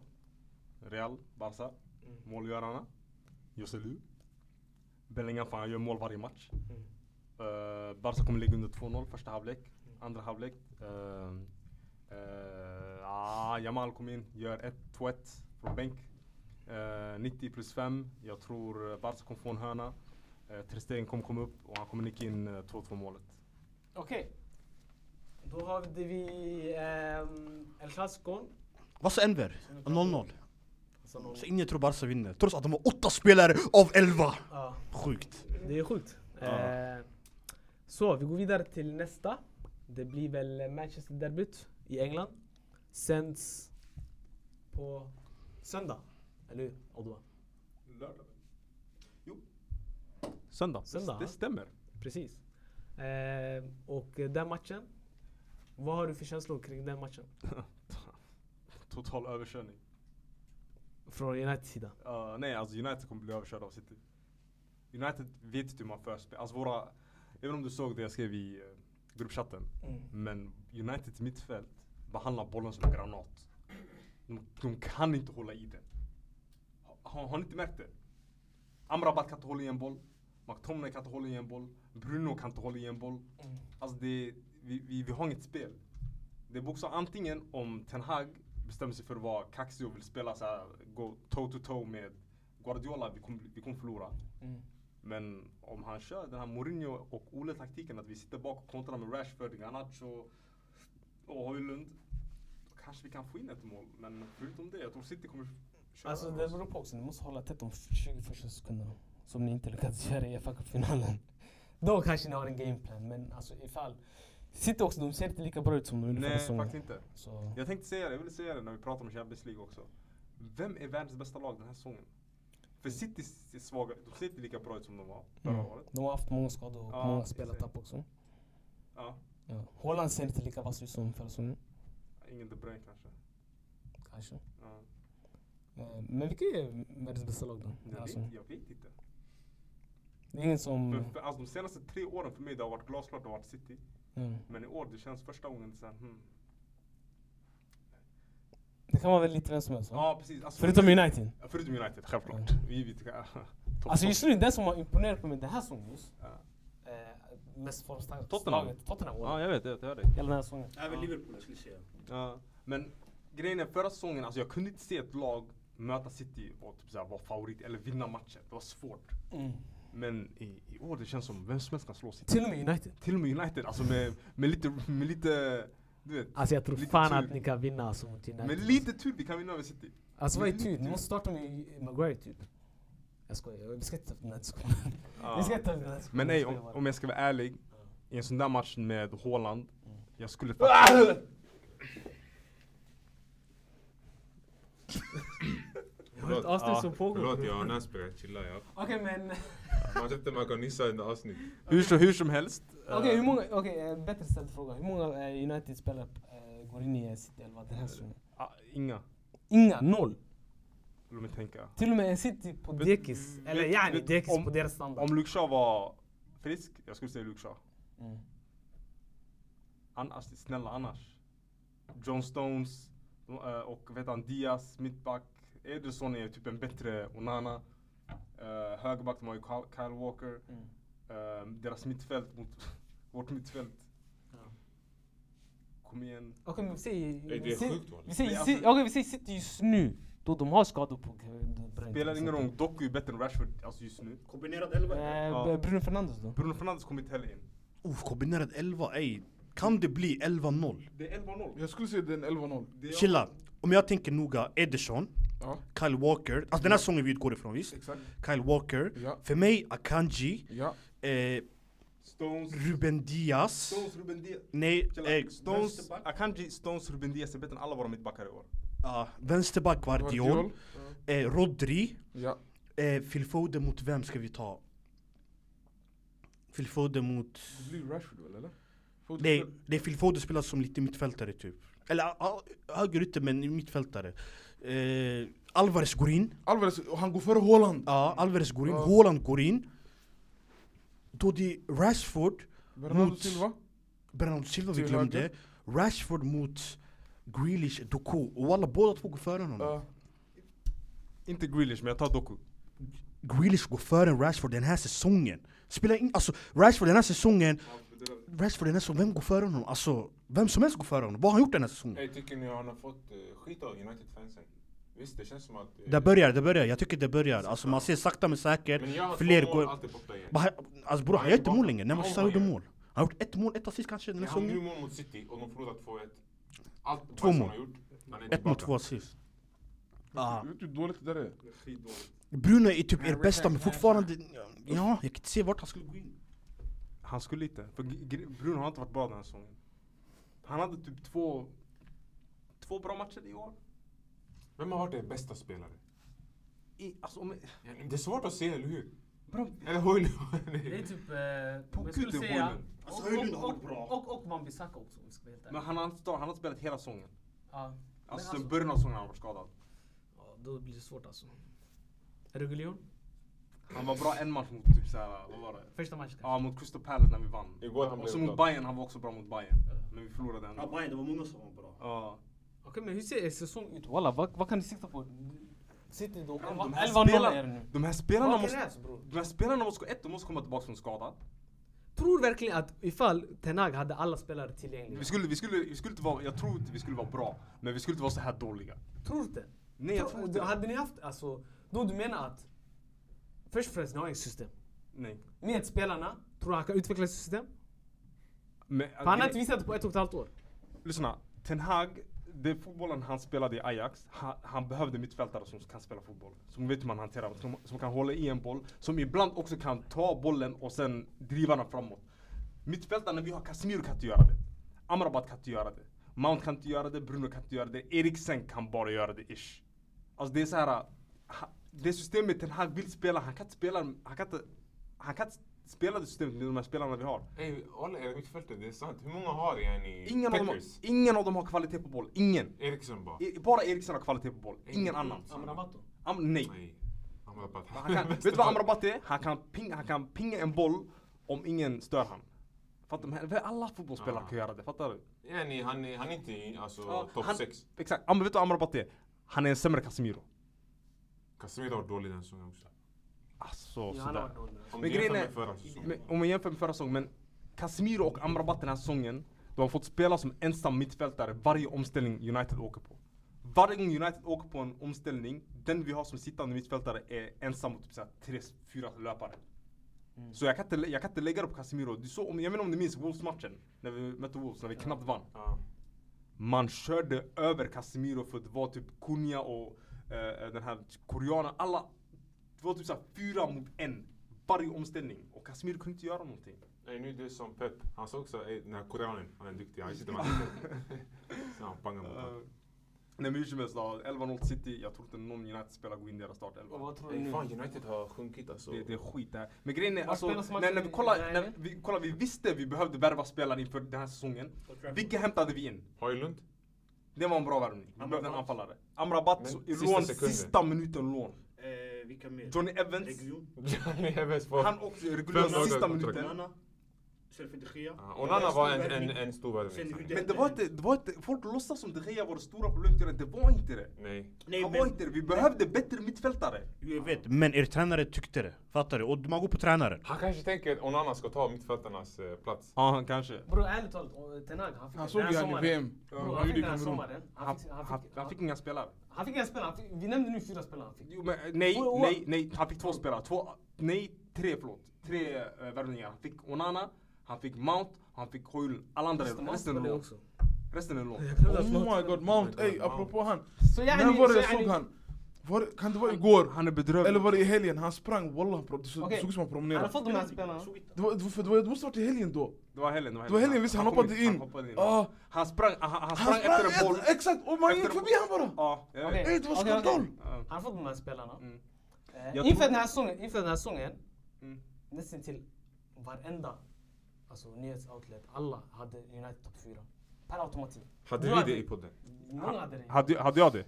B: Real, Barca. Målgörarna. Joselu. Bellingham, fan han gör mål varje match. Eh, Barca kommer ligga under 2-0 första halvlek. Andra halvlek. Uh, ah, Jamal kom in, gör 1 2-1 från bänk. Eh, 90 plus 5. Jag tror eh, Barca kommer få en hörna. Uh, Tristegen kommer komma upp och han kommer nicka in eh, 2-2 målet.
A: Okej. Då hade vi ehm, El Chascon.
D: Vad sa Enver? 0-0.
A: Alltså någon,
D: Så ingen tror Barca vinner, trots att de har åtta spelare av elva!
A: ja,
D: Sjukt.
A: det är sjukt. Eh, så, vi går vidare till nästa. Det blir väl Manchester-derbyt i England. Sänds på söndag. Eller hur? Odwa?
B: Söndag.
A: Söndag,
B: Det,
A: ja.
B: det stämmer.
A: Precis. Eh, och eh, den matchen. Vad har du för känslor kring den matchen?
B: Total överkörning.
A: Från Uniteds sida.
B: Ja, nej, alltså United kommer bli överkörda av City. United vet inte hur man för Alltså våra... Även om du såg det jag skrev i eh, gruppchatten. Men Uniteds mittfält behandlar bollen som en granat. De, de kan inte hålla i den. Har, har ni inte märkt det? Amrabat kan inte hålla i en boll. McTominay kan inte hålla i en boll. Bruno kan inte hålla i en boll. Alltså det, vi, vi, vi har inget spel. Det är bokstavligen antingen om Ten Hag bestämmer sig för att vara kaxig och vill spela så här, gå toe to toe med Guardiola, vi kommer, bli- vi kommer förlora. Men om han kör den här Mourinho och Ole-taktiken, att vi sitter bak och kontrar med Rashford, Garnacho och Højlund. Då kanske vi kan få in ett mål, men förutom det, jag tror City kommer köra
A: Alltså
B: över
A: det
B: oss.
A: beror på också, ni måste hålla tätt de 20 första sekunderna. Som ni inte lyckats göra i fa finalen Då kanske ni har en gameplan, men alltså ifall... City också, de ser inte lika bra ut som de gjorde förra
B: Nej,
A: säsongen.
B: faktiskt inte.
A: Så,
B: Jag tänkte säga det, jag ville säga det när vi pratade om Champions League också. Vem är världens bästa lag den här säsongen? För City är svaga, de ser inte lika bra ut som de var förra
A: mm.
B: året.
A: De har haft många skador och
B: Ja,
A: många
B: exakt.
A: spelartapp också.
B: Ja,
A: Ja. Holland ser inte lika vass ut som förra säsongen.
B: ingen De Bruyne kanske.
A: Kanske.
B: Ja.
A: Eh, Men vilka är världens bästa lag då?
B: Jag,
A: Alltså,
B: vet, jag vet inte.
A: det är ingen som...
B: För, för, alltså, de senaste tre åren för mig det har varit glasklart det har varit City.
A: Mm.
B: Men i år det känns första gången så här, hmm.
A: Det kan vara väl lite vem som helst va?
B: Ja precis. Alltså,
A: Förutom
B: för mig-
A: United.
B: Ja, Förutom United, självklart. Vi, vi tycker... Topp,
A: Alltså
B: topp.
A: just nu, den som har imponerat på mig den här säsongen just.
B: Ja.
A: Eh, mest formstarkt
B: Tottenham.
A: laget, Tottenham.
B: Ja, jag vet, jag vet, jag hör dig.
A: Hela den här säsongen.
G: Även Liverpool jag skulle säga.
B: Ja. Men grejen är förra säsongen, alltså jag kunde inte se ett lag möta City och typ så här, vara favorit eller vinna matchen. Det var svårt.
A: Mm.
B: Men i, i år det känns som vem som helst kan slå City.
A: Till och med United.
B: Till och med United, alltså med, med lite, med lite, du vet.
A: Alltså jag tror
B: Lite
A: fan
B: tur.
A: att ni kan vinna alltså mot United.
B: Med lite tur vi kan vinna över City.
A: Alltså vad är
B: med
A: tur?
B: lite-
A: Ni måste starta med Maguire typ. Jag skojar, vi ska inte ta upp den här diskussionen. Vi ska inte ta upp den här diskussionen.
B: Men nej,
A: Jag
B: om,
A: skojar bara.
B: om jag ska vara ärlig. I en sån där match med Haaland, jag skulle
A: Vi har ett avsnitt som pågår.
E: Förlåt, jag har nässpray. Chilla jag.
A: Okej men,
E: Man tror inte man kan nyssa under avsnitt.
B: hur, så, hur som helst. eh,
A: okej hur många, okej eh, bättre ställd fråga. Hur många eh, United-spelare eh, går in i eh, City 11 den här säsongen?
B: ah, inga.
A: Inga, noll.
B: Låt mig tänka.
A: Till och med en City på dekis. Eller
B: vet-
A: yani
B: vet-
A: dekis
B: om-
A: på deras standard.
B: Om Luke Shaw var frisk, jag skulle säga Luke Shaw.
A: Mm.
B: Annars, snälla annars. John Stones eh, och vet han, Diaz, mittback. Eh, Ederson är typ en bättre Onana. Uh, högerback, de har ju Kyle Kyle Walker.
A: Mm.
B: ehm, deras mittfält mot vårt mittfält.
A: Ja.
B: Kom igen.
G: Okej, men vi säger...
E: Ey, det
G: vi
E: är
G: säger-
E: sjukt
G: Vi
E: walla.
G: säger,
B: Men
G: si,
B: alltså-
G: okej, vi säger City just nu, då de har skador på...
A: liksom.
G: Brent,
B: Spelar ingen roll, Doku är bättre än Rashford alltså just nu.
D: Kombinerad 11?
A: Eh,
B: Ja.
G: Bruno Fernandes då?
B: Bruno Fernandes kommer inte heller in.
D: Uff, kombinerad 11, ey. Kan det bli 11-0?
B: Det är 11-0.
C: Jag skulle säga det är en 11-0.
B: Det är-
D: Chilla, om jag tänker noga, Ederson,
C: Ja,
D: Kyle Walker, alltså den här säsongen vi utgår ifrån visst?
C: exakt.
D: Kyle Walker,
C: Ja.
D: för mig Akanji,
C: Ja.
D: eh,
B: Stones,
D: Ruben Diaz,
B: Stones, Ruben Diaz.
D: nej,
B: Chilla.
D: eh,
B: Stones, Akanji, Stones, Ruben Diaz är bättre än alla våra mittbackar i år.
D: ja, Ah, vänsterback Guardiol,
C: Guardiol.
D: eh, Rodri,
C: Ja.
D: eh, Phil Foden mot vem ska vi ta? Phil Foden mot...
C: Det blir Rashford väl eller? Foden-
D: Nej, det är Phil Foden spelar som lite mittfältare typ. Eller ja, högerytter men mittfältare. Eh, Alvarez går in.
C: Alvarez, och han går före Haaland.
D: Ja, Alvarez går in.
C: Ja.
D: Haaland går in. Då det är Rashford,
C: Bernardo
D: Mot- Mm.
C: Silva.
D: Bernardo Silva vi
C: Till
D: glömde.
C: höger.
D: Rashford mot Grealish, Doku. Och alla båda två går före honom.
C: Ja.
B: Inte Grealish, men jag tar Doku.
D: Grealish går före Rashford den här säsongen. Spelar in, alltså Rashford den här säsongen, Rashford den här säsongen, vem går före honom? Alltså, vem som helst går före honom. Vad har han gjort den här säsongen?
E: Ey, tycker ni han har fått eh, skit av United-fansen? Visst, det känns som att... eh,
D: Det börjar, det börjar. Jag tycker det börjar. Alltså man ser sakta men säkert,
E: men jag har Oh två
D: fler
E: mål,
D: går...
E: allt är borta igen.
D: Vad han- Alltså bror, han gör inte mål längre. När man
E: Ja,
D: sista gjorde
E: han gör.
D: mål. Han har gjort ett mål, ett assist kanske den här
E: Han gjorde
D: säsongen.
E: mål mot City och de förlorade 2-1. Allt
D: Två
E: Barca
D: mål.
E: har gjort, han är
D: Ett mål,
E: tillbaka.
D: två assist. Ah.
C: Vet du hur dåligt det där är?
B: Skitdåligt.
D: Bruno är typ er bästa men fortfarande... Ja, jag kan inte se vart han skulle gå in.
B: Han skulle inte. För Gr- Gr- Bruno har inte varit bra den här säsongen. Han hade typ två, två bra matcher i år.
E: Vem har varit er bästa spelare?
B: I, alltså, om,
E: Ja, Det är svårt att se, eller hur?
B: bro,
E: Eller Hoyle.
A: Det är typ... Eh,
B: På
A: jag skulle
B: kutten,
A: säga...
B: bollen.
A: Och, och, och, och, och, och Wan-Bissaka också om vi ska vara helt
B: men
A: ärliga.
B: han har, inte, start- han har inte spelat hela säsongen.
A: Ja. Men
B: Alltså,
A: alltså-
B: sen början av säsongen har han varit skadad.
A: Ja, Då blir det svårt alltså. Reguljon?
B: Han var bra en match mot typ såhär, vad var det?
A: Första matchen kanske?
B: Ja, mot Crystal Palace när vi vann.
E: Igår han
B: Och
E: blev
B: så mot
E: uttagen.
B: Bayern, han var också bra mot Bayern. Men vi förlorade ändå.
D: Bayern, det var många som var bra.
B: Ja.
A: Okej men hur ser er säsong ut? Walla, vad, vad kan ni sikta på? City då?
B: Bro, de,
A: 11-0
B: här
A: är det
B: spelarna,
A: nu.
B: de här spelarna
A: Vad
B: måste...
A: krävs, bror?
B: De här spelarna måste, gå- ett, de måste komma tillbaka från skada.
A: Tror verkligen att ifall Tenag hade alla spelare
B: Vi
A: tillgängliga.
B: skulle, vi skulle, vi skulle inte vara, jag tror inte vi skulle vara bra. Men vi skulle inte vara så här dåliga.
A: Tror du det?
B: Nej, jag tror inte det.
A: Hade ni haft, alltså, då du menar att först och främst, ni har ett system.
B: Nej.
A: Med spelarna, tror du han kan utveckla ett system?
B: Men,
A: För han har inte visat det på ett och ett halvt år.
B: Lyssna, Ten Hag, det fotbollen han spelade i Ajax, han, han behövde mittfältare som kan spela fotboll. Som vet hur man hanterar, som, som kan hålla i en boll, som ibland också kan ta bollen och sen driva den framåt. Mittfältarna vi har, Casemiro kan inte göra det. Amrabat kan inte göra det. Mount kan inte göra det, Bruno kan inte göra det, Eriksen kan bara göra det ish. Alltså det är så här, ha- det systemet Ten Hag vill spela, han kan inte spela, han kan inte, han kan inte spela det systemet med de här spelarna vi har.
E: Ey, alla era mittfältare, det är sant. Hur många har yani?
B: Ingen av, dem, har-
E: Packers?
B: ingen av dem har kvalitet på boll, ingen.
E: Eriksson bara.
B: I- Bara Eriksen har kvalitet på boll, ingen
A: Mm.
B: annan.
A: Amrabat då?
B: Am nej.
E: Nej. Amrabat.
B: Han kan, vet du vad Amrabat är? Han kan, ping, han kan pinga en boll om ingen stör han. Fattar du? Men Alla fotbollsspelare
E: Ah.
B: kan göra det, fattar du?
E: Yani, han, är- han är inte i, alltså,
B: Ja,
E: topp
B: han-
E: 6.
B: Exakt, ja, men vet du vad Amrabat är? Han är en sämre Casemiro.
E: Casemiro var dålig den säsongen också.
B: Alltså
A: Ja, han har
B: sådär.
A: varit dålig.
B: Men
E: Om du jämför
B: grejen
E: med förra säsongen.
B: Men, om man jämför med förra säsongen, men Casemiro och Amrabat den här säsongen, de har fått spela som ensam mittfältare varje omställning United åker på. Varje gång United åker på en omställning, den vi har som sittande mittfältare är ensam mot typ såhär tre, fyra löpare. Så jag kan, inte, lä- jag kan inte lägga det på Casemiro. Du så, om, jag vet inte om ni minns Wolves-matchen, när vi mötte Wolves, när vi knappt vann.
E: Ja.
B: Man körde över Casemiro för det var typ Cunha och eh, den här koreanen. Alla, det var typ såhär fyra mot en varje omställning. Och Casemiro kunde inte göra någonting.
E: Nej, nu är det som Pep. Han sa också, ey, den här koreanen, han är duktig. Han sitter med handen. Så han pangar mot
B: Eh,
E: honom.
B: Nej men hur som helst då, 11-0 City. Jag tror inte någon United-spelare går in i deras
A: Och
B: startelva.
A: vad tror du
E: Ey,
A: nu?
E: Fan, United har sjunkit alltså.
B: Det, det är skit det här. Men grejen är
A: Var
B: alltså,
A: spelas matchen
B: när, när vi
A: i-
B: kollar,
A: nej,
B: när
A: nej.
B: vi, kollar, vi visste vi behövde värva spelare inför den här säsongen. Vilka hämtade vi in?
E: Höjlund?
B: Det var en bra värvning. Vi behövde en anfallare. Amrabat
E: Men
B: så, i
E: sista
B: lån,
E: sekunden.
B: sista minuten lån.
D: Eh, vilka mer?
B: Johnny Evans,
E: Johnny Evans var...
B: han också reguljär
E: Fem dagar
B: sista
E: kontrakt.
B: minuten.
H: istället för de Gea.
E: Ja, Onana var en, en,
H: Värvning.
E: en stor
H: Sen hur
E: värvning.
H: det-
B: Men det var inte, det var inte, folk låtsas som De Gea var det stora problemet, till det. det var inte det.
E: Nej.
H: Nej,
B: Han
H: men-
B: var inte det. Vi behövde bättre mittfältare.
D: Jag vet, men er tränare tyckte det. Fattar du? Och man går på tränaren.
E: Han kanske tänker att Onana ska ta mittfältarnas eh, plats.
I: Ja, han kanske.
A: Bro ärligt talat, och Ten Hag han fick
C: Han såg ju han i VM.
A: Bro,
C: Han
A: han
C: gjorde
A: fick den här
C: Kamerun.
A: sommaren. Han
I: Han,
A: fick,
I: han,
A: han fick, han
I: fick inga spelare.
A: han fick en spelare, han fick- vi nämnde nu fyra spelare han fick.
B: Jo, men, eh, nej,
A: Och- och-
B: nej, nej. Han fick två spelare. Två, nej, tre förlåt. Tre eh, värvningar. Han fick Onana, han fick Mount, han fick Hoylen. Alla andra,
A: Just det, Mount
B: resten är
A: spelade
B: lån.
A: också.
B: Resten är lån.
C: Oh my god, Mount. Ey, apropå han.
A: Så yani-
C: När var det
A: så
C: jag
A: yani-
C: såg han? Var, det- kan det vara igår?
B: Han är bedrövlig.
C: Eller var det i helgen? Han sprang, wallah bro. Det så- det
A: Okej.
C: såg ut som han
A: Han har
C: promenerade.
A: fått de här spelarna.
C: Det, var, det, var- för det, var, det måste varit i helgen då.
B: Det var helgen. Det var
C: Det var helgen, visst, han hoppade
B: kom
C: in.
B: Han hoppade in.
C: Ah.
B: Han sprang, han, han,
C: Han
B: sprang
C: sprang
B: efter en boll.
C: ett, exakt! Och man gick
B: Efter en
C: förbi han bara!
B: Ja, jag vet.
A: Okej.
C: Ey, det var
A: Okej, okej.
C: skandal!
B: Ja.
A: Han har fått de här spelarna.
B: Mm.
A: Eh,
B: Jag
A: inför,
B: tror-
A: den här säsongen, inför den här säsongen,
B: Mm.
A: nästan till varenda alltså, nyhetsoutlet, alla hade United topp 4. Per automatik.
E: Hade
A: Nu
E: vi
A: hade-
E: det i podden?
A: Många hade det.
I: Hade, hade jag det?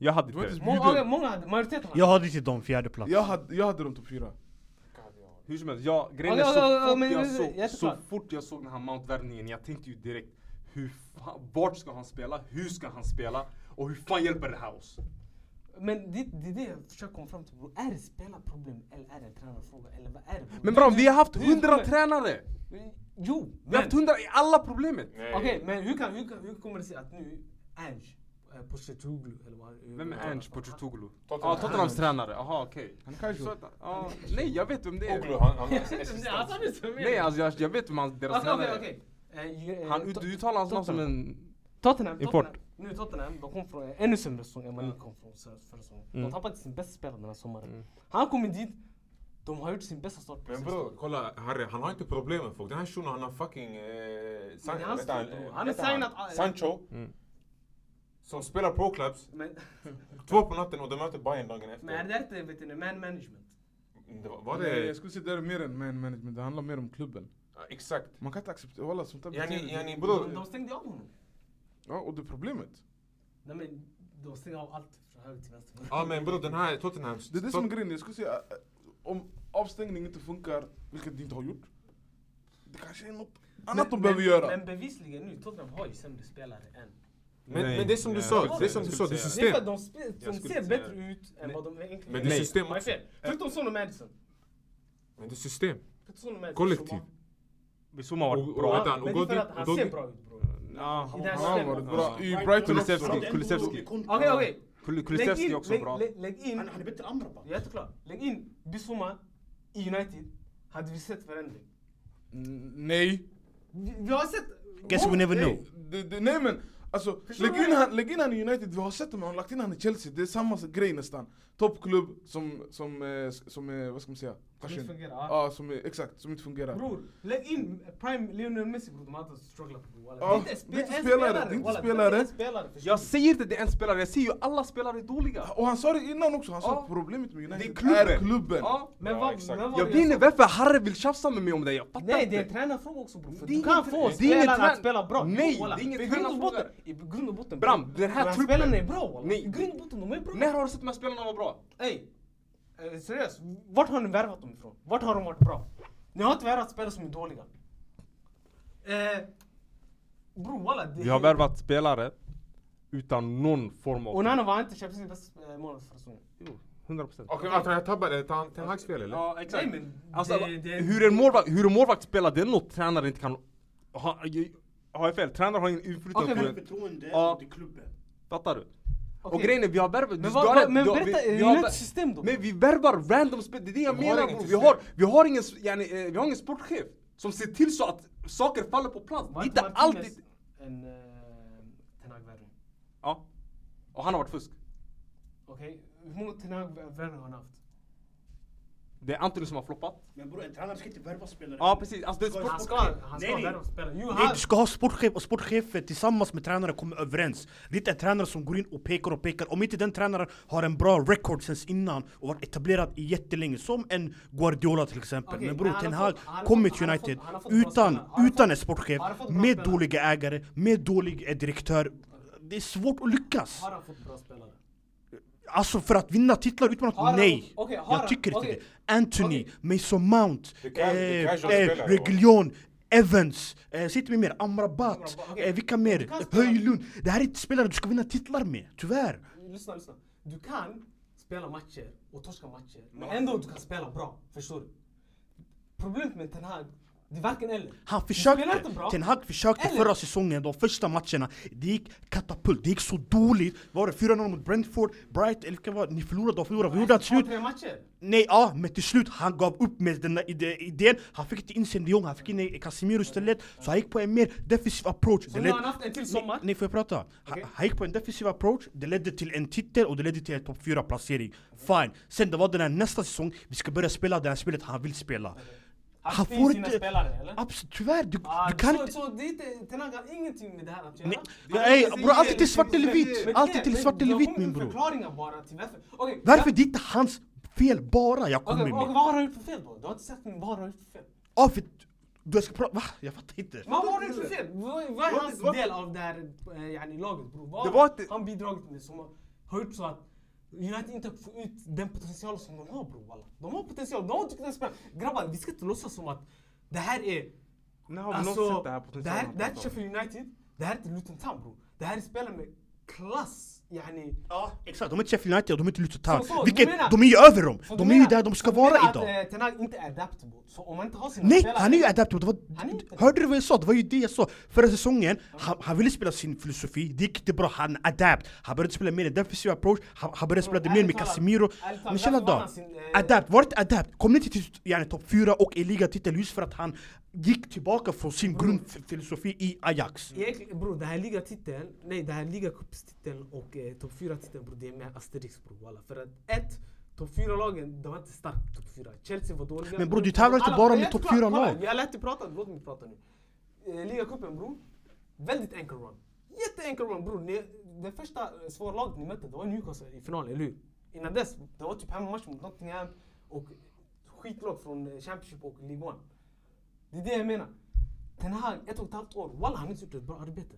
I: Jag hade
C: Du var
I: inte
C: inte
I: det.
A: Många,
C: bjuden.
A: många hade, majoriteten hade.
D: Jag hade inte dem fjärde plats.
C: Jag hade, jag hade dem topp fyra.
B: Hur som helst, jag, grejen är
A: Okej,
B: så
A: okej, okej,
B: fort
A: men-
B: jag
A: men-
B: såg, så
A: jätteklart.
B: fort jag såg den här Mount-värvningen, jag tänkte ju direkt hur fan, vart ska han spela, hur ska han spela och hur fan hjälper det här oss?
A: Men det, det är det jag försöker komma fram till. bro. Är det spelarproblem eller är det en tränarfråga? Eller vad är det? bro?
B: Men bram, vi har haft
A: Hur-
B: hundra tränare!
A: Jo,
B: Vi har
A: men...
B: haft hundra i alla problemet!
E: Nej.
A: Okej, men hur, kan, hur, kan, hur kommer det sig att nu Ange eh, Postecoglou eller vad han-
B: Vem är
A: vad han-
B: Ange Pochettoglu? Ja,
E: Tottenham.
B: Tottenhams tränare, jaha okej.
C: Han kanske...
B: Så att- ja, Nej, jag vet vem det
E: Oglu,
B: är.
E: han, han
A: Jag vet inte,
E: assistent.
A: alltså, han är så med.
B: Nej, alltså jag, jag vet vem hans- deras
A: Okej,
B: tränare
A: okej,
B: är.
A: okej. Eh, ju- eh,
B: Han ut-
A: Tot-
B: du uttalar hans namn som en...
A: Tottenham,
B: Import.
A: Tottenham. Nu Tottenham, de kom från en ännu sämre säsong än vad ni kom från så- förra säsongen. De tappade sin bästa spelare den här sommaren. Han kom dit, de har gjort sin bästa start på
E: Men
A: säsongen.
E: bror, kolla Harry, han har inte problem med folk. Den här shunon han har fucking... Eh, san,
A: Men det är hans
E: vänta,
A: fel,
E: eh,
A: bror. Han är
E: vänta,
A: signat- ah, eh.
E: Sancho.
B: Mm.
E: Som spelar pro clubs,
A: Men,
E: två på natten och de möter Bayern dagen efter.
A: men är det där inte vet ni, man management?
E: Det var, var
C: Nej,
E: det...
C: jag skulle säga det är mer än man management, det handlar mer om klubben.
E: Ja, Exakt.
C: Man kan inte acceptera, walla sånt där
E: Yani,
C: beteende.
E: yani
A: De,
E: bror.
A: de stängde av honom.
C: Ja, och det är problemet.
A: Nej men, de stängde av allt från höger till vänster.
E: Ja men bror den här Tottenham...
C: Det är det som är grejen, jag skulle säga eh, om avstängning inte funkar, vilket det inte har gjort. Det kanske är något annat de behöver
A: men,
C: göra.
A: Men bevisligen nu, Tottenham har ju sämre spelare än.
E: Men,
I: Nej.
E: men det är som du
I: Ja, jag
E: sa,
I: skulle
E: det är
I: säga-
E: som du
I: jag
E: sa, det
I: skulle säga-
E: är
A: Det är för att
E: system.
A: de, spe,
E: Jag
A: de
E: skulle
A: ser
E: säga
A: bättre ut än vad de egentligen
E: Men det är system
A: Vad är
E: också.
A: fel? Förutom Son och Madison.
E: Men det är system.
A: Förutom Son och Madison.
E: Kollektiv.
B: Bissouma
E: Och- och- vänta,
A: Men det är för
E: Ogodi-
A: att han
E: Ogodi-
A: ser bra ut bror.
B: Ja,
A: I det här
C: Han har varit
A: systemet.
C: bra. I Brighton också.
B: Kulusevski, Kulusevski.
A: Okej okej.
B: Kul-
A: Lägg
B: Kulusevski
A: in-
B: är också
A: lägg-
B: bra.
A: lägg- Lägg in,
H: Han han är bättre än Amrabat.
A: jätteklart. Lägg in Bissouma i United. Hade vi sett förändring.
C: Mm, Nej.
A: Vi, vi har sett...
D: Guess we never know.
C: Det, det, nej men, alltså
A: Förstår
C: lägg
A: du?
C: in, han, lägg in han i United, vi har sett honom, han har lagt in han i Chelsea, det är samma grej nästan. Toppklubb som, som, eh, som, eh, vad ska man säga?
A: Det
C: Passion.
A: fungerar.
C: Ja, som är, exakt, som inte fungerar.
A: Bror, lägg in Prime Lionel Messi bror. De hade strugglat bror. walla.
C: Ja,
A: Det är inte
C: det är inte
A: en
C: spelare, det är inte
A: walla.
C: spelare.
A: Det är inte spelare. förstår
B: Jag
A: du?
B: säger inte det är en spelare, jag säger ju alla spelare är dåliga.
C: Och han sa det innan också, han sa
B: Ja.
C: att problemet med United
B: Det är klubben.
C: klubben.
B: Ja.
A: Men
E: Ja,
A: vad...
E: exakt.
A: men vad
B: Jag
A: det
B: vet inte varför Harry vill tjafsa med mig om det, jag fattar
A: Nej, det
B: inte.
A: är en tränarfråga också bror. För
B: Det är
A: du
B: ingen
A: kan
B: trä-
A: få
B: det är ingen
A: spelaren
B: trän-
A: att spela bra.
B: Nej,
A: Jo, walla.
B: det är ingen
A: I grund och botten-
B: tränarfråga.
A: I grund och botten.
B: Bram, den här truppen-
A: Spelarna är bra walla.
B: Nej.
A: I grund och botten, de är bra.
B: När har du sett de här spelarna vara bra?
A: Ey, eh, seriöst. Vart har ni värvat dem ifrån? Vart har de varit bra? Ni har inte värvat spelare som är dåliga. Eh, bror walla. det-
B: spelare utan någon form
A: Onana var inte Champions Leagues bästa eh, målvakt förra säsongen.
B: Jo, 100%.
E: Okej vänta jag tabbade, Ten- Ten Hag's fel eller?
B: Ja, exakt.
A: Nej, men
B: alltså,
A: det- det-
B: hur, en målvakt, hur en målvakt spelar, det är något tränare inte kan... Ha, har jag fel? Tränare har ingen inflytande
A: Okej,
B: på
H: Han har
B: det.
H: förtroende
B: Ja.
H: till klubben.
B: Fattar du? Och
A: Okej.
B: grejen är, vi har värvat...
A: Men, vad, vad, men berätta, vi, är det ett system då?
B: Men vi värvar random spel, det är det jag
E: Vi har
B: menar
E: inget
B: bror. Vi
E: system.
B: har, vi har ingen, s- yani, eh, vi har ingen sportchef som ser till så att saker faller på plats.
A: Var
B: inte
A: Martinez
B: alltid...
A: En eh, Ten Hag-värvning.
B: Ja. Och han har varit fusk.
A: Okej, hur många Ten Hag-värvningar har han haft?
B: Det är Antoni som har floppat.
H: Men bror, en tränare ska inte värva spelare.
B: Ja precis, alltså det är sport...
A: Han ska, han
H: Nej,
A: ska
H: nej.
A: värva spelare. Jo,
D: Nej,
A: han,
D: du ska ha sportchef och sportchefen tillsammans med tränaren kommer överens. Det är inte en tränare som går in och pekar och pekar. Om inte den tränaren har en bra record sen innan och varit etablerad i jättelänge. Som en Guardiola till exempel.
A: Okej,
D: men bror,
A: men han
D: Ten
A: har
D: Hag
A: fått- han har
D: kom
A: fått-
D: med
A: han har
D: United
A: fått- han har fått bra
D: utan,
A: spelare. Han har
D: utan
A: fått-
D: en sportchef,
A: han har fått bra
D: med
A: spelare.
D: dåliga ägare, med dålig eh, direktör. Det är svårt att lyckas.
A: har han fått bra spelare?
D: Alltså för att vinna titlar utan
A: Har han-
D: att... Nej!
A: okej, har
D: jag
A: han-
D: tycker inte
A: okej.
D: det. Anthony,
A: Okej.
D: Mason Mount,
E: Det kan- det
D: eh,
E: kanske
D: eh,
E: spelar, ja.
D: Reguilon. Evans, eh, säg till mig mer, Amrabat,
A: Amrabat, okej.
D: eh, vilka mer?
A: kan spela-
D: Höjlund. Det här är inte spelare du ska vinna titlar med, tyvärr.
A: Lyssna, lyssna. Du kan spela matcher och torska matcher, men ändå du kan spela bra. Förstår du? Problemet med Ten Hag, det är varken eller.
D: Han
A: Du
D: försökte,
A: spelar inte bra.
D: Ten Hag försökte
A: Eller-
D: förra säsongen, de första matcherna, det gick katapult, det gick så dåligt. Vad Var det 4-0 mot Brentford, Bright, eller vilka var det? Ni förlorade, de förlorade, vi gjorde att
A: Två,
D: slut.
A: tre matcher.
D: Nej, ja, men till ah, slut han gav upp med den där ide- idén. Han fick inte in sin de Jong, han fick in eh, Casemiro istället. Så han gick på en mer defensiv approach.
A: Så nu har han haft en till sommar.
D: Nej, nej, får jag prata? Ha-
A: Okej.
D: Han gick på en defensiv approach, det ledde till en titel och det ledde till en topp 4-placering. Fine. Sen det var den här nästa säsong, vi ska börja spela det här spelet han vill spela.
A: Han får sina spelare, eller?
D: Absolut, tyvärr, du,
A: Ah,
D: du kan
A: så,
D: inte...
A: så det är inte, Ten Hag har ingenting med det här att göra.
D: Nej,
A: Det är-
D: nej,
A: det är-
D: bror, allt är till
A: det är-
D: svart eller vitt.
A: Men
D: Allt är
A: nej,
D: till
A: men
D: svart eller
A: jag
D: vitt,
A: kommer
D: min
A: med
D: bror.
A: förklaringar bara till varför. Okej,
D: Varför
A: jag-
D: det är inte hans fel bara jag kommer
A: Okej, vad
D: med?
A: vad har han gjort för fel då? Du har inte sagt vad han har gjort för fel.
D: Ja, för... Du ska prata... Va? Jag fattar inte.
A: Men vad har han gjort för fel? Vad vad är
J: Vad-
A: hans
J: vad-
A: del av det här eh, yani, laget bror? Vad
J: Det
A: har
J: var inte-
A: han bidragit med som har- har gjort så att United inte får ut den potential som de har bror walla. De har potential, de har inte kunnat spela. Grabbar, vi ska inte låtsas som att det här är
J: När har vi någonsin sett
A: Alltså,
J: det här
A: det här,
J: potentialen?
A: det här är
B: Alltså.
A: inte Sheffield United, det här är inte Luton Town bror. Det här är spelare med klass, yani.
D: Ja, exakt. De är inte Sheffield United och de är inte Luton Town.
A: Så, så,
D: Vilket,
A: du menar-
D: de är ju över dem.
A: Så
D: De
A: du
D: är ju
A: menar-
D: där de ska
A: du
D: vara
A: menar
D: idag.
A: Att, eh, Ten Hag inte är adaptable. Så om man inte har sina
D: Nej,
A: spelare-
D: han är ju adaptable. Det var,
A: Han är inte-
D: hörde du vad jag sa? Det var ju det jag sa. Förra säsongen, han, han ville spela sin filosofi. Det gick inte bra. Han adapt. Han började spela mer defensiv approach. Han, han började spela det mer
A: ärligt
D: med
A: talat,
D: Casemiro.
A: ärligt talat,
D: Men tjena
A: varför vann
D: då.
A: han sin, eh,
D: Adapt. Var inte adapt. Kom inte till yani, topp 4 och i ligatitel just för att han gick tillbaka från sin
A: Mm.
D: grundfilosofi i Ajax.
A: Egentligen bror, den här ligatiteln, nej den här ligacupstiteln och eh, topp 4-titeln bror, det är med asterisk bror walla. För att ett, topp 4-lagen, de var inte starka topp 4. Chelsea var dåliga.
D: Men bror, du tävlar inte
A: Alla-
D: bara
A: Nej,
D: med topp
A: kolla,
D: 4
A: kolla,
D: lag.
A: Jag lät dig prata, låt mig prata nu. Eh, Ligacupen bror, väldigt enkel run. Jätteenkel run bror. Ni- Det första eh, svåra laget ni mötte, det var Newcastle i finalen, eller hur? Innan dess, det var typ hemmamatch mot Nottingham och skitlag från eh, Championship och League One. Det är det jag menar. Den här ett och ett halvt år, walla han har inte gjort ett bra arbete.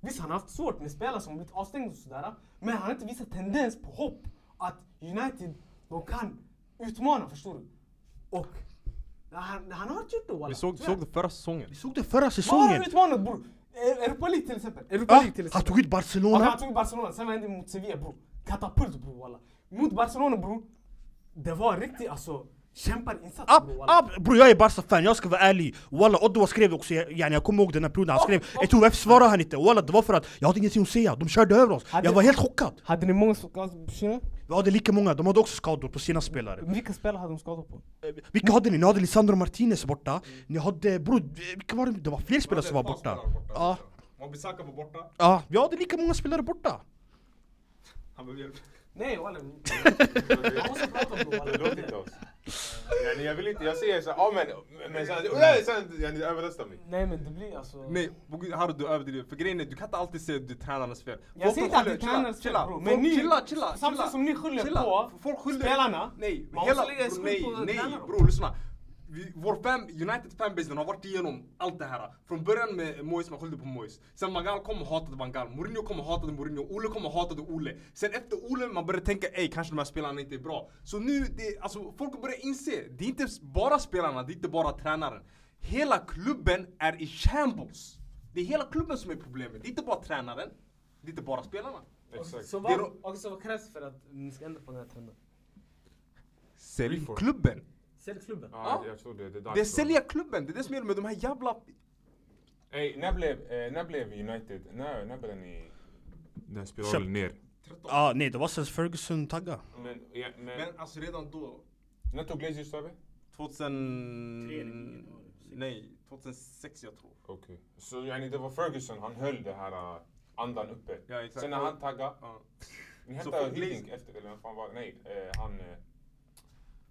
A: Visst han har haft svårt med spelare som blivit avstängda och sådär. Men han har inte visat tendens på hopp att United, de kan utmana förstår du. Och han, han har inte gjort det walla.
B: Vi såg,
A: Tyvärr.
B: såg det förra säsongen.
D: Vi såg det förra
A: Vad har han
D: säsongen.
A: utmanat bror? Eh, Europa League till exempel. Europa
D: Ah,
A: League till
D: han
A: exempel.
D: tog ut
A: Okej,
D: Barcelona.
A: han tog Barcelona, sen vad hände mot Sevilla bror? Katapult bror walla. Mot Barcelona bror, det var riktigt alltså kämparinsats
D: Ab,
A: bror walla.
D: ab, bror jag är Barca-fan, jag ska vara ärlig. Walla, Ottawa skrev också, jag, yani, jag kommer ihåg den här perioden han
A: Oh,
D: skrev.
A: oh.
D: Jag tror varför svarade han inte? Walla, det var för att jag hade ingenting att säga, de körde över oss.
A: Hade-
D: Jag var helt chockad.
A: Hade ni många skador?
D: Vi hade lika många, de hade också skador på sina spelare.
A: Vilka spelare hade de skador på?
D: Vilka hade ni? Ni hade Lisandro Martinez borta, ni hade bror, eh, vilka var det? Det var fler spelare som var borta. Ja,
J: Mobisaka var borta,
D: ja, vi hade lika många spelare borta.
J: han behöver hjälp.
A: Nej walla. Jag måste prata bror walla.
E: Låt inte oss. Yani, Jag vill inte, jag säger såhär, ja men, men sen, nej, sen, yani, överrösta mig.
A: Nej men det blir alltså...
B: Nej, Harry du överdriver. För grejen är, du kan inte alltid säga att det är tränarens fel.
A: Jag säger inte att det är
B: skyller-
A: tränarens fel
B: chilla,
A: bror,
B: folk-
A: men ni...
B: Chilla, chilla, chilla.
A: Samtidigt som ni skyller
B: chilla.
A: på
B: Folk skyller-
A: spelarna.
B: Nej,
A: man
B: hela,
A: måste lägga
B: bror,
A: skuld på
B: nej, nej
A: tränaren.
B: bror lyssna. Vi, vår fan, United fanbase den har varit igenom allt det här. Från början med Moise, man skyllde på Moise. Sen Magal kom och hatade Magal. Mourinho kom och hatade Mourinho. Ole kom och hatade Ole. Sen efter Ole, man började tänka ej, kanske de här spelarna inte är bra. Så nu, det, alltså, folk börjar inse. Det är inte bara spelarna, det är inte bara tränaren. Hela klubben är i shambles. Det är hela klubben som är problemet. Det är inte bara tränaren. Det är inte bara spelarna.
A: Exakt. Så
B: Det är
A: vad,
B: då-
A: och så vad krävs för att ni ska ändra på den här trenden?
B: Sälj Alltså.
K: Reform.
B: klubben.
A: Sälj klubben.
K: Ja, jag tror det. Det är dags.
B: Det är
K: för-
B: sälja klubben. Det är det som gäller med de här jävla...
E: Ey, när blev, eh, när blev United, när, när började ni?
K: Den här spiralen ner.
D: Ja, nej, det var sen Ferguson tagga.
E: Men, ja, men,
B: Men alltså redan då.
E: när tog Glazers över?
B: 2000... Nej, 2006 jag tror.
E: Okej. Så yani, det var Ferguson, han höll det här eh, andan uppe.
B: Ja, exakt.
E: Sen när han taggade,
B: Ja.
E: ni
B: Så
E: hämtade
B: fick Glazer-
E: Hiddink efter, eller vad fan var det? Nej, eh, han... eh,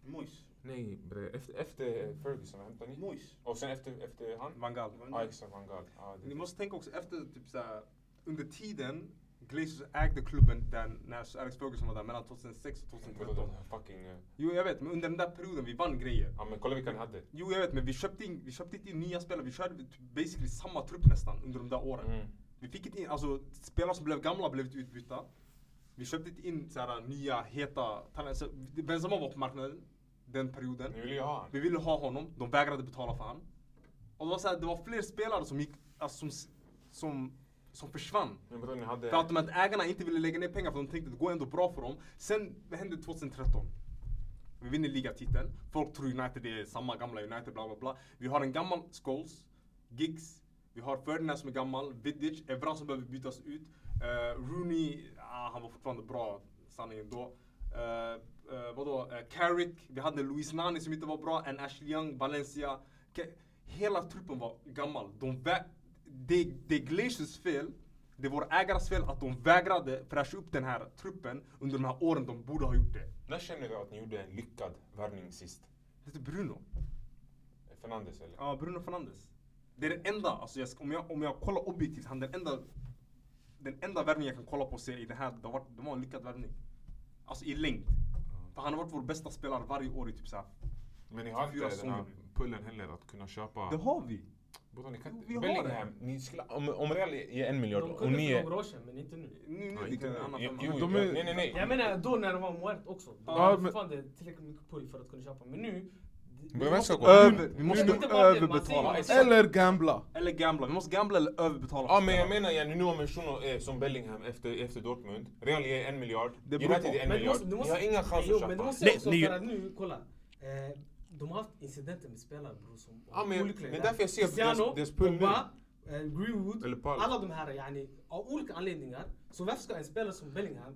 L: Mois.
K: Nej, bre.
E: Efter, efter Ferguson, vad hämtade ni?
L: Mois.
E: Och sen efter, efter han?
B: Vangal.
E: Ja, exakt, van Gaal. Ja, det-
B: Ni måste tänka också efter typ såhär, under tiden Glazers ägde klubben där, när Alex Ferguson var där mellan 2006 och
E: Vadå, den
B: 2013.
E: här Fucking... eh,
B: Jo jag vet, men under den där perioden vi vann grejer.
E: Ja men kolla vilka ni hade.
B: Jo jag vet, men vi köpte, in, vi köpte inte in nya spelare. Vi körde typ basically samma trupp nästan under de där åren.
E: Mm.
B: Vi fick inte in, alltså spelare som blev gamla blev inte utbytta. Vi köpte inte in såhär nya heta talanger. Så Benzema var på marknaden den perioden.
E: Ni ville ju ha han.
B: Vi ville ha honom, de vägrade betala för han. Och det var, så här, det var fler spelare som gick, alltså, som, s- som, som försvann.
E: Men bror ni hade...
B: För att de här ägarna inte ville lägga ner pengar för de tänkte att det går ändå bra för dem. Sen det hände 2013. Vi vinner ligatiteln. Folk tror United är samma gamla United, bla bla bla. Vi har en gammal Scholes, Giggs, vi har Ferdinand som är gammal, Vidic, Evra som behöver bytas ut. Eh, Rooney, ah, han var fortfarande bra, sanningen då. Uh, vadå? Eh, Carrick, vi hade Luis Nani som inte var bra, en Ashley Young, Valencia. Ke- Hela truppen var gammal. De vä- det, det är Glaciers fel, det är vår ägares fel att de vägrade fräscha upp den här truppen under de här åren de borde ha gjort det.
E: När känner du att ni gjorde en lyckad värvning sist?
B: Det heter Bruno.
E: Fernandes eller?
B: Ja, Bruno Fernandes. Det är den enda, alltså jag, ska- om, jag, om jag kollar objektivt, han är den enda, den enda värvning jag kan kolla på och se i det här, det var, det var en lyckad värvning. Alltså i längd. För han har varit vår bästa spelare varje år i typ såhär.
M: Men ni har
B: Fyra
M: inte den här
B: säsonger.
M: pullen heller att kunna köpa...
B: Det har vi!
M: Bror ni kan
B: Vi har
M: inte... Bellingham, ni skulle... Om, om Real ger en miljard
A: De
M: och
A: kunde
M: ni
A: för
M: är...
A: några år sedan, men inte nu.
B: Nu, nu,
M: Ja,
B: det
M: inte-
B: är en annan
M: Jo,
B: femma.
E: Jo,
C: Men
E: jo,
C: de är-
E: nej nej nej.
A: Jag menar då när det var Moert också. Då
B: Ja,
A: var det
C: men-
A: fortfarande tillräckligt mycket pull för att kunna köpa. Men nu... det-
M: Men vem ska gå
C: Över-
B: Över, vi måste
A: Det är inte bara det, man
B: överbetala.
A: säger-
C: Eller gambla.
B: Eller gambla, vi måste gambla eller överbetala.
E: Ja men jag menar yani nu har man shuno eh, som Bellingham efter, efter Dortmund. Real ger en miljard.
B: Det beror
E: United
B: på.
E: ger en
A: Men du
E: miljard.
A: måste- du
E: Ni
A: måste-
E: har inga
A: Jo,
E: chanser
A: men
E: att
A: det
E: köpa.
A: måste jag
D: Nej,
A: också
D: ni-
A: för att nu, kolla. Eh, de har haft incidenter med spelare bror som
E: Ja, men-
A: olyckliga.
E: men därför jag ser att deras-
A: Cristiano,
E: deras pull nu-
A: Pogba, eh, Greenwood,
M: Eller Paul.
A: alla de här yani, av olika anledningar. Så varför ska en spelare som Bellingham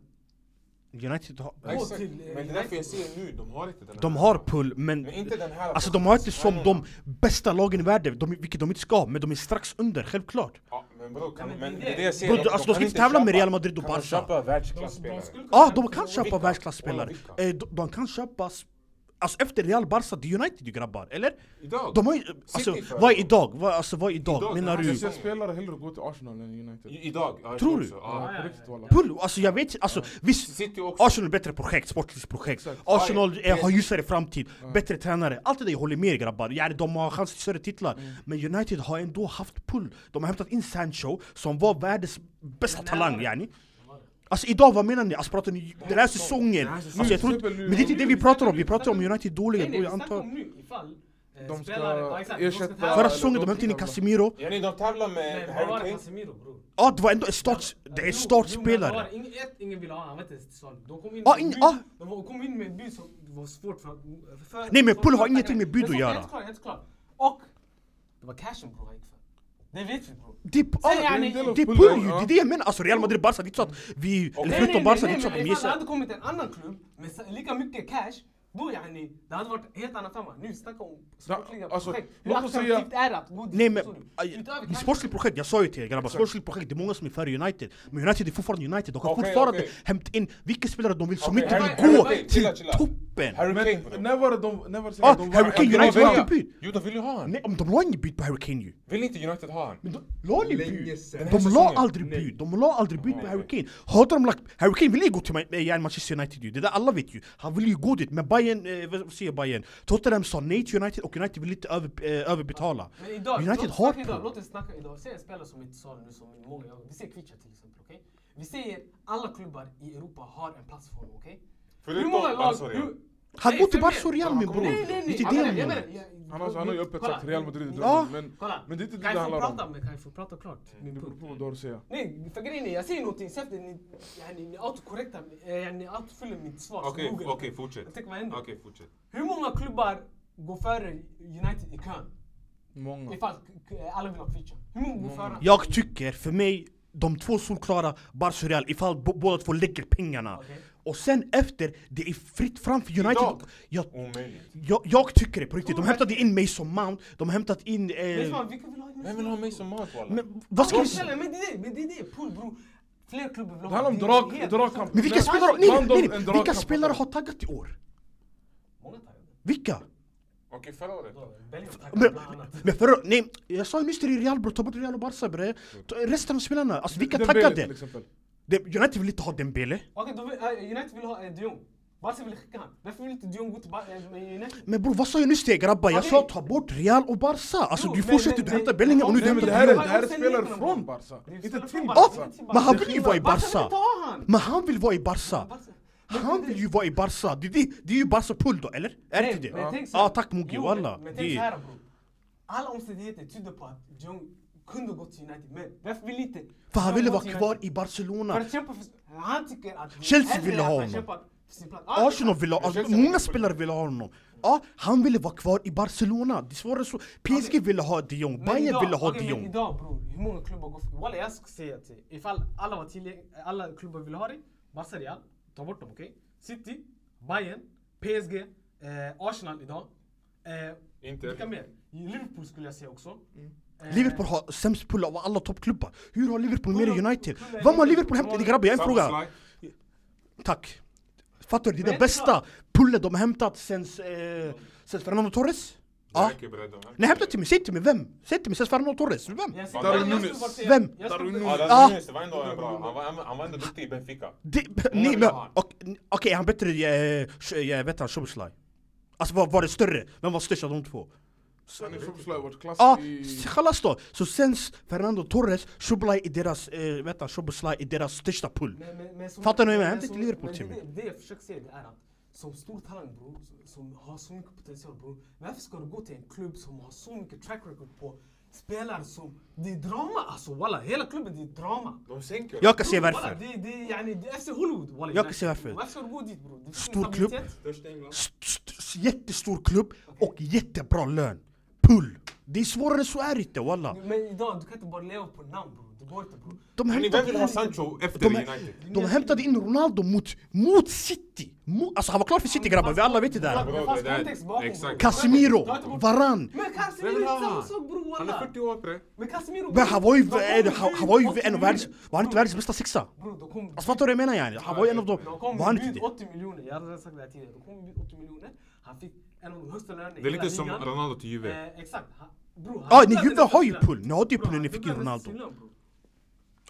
D: United har...
A: gå
E: Exakt.
A: till eh,
E: Men det är därför jag ser nu, de har inte den här.
D: De har pull, men...
E: Men inte den här.
D: Alltså de har inte som de bästa lagen i världen, de, vilket de inte ska, men de är strax under, självklart.
E: Ja, men bror, kan,
A: Ja, men
E: men
A: det
E: det
A: är
E: är
A: det.
E: det jag ser.
D: Bro, alltså, de ska
E: kan
D: inte tävla med Real Madrid och
E: kan de
D: Barca.
E: köpa
A: De, de
E: världsklasspelare?
A: skulle kunna
D: Ja, de kan
A: hämta-
D: köpa
E: Vilka?
D: världsklasspelare.
E: Kolla vilka.
D: Eh, de, de kan köpa... s- Alltså efter Real Barca, det är United ju grabbar, eller?
E: Idag?
D: De har ju... Alltså,
E: City för-
D: vad är idag? Vad, alltså, vad är idag,
E: Idag,
D: menar
E: den
C: Jag
D: du?
C: ser spelare hellre gå till Arsenal än United.
E: I- Idag? Ja, jag
D: Tror
E: också.
D: du?
E: Ja.
C: På riktigt walla.
A: Typ.
D: Pull, alltså jag vet alltså visst,
E: City också.
D: Arsenal är bättre projekt, sportsligt projekt.
C: Exakt.
D: Arsenal
E: Ja, ja.
D: eh, har ljusare framtid, bättre tränare. Allt det där jag håller med er, grabbar. Ja, de har chans till större titlar.
A: Mm.
D: Men United har ändå haft pull. De har hämtat in Sancho, som var världens bästa talang yani. Alltså idag, vad menar ni? Alltså pratar ni den här säsongen? Alltså, jag tror inte, men det är inte det vi pratar om, vi pratar om United
A: Nej,
D: dåliga
A: nej, vi
D: då, jag
A: snackar
D: antar.
A: om nu ifall eh,
C: De ska
A: spelare... Ja, exakt, de ska
C: ersätta-
A: tävla.
D: Förra
C: eller
D: säsongen, de
C: de
D: hämtade in
C: titlar.
D: Casemiro.
E: Yani de tävlar med
A: Nej, vad var
E: Harry
A: det
E: Kane.
A: Casemiro bror?
D: Ja, det var ändå en start, det är
A: Jo, men
D: startspelare.
A: det var ing- ett, ingen ville ha han, han var inte ens sån. De kom in
D: Ah,
A: med
D: ing-
A: bud,
D: ah.
A: de var- kom in med bud som var svårt för... för
D: Nej, men
A: för-
D: Pull har
A: för-
D: ingenting med bud
A: Men
D: att
A: så-
D: göra.
A: Helt klart, helt klart. Och det var cashen bror han gick för. Det vet vi bror.
D: Det är, ah,
A: Säg gärna-
D: det är
C: Pull,
D: pull ju, det
C: ja.
D: är det jag menar. Alltså Real Madrid, Barca, det är inte så att vi... Eller förutom Barca, det är inte så att
A: men ifall
D: de
A: det
D: gissar.
A: hade kommit en annan klubb med sa- lika mycket cash, då yani, det hade varit helt annan femma. Nu snacka om sportliga
C: alltså,
A: projekt. Hur
C: låt oss säga-
A: attraktivt är det att gå dit?
D: Nej men,
A: Förstår du?
D: aj,
A: Utöver
D: det är
A: cashen.
D: sportsligt projekt, jag sa ju till er grabbar, sportsligt projekt, det är många som är för United. Men United är fortfarande United, de kan
E: Okej,
D: fortfarande
E: okej.
D: hämta in vilka spelare de vill, som
E: Okej,
D: inte
E: Harry-
D: vill gå
E: Harry
D: till
E: Kane, chilla, chilla.
D: toppen.
E: Harry Kane
C: Men
E: bror.
C: när var det de... När var det
D: Ah,
C: säkert de
D: Harry Kane,
E: de
D: United
E: var-
D: har inte bytt.
E: Jo, de vill ju ha han.
D: Nej, om de la inget bud på Harry Kane ju.
E: Vill inte United ha han?
D: Men de la aldrig
B: Länge
D: bud.
B: sedan.
E: Den här
D: De la
E: säsongen.
D: aldrig bud, de la aldrig bud på
E: okej.
D: Harry Kane. Hade de lagt... Harry Kane ville ju gå till Ma- eh, ja, Manchester United ju, det där alla vet ju. Han ville ju gå dit, men Bayern, eh, vad vad säger Bayern? Tottenham sa nej till United och United ville inte över, eh, överbetala.
A: Men idag,
D: United
A: låt oss
D: har
A: snacka idag,
D: på.
A: låt oss snacka idag. Säg en spelare som inte sa nu som många gör. Vi säger Kvicha till exempel, okej? Vi säger alla klubbar i Europa har en plats för honom, okej?
E: Förutom Barca Real.
D: Han
A: Nej,
D: går till
A: för mig-
D: Barca och Real med bror.
A: Nej, nej, nej!
D: Det är
A: jag
D: det
A: menar-
D: jag
A: jag
D: menar.
A: menar, jag-
C: Han har- han har ju öppet
A: Kolla,
C: sagt Real Madrid är
A: ni-
C: drömmen, men...
A: Kolla!
C: Men det är inte det
A: kan
C: det
A: jag få
C: handlar
A: prata,
C: om. Mm.
A: men kan jag få prata klart? Min
C: Det beror
A: punkt.
C: på vad du har att säga.
A: Nej, för grejen är, jag säger någonting, sen efter ni, yani, ni autokorrektar, eh, yani, ni autofyller mitt svar. så
M: Okej,
A: Google.
M: okej, fortsätt.
A: Jag tänker, vad händer?
M: Okej, fortsätt.
A: Hur många klubbar går före United i kön?
C: Många.
A: Ifall eh, alla vill ha Kvicha. Hur många går före?
D: Jag tycker, för mig, de två solklara Barca och Real ifall bo- båda två lägger pengarna.
A: Okej.
D: Och sen efter, det är fritt fram för United.
E: Idag?
D: Jag,
E: Omöjligt.
D: jag, jag tycker det på riktigt. De hämtade in Mason Mount, de har hämtat in...
A: Men
D: Eh,
A: fan, vilka vill ha United?
E: Vem vill ha mig som mat walla?
D: men vad ska vi
A: Snälla,
D: säga?
A: Men det är det, men det är det, pull bror. Fler klubbar vill ha.
C: Det handlar om
A: Det är
C: drag,
A: helt-
C: dragkamp.
D: Men vilka
C: Nej,
D: spelare, nej,
C: bland dem
D: nej,
C: en
D: nej, vilka
C: dragkamp.
D: spelare har taggat i år?
A: Många taggade.
D: Vilka?
E: Okej, förra året.
A: Då, Belgien taggade
D: Men,
A: bland annat.
D: men förra, nej, jag sa ju nyss till er Real bror, ta bort Real och Barca bre. Ta- Resten av spelarna, alltså vilka
C: Dembele, liksom.
D: taggade?
C: till exempel.
D: Det- United vill inte ha Dembele.
A: Okej, då vill- eh, United vill ha eh, de Jong. Barca vill skicka han. Varför vill inte de Jong gå till Bar- eh, med United?
D: Men bror vad sa jag nyss till er grabbar? Jag
A: Okej.
D: sa ta bort Real och Barca! Alltså
A: Jo,
D: du
A: men-
D: fortsätter,
A: men-
D: du
A: men-
D: hämtar Bellingham och nu du
C: Nej men
D: hämtar
C: det här är,
D: Real!
C: det här är
A: Sen
C: spelare
A: gick de
C: från
A: bort.
C: Barca,
A: Det är
C: inte
A: spelare
C: till
A: från
D: Ja,
A: Barca,
C: Barca.
A: inte till
D: men han vill ju vara i
A: Barca vill
D: Barca!
A: inte ha han.
D: Men han vill vara i Barca!
A: Barca-
D: Han vill ju vara i Barca! Det, det, det är ju Barca pull då, eller? Är det
A: Nej,
D: inte det?
A: men tänk så här.
D: Ja tack Mogi,
A: Jo,
D: walla!
A: Men
D: Det-
A: tänk såhär bror. alla omständigheter tyder på att Jong kunde gå till United, men varför vill inte?
D: För han ville
A: gå
D: vara
A: till
D: kvar
A: United?
D: i
A: För
D: Barcelona.
A: att kämpa för... Han tycker att...
D: Chelsea
A: hellre
D: ville ha
A: att han
D: honom.
A: kämpar för sin plats. Ja,
D: Arsenal ville ha, alltså, många spelare ville ha honom. Ja, han ville vara kvar i Barcelona. Det är svårare så. PSG ville ha de Jong,
A: men
D: Bayern
A: idag-
D: ville ha
A: okej,
D: de
A: men
D: Jong.
A: idag bror, hur många klubbar går... för- Walla jag ska säga till dig. Ifall alla var tillgängliga, alla klubbar ville ha dig. Barca Real, ta bort dem okej? City, Bayern, PSG, eh, Arsenal idag. Eh,
N: Inter.
A: vilka mer? Liverpool skulle jag säga också. Eh,
D: Liverpool har sämst pull av alla toppklubbar. Hur har Liverpool mer än
A: Pull-
D: United?
A: pull är
D: Vem har
A: Liverpool.
D: Liverpool hämtat? Grabbar, jag har en fråga.
N: Szoboszlaj,
D: Tack. Fattar du? Det är den
A: Men-
D: bästa pullen de har hämtat sen eh, sen Fernando Torres. Ja.
N: Derek är beredd om han-
D: Nej hämta typ- till mig, säg till mig vem? Säg till mig, sen Fernando Torres, vem?
A: jag ser-
C: Darwin
A: jag- jag skulle
C: Nunes.
A: bara säga-
D: Vem?
A: jag skulle- Alltså,
E: Ja,
D: Ah.
E: Darwin Nunes, det var ändå en bra. Han var, han, han var ändå duktig i Benfica.
D: Det-
E: Många
D: ni-
E: vill
D: men-
E: ha han.
D: och- Okej, han bättre, eh, sh- jag vet han, Szoboszlaj. Alltså var, var det större? Vem var störst av de två?
C: Han är som slöj, vårt klass
D: Ja,
C: i...
D: s- chalas då! Så sen s- Fernando Torres, Szoboszlaj i deras, eh, vet han, Szoboszlaj i deras största pull.
A: Men- men- men som-
D: Fattar ni vad jag menar?
A: men
D: Hämta
A: som-
D: inte Liverpool
A: men
D: till
A: det-
D: mig.
A: Det jag försöker säga det är att som stor talang bror, som- som har så mycket potential bror. Varför ska du gå till en klubb som har så mycket track record på spelare som... Det är drama alltså walla, hela klubben det är drama.
E: De sänker.
D: Jag kan se
A: Bror,
D: varför.
A: walla, Det, det, är- yani, det är FC Hollywood walla.
D: Jag kan se varför.
A: Varför ska du gå dit bror? Det finns
D: Stor
A: stabilitet.
D: klubb.
E: Största England.
D: St- st- s- jättestor klubb och jättebra lön. Pull! Det är svårare än så är det inte walla.
A: Men idag, du kan inte bara leva på namn bror. Det går inte bror.
D: De
E: Men Vem vill ha
D: hämtade,
E: Sancho efter
D: De är-
E: United?
D: de hämtade in Ronaldo mot, mot City! Mot, alltså han var klar för City grabbar, vi alla vet det där.
A: Det fanns
N: det där-
A: kontext bakom.
N: exakt.
A: bror.
D: Casemiro,
A: Ta inte bort-
D: Varan,
A: Men Casemiro
N: Vem
A: är
N: vill ha
A: samma
N: han?
A: sak bror
N: Han är
A: walla.
N: 40 år bre.
A: Men Casemiro...
D: Men han var ju,
A: bror,
D: eh, han, han var ju
A: bror,
D: en av världens, var han inte världens bästa sexa?
A: Bror, de kom...
D: Alltså fattar du vad jag menar yani? Han var ju en av dem,
A: De
D: var han
A: kom
D: inte
A: bjud
D: det?
A: 80 miljoner, jag hade redan sagt det här tidigare. De kom bjud 80 miljoner, han fick en av de högsta lönerna i
N: Det är
A: hela
N: lite som
A: ligan.
N: Ronaldo till Juve.
A: Eh, exakt. Han, bror, han
D: Ja, ni
A: dubblade
D: Juve
A: nästan
D: har ju
A: sin lön.
D: pull, ni hade ju
A: Bror,
D: pull när ni
A: han
D: fick ju
A: dubblade nästan
D: Ronaldo.
A: sin lön, bror.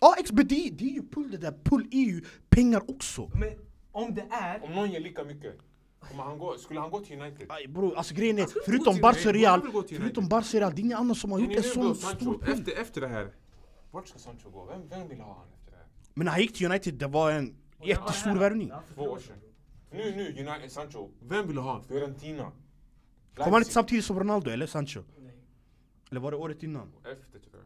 D: Ja ex, men det, det är ju pull det där, pull är ju pengar också.
A: Men om det är...
E: Om någon ger lika mycket, kommer han gå, skulle han gå till United?
D: Aj bror, alltså grejen är,
N: skulle inte gå
D: förutom
N: till
D: Barca
N: Real, han
D: Real,
N: vill gå till
D: förutom
N: United.
D: Barca Real, det är ingen annan som har gjort
E: ni
D: en
E: nu
D: sån
E: då,
D: stor
E: Sancho?
D: pull.
N: Efter, efter det här.
E: Vart ska Sancho gå? Vem, vem vill ha han efter det här?
D: Men när han gick till United, det var en
A: Och det var
D: jättestor
A: här.
D: värvning.
A: Ja, för
E: Två år sedan. Nu, nu, United, Sancho,
N: Vem vill ha han?
E: Fiorentina.
D: Kom han inte
E: Leipzig.
D: samtidigt som Ronaldo eller Sancho?
A: Nej.
D: Eller var det året innan?
N: Efter tror jag.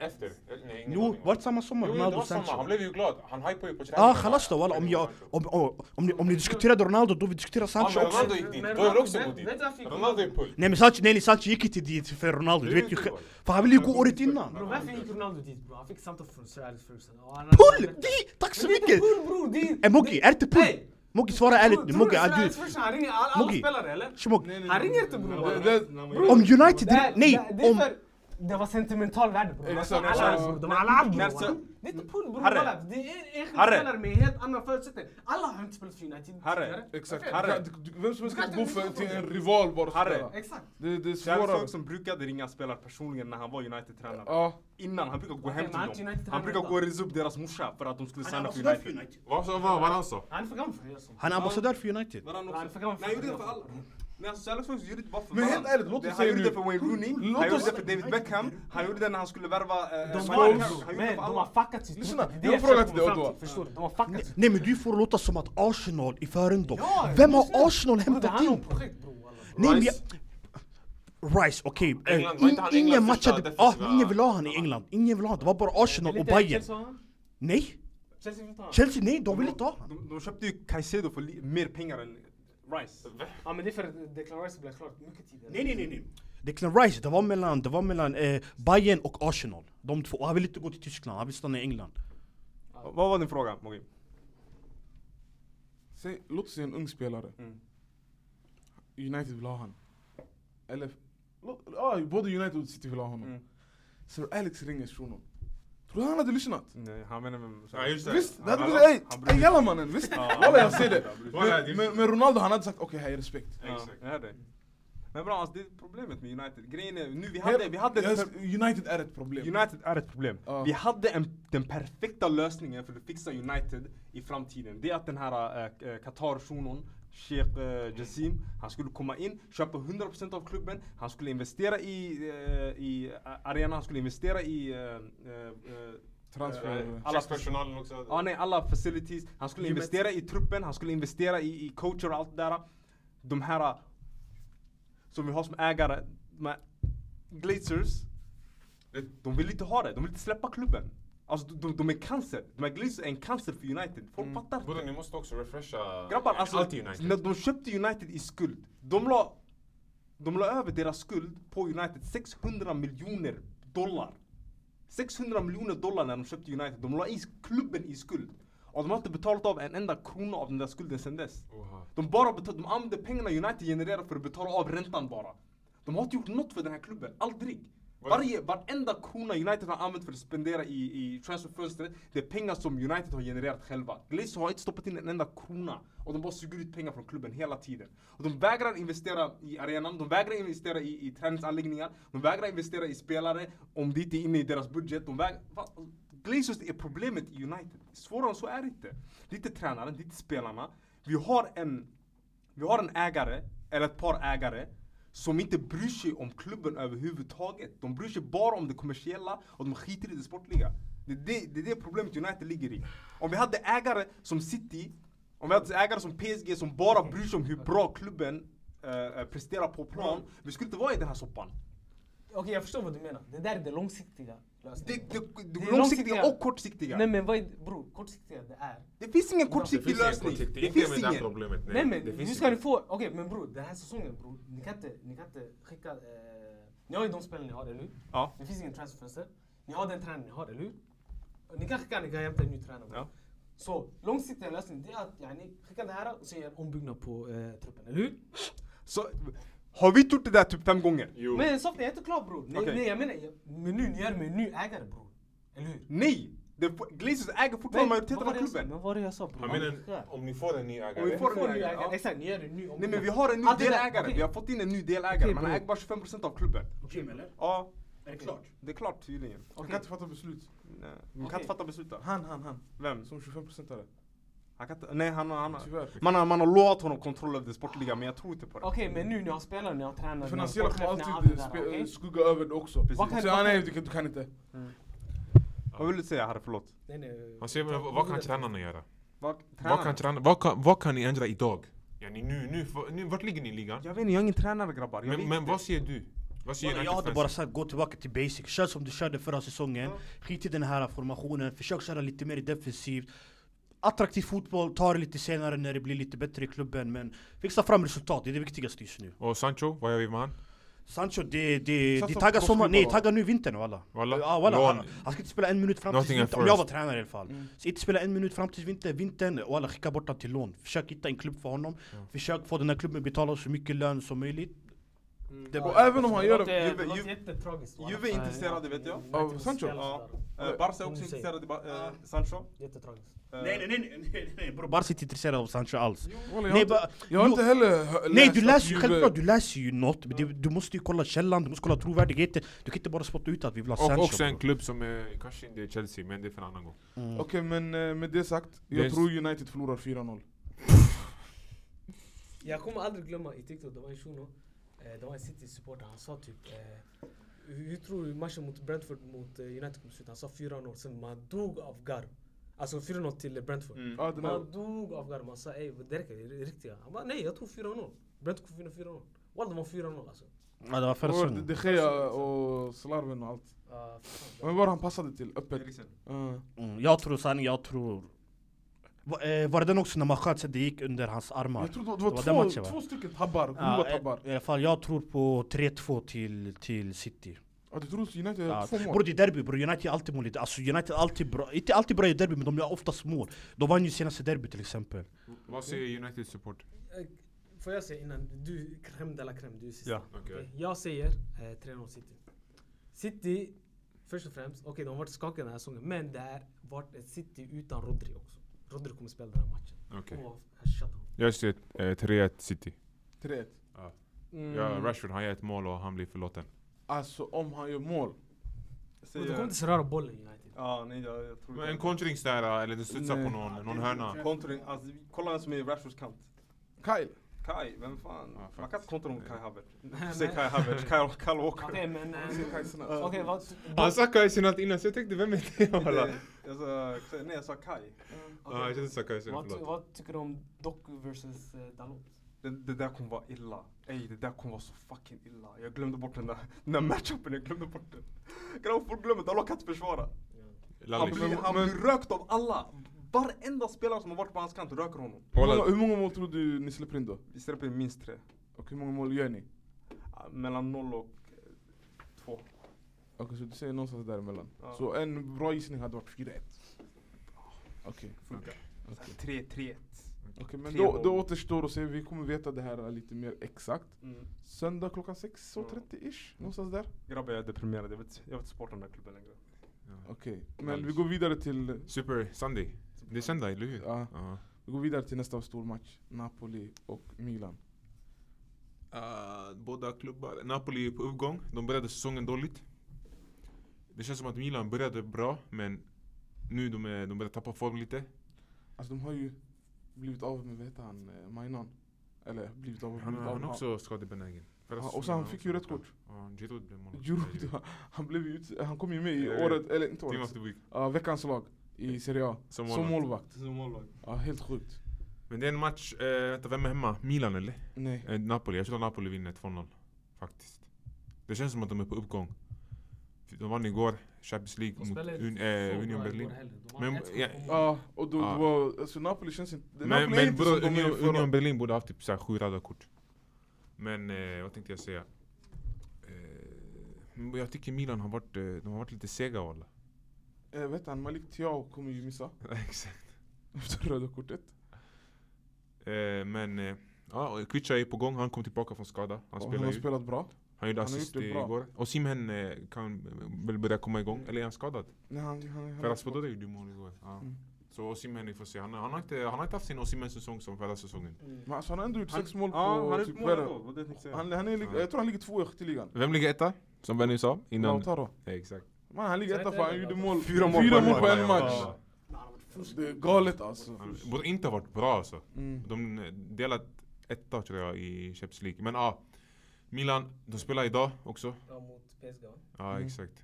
E: Eh, Efter? Nej, ingen
D: Jo,
E: aning.
D: var det samma sommar?
E: Jo, jo, det
D: Ronaldo
E: var
D: och
E: samma. Han
D: Sancho?
E: blev ju glad. Han hypade ju på
D: Ja, ah,
E: träningen.
D: chalas då walla, om, jag, om, om, om, ni, om ni diskuterade Ronaldo då vi diskuterar
E: Ja,
D: Sancho
E: men
D: också.
E: Ah, Ronaldo gick dit. Då
A: Men
E: är det också
A: Ronaldo-
E: gå dit.
A: vet du varför-
E: Ronaldo är pull.
D: Nej men Sancho, nej, nej Sancho gick inte dit för Ronaldo, du vet ju själv. För han ville ju gå året innan.
A: Bror, varför gick Ronaldo dit bror? Han fick samtal från Sir Alex Ferguson. Och han-
D: Pull! Det, tack så
A: Men det är inte
D: mycket!
A: pull bror, det är...
D: Eh Moggi, är det inte pull?
A: Nej.
D: Moggi svara ärligt
A: Tror-
D: nu,
A: tror
D: Moggi,
A: du Sir
D: är du...
A: Alex Ferguson, han ringer alla, alla
D: Moggi.
A: spelare eller?
D: Shmoggi.
A: Han ringer inte bror.
C: Det-
D: Om United...
A: Det,
D: Nej,
A: det, det, är
D: om...
A: för, det var sentimental värde bror.
C: Exakt,
A: Exakt, alla,
C: exakt.
A: alltså, de alla andra.
O: När så-
A: Det är inte pull bror.
O: Harry.
A: Harry. Det är enskilda
O: Harry.
A: spelare med helt andra förutsättningar. Alla har inte spelat för United
O: Harry.
A: tidigare.
C: Exakt.
O: Harry.
C: Du kan- du- Vem som helst
A: Du kan
C: kan
A: inte
C: gå för,
A: lyssna på
C: till
A: det.
C: en rival bara och
O: Harry.
C: spela.
A: Exakt.
C: Det, det är svårare.
B: Kärlek som brukade ringa spelare personligen när han var United-tränare.
C: Ja.
B: Innan, han brukar gå
A: Okej,
B: hem
A: men han är inte
B: till dem.
A: United-tränare
B: Han brukar
A: idag.
B: gå och resa upp deras morsa för att de skulle signa för
D: ambassadör för
B: United.
D: United.
N: Vad sa vad var han sa?
A: Han är för gammal för det. alltså.
D: Han är ambassadör för United.
B: Varann
A: Han är
B: också.
A: för gammal
B: Nej, han gjorde det för
A: det.
B: alla. Nej, alltså Alex Ferguson gjorde det bara för
C: Men helt
B: varann.
C: ärligt, låt oss
B: Han
C: säga
B: gjorde det
C: nu-
B: för Wayne Rooney,
C: Låt
B: han gjorde
C: oss-
B: det för David Beckham, han gjorde det när han skulle värva... eh,
A: De
B: Mike
A: har,
B: Carrick. Han gjorde det
A: men
B: för
A: de
B: alla.
A: har fuckat sitt
C: Lyssna,
A: Det är
C: jag har
A: det
C: en fråga
A: försöker
C: till dig,
A: komma fram
C: Odoa.
A: Förstår du? De har fuckat sitt
D: Nej men du får låta som att Arsenal är före dem.
A: Ja,
D: Vem har
A: lyssna.
D: Arsenal
A: Bror, Det
D: hämtat
A: handlar om
D: in?
A: projekt bror. walla.
D: Nej, men jag... Rice, okej. eh,
E: England, var inte
D: in-
E: han
D: Ingen
E: Englands första
D: matchade... Ah,
E: defensiva-
D: ingen vill ha han i England. Ingen vill ha han. Det var bara Arsenal och
A: Lite
D: Bayern.
A: Chelsea har han.
D: Nej.
A: Chelsea vill ta han.
D: Chelsea, nej. De vill inte ha han.
B: De, de köpte ju Caicedo för li- mer pengar än Rice.
A: Ja men det är för att Declaration blev klart mycket tidigare.
D: Nej, nej, nej. nej. Declan Rice, det var mellan, det var mellan eh, Bayern och Arsenal. De två. Och han vill inte gå till Tyskland, han vill stanna i England.
B: Vad var din fråga, Mogi?
C: Säg, låt oss säga en ung spelare.
B: Mm.
C: United vill ha han. Eller, lå- ja, både ah, United och City vill ha honom.
B: Mm.
C: Sir Alex ringer shunon. Tror du han hade lyssnat?
B: Nej, han menar med...
N: Ja just det.
C: Visst, det hade
B: han-
C: blivit ey,
B: han bryr
C: ey
B: sig.
C: jalla mannen, visst.
B: Ah,
C: Walla jag ser det.
N: Walla, det
C: Men,
N: är-
C: men, men Ronaldo han hade sagt okej, här är respekt.
B: Ja,
N: Exakt.
B: jag hör dig. Men bra, alltså, det är problemet med United. Grejen är, nu vi hade...
C: Här-
B: Vi hade
C: jag- United är ett problem.
B: United är ett problem.
C: Ja.
B: Vi hade en, den perfekta lösningen för att fixa United i framtiden. Det är att den här eh, eh, Qatar-shunon, Sheikh eh, Jassim, han skulle komma in, köpa 100% av klubben, han skulle investera i, eh, i eh, arenan, han skulle investera i eh, eh, eh,
C: Transfer.
B: alla-
E: Personalen också.
D: Ah,
B: Ja nej, alla facilities. Han skulle
C: Gymmet.
B: investera i truppen, han skulle investera i, i coacher och äh, allt det där. De här som vi har som ägare, de här Glazers, eh, de vill inte ha det. De vill inte släppa klubben. Alltså de, de, de är cancer. De här Glazers är en cancer för United. Folk fattar
E: Bror
B: inte.
E: ni måste också refresha
B: Grabbar, alltså,
E: allt i eh, United.
B: när de köpte United i skuld. De la, de la över deras skuld på United 600 miljoner dollar. 600 miljoner dollar när de köpte United. De la i klubben i skuld. Och de har inte betalat av en enda krona av den där skulden sedan dess.
E: Oha.
B: De bara betal- de använder pengarna United genererar för att betala av räntan bara. De har inte gjort något för den här klubben, aldrig. Varje, varenda krona United har använt för att spendera i, i transferfönstret, det är pengar som United har genererat själva. Glazer har inte stoppat in en enda krona. Och de bara suger ut pengar från klubben hela tiden. Och de vägrar investera i arenan, de vägrar investera i, i träningsanläggningar, de vägrar investera i spelare om det inte är inne i deras budget. De vägrar, Glazers är problemet i United. Svårare än så är det inte. Det är inte tränaren, det är inte spelarna. Vi har en, vi har en ägare, eller ett par ägare, som inte bryr sig om klubben överhuvudtaget. De bryr sig bara om det kommersiella och de skiter i det sportliga. Det är det, det, är det problemet United ligger i. Om vi hade ägare som City, om vi hade ägare som PSG som bara bryr sig om hur bra klubben eh, eh, presterar på plan, vi skulle inte vara i den här soppan.
A: Okej, jag förstår vad du menar. Det där är det långsiktiga
B: Det,
A: lösningen.
B: det, det,
A: är
B: långsiktiga
A: långsiktiga.
B: och kortsiktiga.
A: Nej men vad är det? Bror, kortsiktiga det är.
B: det finns ingen
E: Det
B: kortsiktig
E: finns ingen
B: lösning.
E: kortsiktig-
B: Det
E: inte
B: finns
E: med det här
B: ingen.
E: problemet.
A: Nej men
E: det
A: hur
E: finns
A: ska ni
E: inte.
A: få... Okej men bror, den här säsongen bror. Ni kan inte, ni kan inte skicka... Eh, ni har ju de spelen ni har, eller hur?
B: Ja.
A: Det finns ingen transferfönster. Ni har den tränaren ni har, eller hur? Ni kanske kan skicka- ni kan hämta en ny tränare.
B: Ja.
A: Så långsiktiga lösningen det är att yani, skicka det här och sen göra en ombyggnad på eh, truppen, eller hur?
B: Så, har vi gjort det där typ fem gånger?
E: Jo.
A: Men soft, jag är inte klar bror. Nej,
B: Okej.
A: nej jag menar, jag- men nu, ni gör med en ny ägare bror. Eller hur?
B: Nej! Det, Glazers äger fortfarande majoriteten av
A: vad var det jag sa?
B: klubben.
A: Men vad var det jag sa bror?
E: Jag menar, om ni får en ny
B: Om vi
E: ägare.
B: får-
A: Ni får en ny
B: ägare,
A: ägare,
B: ja.
A: Exakt, ni gör en ny ombyggnad.
B: Nej men vi har en ny
A: Allt Alltså, det där,
B: delägare.
A: okej.
B: Vi har fått in en ny delägare.
A: Okej,
B: Man
A: bro.
B: äger bara 25% av klubben.
P: Okej, eller?
B: Ja,
P: Är det klart?
B: det är klart tydligen.
C: Han kan inte fatta beslut.
B: Nej, man kan
A: Okej.
B: inte fatta beslut där.
C: Han, han, han.
B: Vem?
C: Som 25%are.
B: Han kan inte, nej han, han, han
C: Tyvärr.
B: man, har, man har lovat honom kontroll över det sportliga men jag tror inte på det.
A: Okej, men nu när jag spelar, när jag tränar,
B: nou,
C: Det
A: när jag
C: finansiella kommer
A: sportchef, när jag
C: alltid
A: allt det
C: eh, spe-
A: där, okej?
C: skugga över det också.
B: Vad kan-
C: Så,
A: vad
C: ah,
A: kan-
C: nej, du kan, du kan inte.
B: Vad vill du säga Harry? Förlåt.
A: Nej, nej.
E: Han säger vad, vad kan tränarna göra?
B: Vad,
E: Vad kan,
B: tränare?
E: tränarna, vad, kan, vad kan ni ändra idag? Ja, ni, nu, nu, för- nu, vart ligger ni i ligan?
B: Jag vet inte, jag är ingen tränare grabbar. Jag
E: Men,
B: vet
E: men
B: inte.
E: vad ser du? Vad ser
D: Jag hade bara
E: United-fansen?
D: sagt gå tillbaka till basic, kör som du körde förra säsongen. Skit i den här formationen, försök köra lite mer defensivt. Attraktiv fotboll, ta det lite senare när det blir lite bättre i klubben men fixa fram resultat, det är det viktigaste just nu.
E: Och Sancho, vad gör vi med han?
D: Sancho, det, det,
C: Satsa
D: de
C: på
D: taggar sommar,
C: proffsfotboll,
D: nej
C: va?
D: taggar nu vintern walla.
E: Walla.
D: Ja, walla.
E: Lån.
D: Han, han ska inte spela en minut fram tills
E: Nottingham
D: vintern, om jag var
E: Forest.
D: tränare i alla
C: Mm.
D: fall. Så inte spela en minut fram tills vintern, vintern, walla skicka bort honom till lån. Försök hitta en klubb för honom, försök få den här klubben betala så mycket lön som möjligt. Det är
C: Och
D: bra.
C: även om han gör
A: låter-
C: det...
B: Juve-
A: det låter
B: Juve-
A: jättetragiskt. va?
B: Juve är intresserade, vet jag.
A: United måste
C: Av Sancho?
A: ställa sig
B: Ja.
A: där.
B: Eh, Barca är
A: Hon
B: också
A: säger.
B: intresserad i Ba- eh, Sancho.
A: Jättetragiskt.
B: Eh,
P: Nej, nej, nej, nej, nej, nej, bror.
D: Barca är inte intresserade av Sancho alls.
C: Walla, jag har
D: Nej,
C: inte-
D: bara-
C: Jag har
D: jo.
C: inte heller hö-
D: Nej du
C: att
D: läser ju
C: Juve-
D: självklart, du läser ju något men du, du måste ju kolla källan, du måste kolla trovärdigheten Du kan inte bara spotta ut att vi vill ha
E: Och
D: Sancho
E: också en
D: bro.
E: klubb som är, kanske inte är Chelsea, men det är för en annan gång.
D: Mm.
C: Okej, men eh, med det sagt. Jag
E: Det är-
C: tror United förlorar 4-0.
A: Jag kommer aldrig glömma i TikTok, det var en shuno, eh, det var en City-supporter, han sa typ eh, Hur tror du matchen mot Brentford mot eh, United kommer sluta? Han sa 4-0, sen man dog av garv. Alltså 4-0 till eh, Brentford.
C: Ja, den där.
A: Man dog av garv, man sa ey det räcker, det är riktiga. Han bara nej jag tror 4-0. Brentford vinner 4-0. Walla det var 4-0 alltså.
D: Ja det var förra
C: Och
D: säsongen
C: De De Gea och Slarven och allt.
A: Ah, fan.
C: Men var han passade till, öppet. Eh,
B: Eriksen.
C: Ja.
D: mm, Jag tror sanning, jag tror Va, eh, Var det den också när man sköt sig, det gick under hans armar?
C: Jag tror det var, det
D: Det
C: var
D: var
C: två,
D: den matchen, va?
C: två stycken tabbar, grova
D: Ja,
C: tabbar.
D: eh, I alla fall jag tror på 3-2 till, till City
C: Ja, du tror att United gör
D: ja.
C: två mål?
D: Bror det är derby bror, United är alltid mål Alltså United är alltid bra, inte alltid bra i derby men de gör oftast mål De vann ju senaste derby till exempel
E: Vad säger United-support?
A: Eh, Får jag säga innan, du crème de la crème, du är sista.
B: Ja.
E: Okej.
A: Jag säger eh, 3-0 City. City, först och främst, okej de har varit skakiga den här säsongen men det har varit ett City utan Rodri också. Rodri kommer spela den här matchen.
E: Okej.
A: Och shut up.
E: Jag ser eh, 3-1 City.
C: 3-1.
A: Mm.
D: Mm.
E: Ja, Rashford han gör ett mål och han blir förlåten.
C: Alltså om han gör mål.
B: Säger-
A: De kommer inte så röra bollen United.
B: Ja, nej jag, jag tror
E: Men en
B: inte.
E: kontring där, eh, eller det studsar på
C: Nej.
E: någon, någon hörna.
B: Kontring, alltså kolla vem som är i Rashfords kant.
C: Kyle.
B: Kai, vem fan?
E: Ja,
B: Man kan
E: faktiskt.
B: inte kontra mot Kai Havertz.
A: Nej,
B: Säg
A: men-
B: Kai Havertz, Kyle, Kyle Walker.
A: Okej men... eh,
C: Snabbt.
A: Okej vad...
E: Han sa Kajsinat innan så jag tänkte vem är det?
B: Det- Jag sa, nej jag sa Kai.
E: Ja, jag kände Sakaisinat,
A: Vad,
E: förlåt.
A: vad tycker du om Doku versus eh, Dalot?
B: det, det där kommer vara illa. Ey, det där kommer vara så fucking illa. Jag glömde bort den där, den där matchupen, jag glömde bort den. Grabbar, folk glömmer, Dalot kan inte försvara. Han
E: Lalli.
B: blir, han
C: Men-
B: blir rökt av alla. Varenda spelare som har varit på hans kant röker honom.
C: Hur många, hur många mål tror du ni släpper in då?
B: Vi släpper in minst tre.
C: Och hur många mål gör ni?
B: Ah, Mellan noll och eh, två.
C: Okej, så du säger någonstans däremellan.
B: Ja.
C: Så en bra gissning hade varit 4-1. Okej.
B: Funkar.
C: Okej.
B: Så här, Tre, tre, ett.
C: Okej, men
B: Tre
C: då,
B: mål.
C: då återstår att se, vi kommer veta det här lite mer exakt.
B: Mm.
C: Söndag klockan 6.30-ish, någonstans där.
B: Grabbar, jag är deprimerad. Jag vet, jag vet inte supporta den där klubben längre.
C: Okej, men
E: Nice.
C: vi går vidare till
E: Super Sunday. Det är söndag, eller hur?
C: Ja.
E: Ja.
C: Vi går vidare till nästa stor match. Napoli och Milan.
E: Eh, båda klubbar. Napoli är på uppgång. De började säsongen dåligt. Det känns som att Milan började bra, men nu de, är, de börjar tappa form lite.
C: Alltså de har ju blivit av med, vad heter han, eh, Mainan? Eller blivit av,
E: Han,
C: blivit av
E: han är
C: med
E: också skadebenägen. Förra
C: Ja, och så
E: säsongen
C: han
E: var
C: fick
E: också
C: ju rött
E: borta.
C: kort.
E: Ja, Giroud blev målvakt.
C: Giroud, han- han blev ju ut, han kom ju med i
E: Ja, ja.
C: året, eller inte
E: Team
C: året,
E: of the week.
C: Ja, veckans lag i Serie A.
E: Som
C: Som
E: målvakt.
C: målvakt.
B: Som målvakt.
C: Ja, helt sjukt.
E: Men det är en match, eh, vänta vem är hemma? Milan eller?
C: Nej.
E: Eh, Napoli, jag tror att Napoli vinner 2-0. Faktiskt. Det känns som att de är på uppgång. De vann igår, Champions League
A: De
E: mot
A: spelade
E: Un,
A: så
E: eh,
A: bra
E: Union
A: igår
E: Berlin.
A: heller. De vann
E: Men,
A: 1-0
E: ja,
A: på
C: Ja, och då,
E: Ah.
C: det var, alltså Napoli känns inte,
E: Men,
C: Napoli är
E: men
C: inte
E: bro,
C: som de är
E: Union,
C: förra.
E: Union Berlin borde ha haft typ så här sju röda kort. Men eh, vad tänkte jag säga? Eh, jag tycker Milan har varit, eh, de har varit lite sega walla.
C: Eh, vet han, Malik Thiaw kommer ju missa
E: Exakt.
C: efter röda kortet.
E: Eh, men eh, ja, och Kvicha är på gång, han kom tillbaka från skada. Han
C: och han
E: spelar
C: har
E: ju.
C: spelat bra.
E: Han gjorde
C: han har gjort
E: assist
C: det
E: i-
C: bra.
E: igår. Och Simhen eh, kan eh, väl börja komma igång, eller är han skadad?
C: Nej, han, han, han,
E: Ferhat Bodode gjorde ju mål igår. Ja.
C: Mm.
E: Så Osimhen, vi får se. Han, han, har inte, han har inte haft sin Osimhen-säsong som förra säsongen.
C: men alltså, han har ändå gjort sex mål på
B: Ja, han har
C: typ
B: gjort mål
C: vad är det?
B: ändå. Vad det jag tänkte säga.
C: Han, han är, lig-
E: Ja.
C: jag tror han ligger två i skytteligan.
E: Vem ligger etta? Som Benny sa innan.
C: Lautaro.
E: Ja, exakt.
C: Man, han ligger
A: Så
C: etta
A: heter
C: för han
A: det
C: gjorde
A: Lautaro.
C: mål.
B: Fyra mål
C: Fyra
B: på
C: mål på
E: en
C: en
E: match.
C: match.
E: Ja.
C: Det är galet alltså.
E: Han borde inte ha varit bra alltså.
C: Mm.
E: De eh, delat etta tror jag i Champions League. Men ja, ah, Milan, de spelar idag också.
G: Ja, mot PSG. va?
E: Ja,
C: Mm.
E: exakt.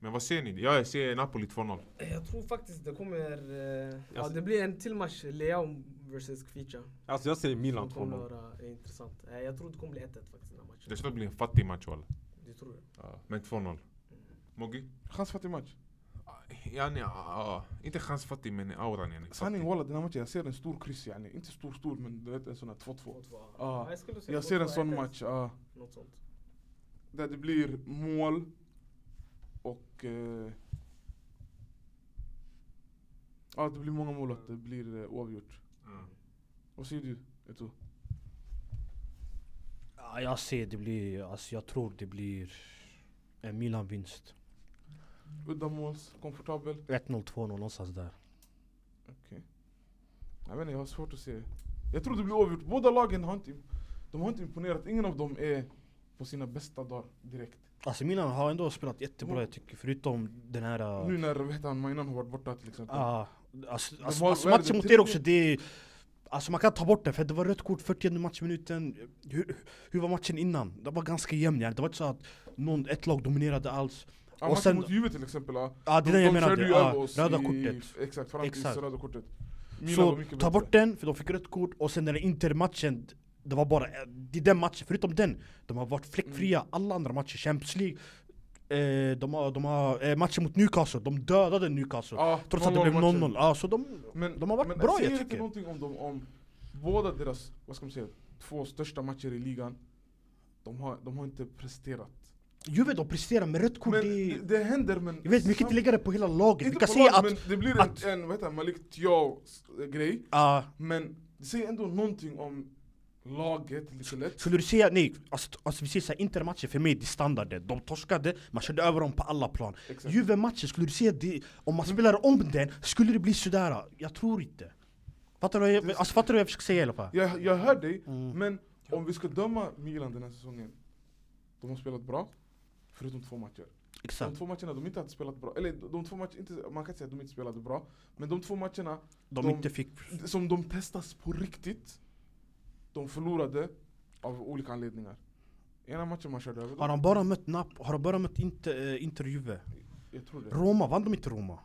E: Men vad ser ni? Jag ser Napoli 2-0.
G: Jag tror faktiskt det kommer... Eh, ja, det blir en till match. Leao vs Kvicha.
B: Alltså jag säger Milan
G: Som kommer
B: 2-0.
G: vara eh, intressant. Eh, jag tror det kommer bli 1-1 faktiskt den här
E: Det
G: matchen.
E: skulle bli en fattig match walla.
G: Du tror det?
E: Men 2-0. Moggi?
C: Chansfattig match.
E: Ja, nej, ja. Inte chansfattig men auran yani.
C: Sanning
E: Fattig.
C: walla den här matchen, jag ser en stor kryss yani. Inte stor stor men du vet en sån här 2-2.
G: 2-2.
C: Ja.
G: Ja, jag skulle säga
C: Jag ser en
G: 2-2,
C: sån
G: 1-1,
C: match, ja.
G: Något sånt.
C: Där det blir mål och... eh, Ja, det blir många mål och att det blir eh, oavgjort.
E: Mm.
C: Vad säger du, Eto?
D: Ja, jag ser det blir, alltså jag tror det blir eh, en Milan-vinst.
C: Uddamåls, komfortabel?
D: 1-0, 2-0 någonstans där.
C: Jag vet inte, jag har svårt att se. Jag tror det blir oavgjort. Båda lagen har inte, de har inte imponerat. Ingen av dem är på sina bästa dagar direkt.
D: Alltså Milan har ändå spelat jättebra jag tycker, förutom den här...
C: Mm.
D: eh,
C: Nu när vad heter han, Mainan har varit borta till exempel.
D: Ja, alltså, alltså,
C: har-
D: alltså
C: vad är det,
D: matchen mot
C: tio-
D: er också, det är... Alltså man kan ta bort det, för det var rött kort 40 matchminuten. Hur, hur var matchen innan? Det var ganska jämn ja. det var inte så att någon, ett lag dominerade alls.
C: Ja,
D: och
C: matchen
D: sen-
C: mot Juve till exempel. Ja.
D: Ja det är det jag
C: körde
D: menade,
C: ju över
D: ja,
C: oss
D: röda
C: i-
D: kortet.
C: Exakt, fram till
D: Exakt.
C: röda kortet. var
D: Så
C: mycket
D: ta
C: bättre.
D: bort den, för de fick rött kort, och sen den här Inter-matchen Det var bara, det är den matchen, förutom den De har varit fläckfria,
C: Mm.
D: alla andra matcher, Champions League eh, De har, de har eh, matchen mot Newcastle, de dödade Newcastle
C: Ja,
D: Trots att det
C: 0-0
D: blev
C: matchen.
D: 0-0, ja, så de,
C: Men,
D: de har varit
C: men
D: bra
C: säger
D: jag
C: inte
D: tycker
C: någonting om dem om båda deras, vad ska man säga, två största matcher i ligan. De har, de har inte presterat.
D: Juve de presterar med rött kort,
C: Men
D: det,
C: det, det händer men...
D: Jag vet, vi kan inte lägga det på hela laget, vi
C: Inte
D: kan
C: på
D: säga
C: lag,
D: att,
C: men det blir
D: att-
C: en, en vad heter han, Malik Thiaws eh, grej.
D: ja
C: Men det säger ändå någonting om laget lite lätt.
D: Skulle du säga, nej, alltså, alltså vi säger såhär, Inter-matchen för mig det är standarden De torskade, man körde över dem på alla plan
C: Exakt.
D: Juve-matchen, skulle du säga det, om man spelar om den, skulle det bli sådär? Jag tror inte Fattar du vad jag, alltså, fattar du vad jag försöker säga i alla fall?
C: Jag, jag hör dig,
D: Mm.
C: men om vi ska döma Milan den här säsongen. De har spelat bra, förutom två matcher. De
D: Exakt,
C: två matcherna de inte hade spelat bra, eller de, de två matcherna, inte, man kan inte säga att de inte spelade bra. Men de två matcherna
D: de,
C: de-
D: inte fick
C: som de testas på riktigt, de förlorade av olika anledningar. Ena matchen man körde över
D: Har
C: dem,
D: de bara mött Nap, har de bara mött Inter, eh, Inter Juve?
C: jag tror det.
D: Roma, vann de inte Roma?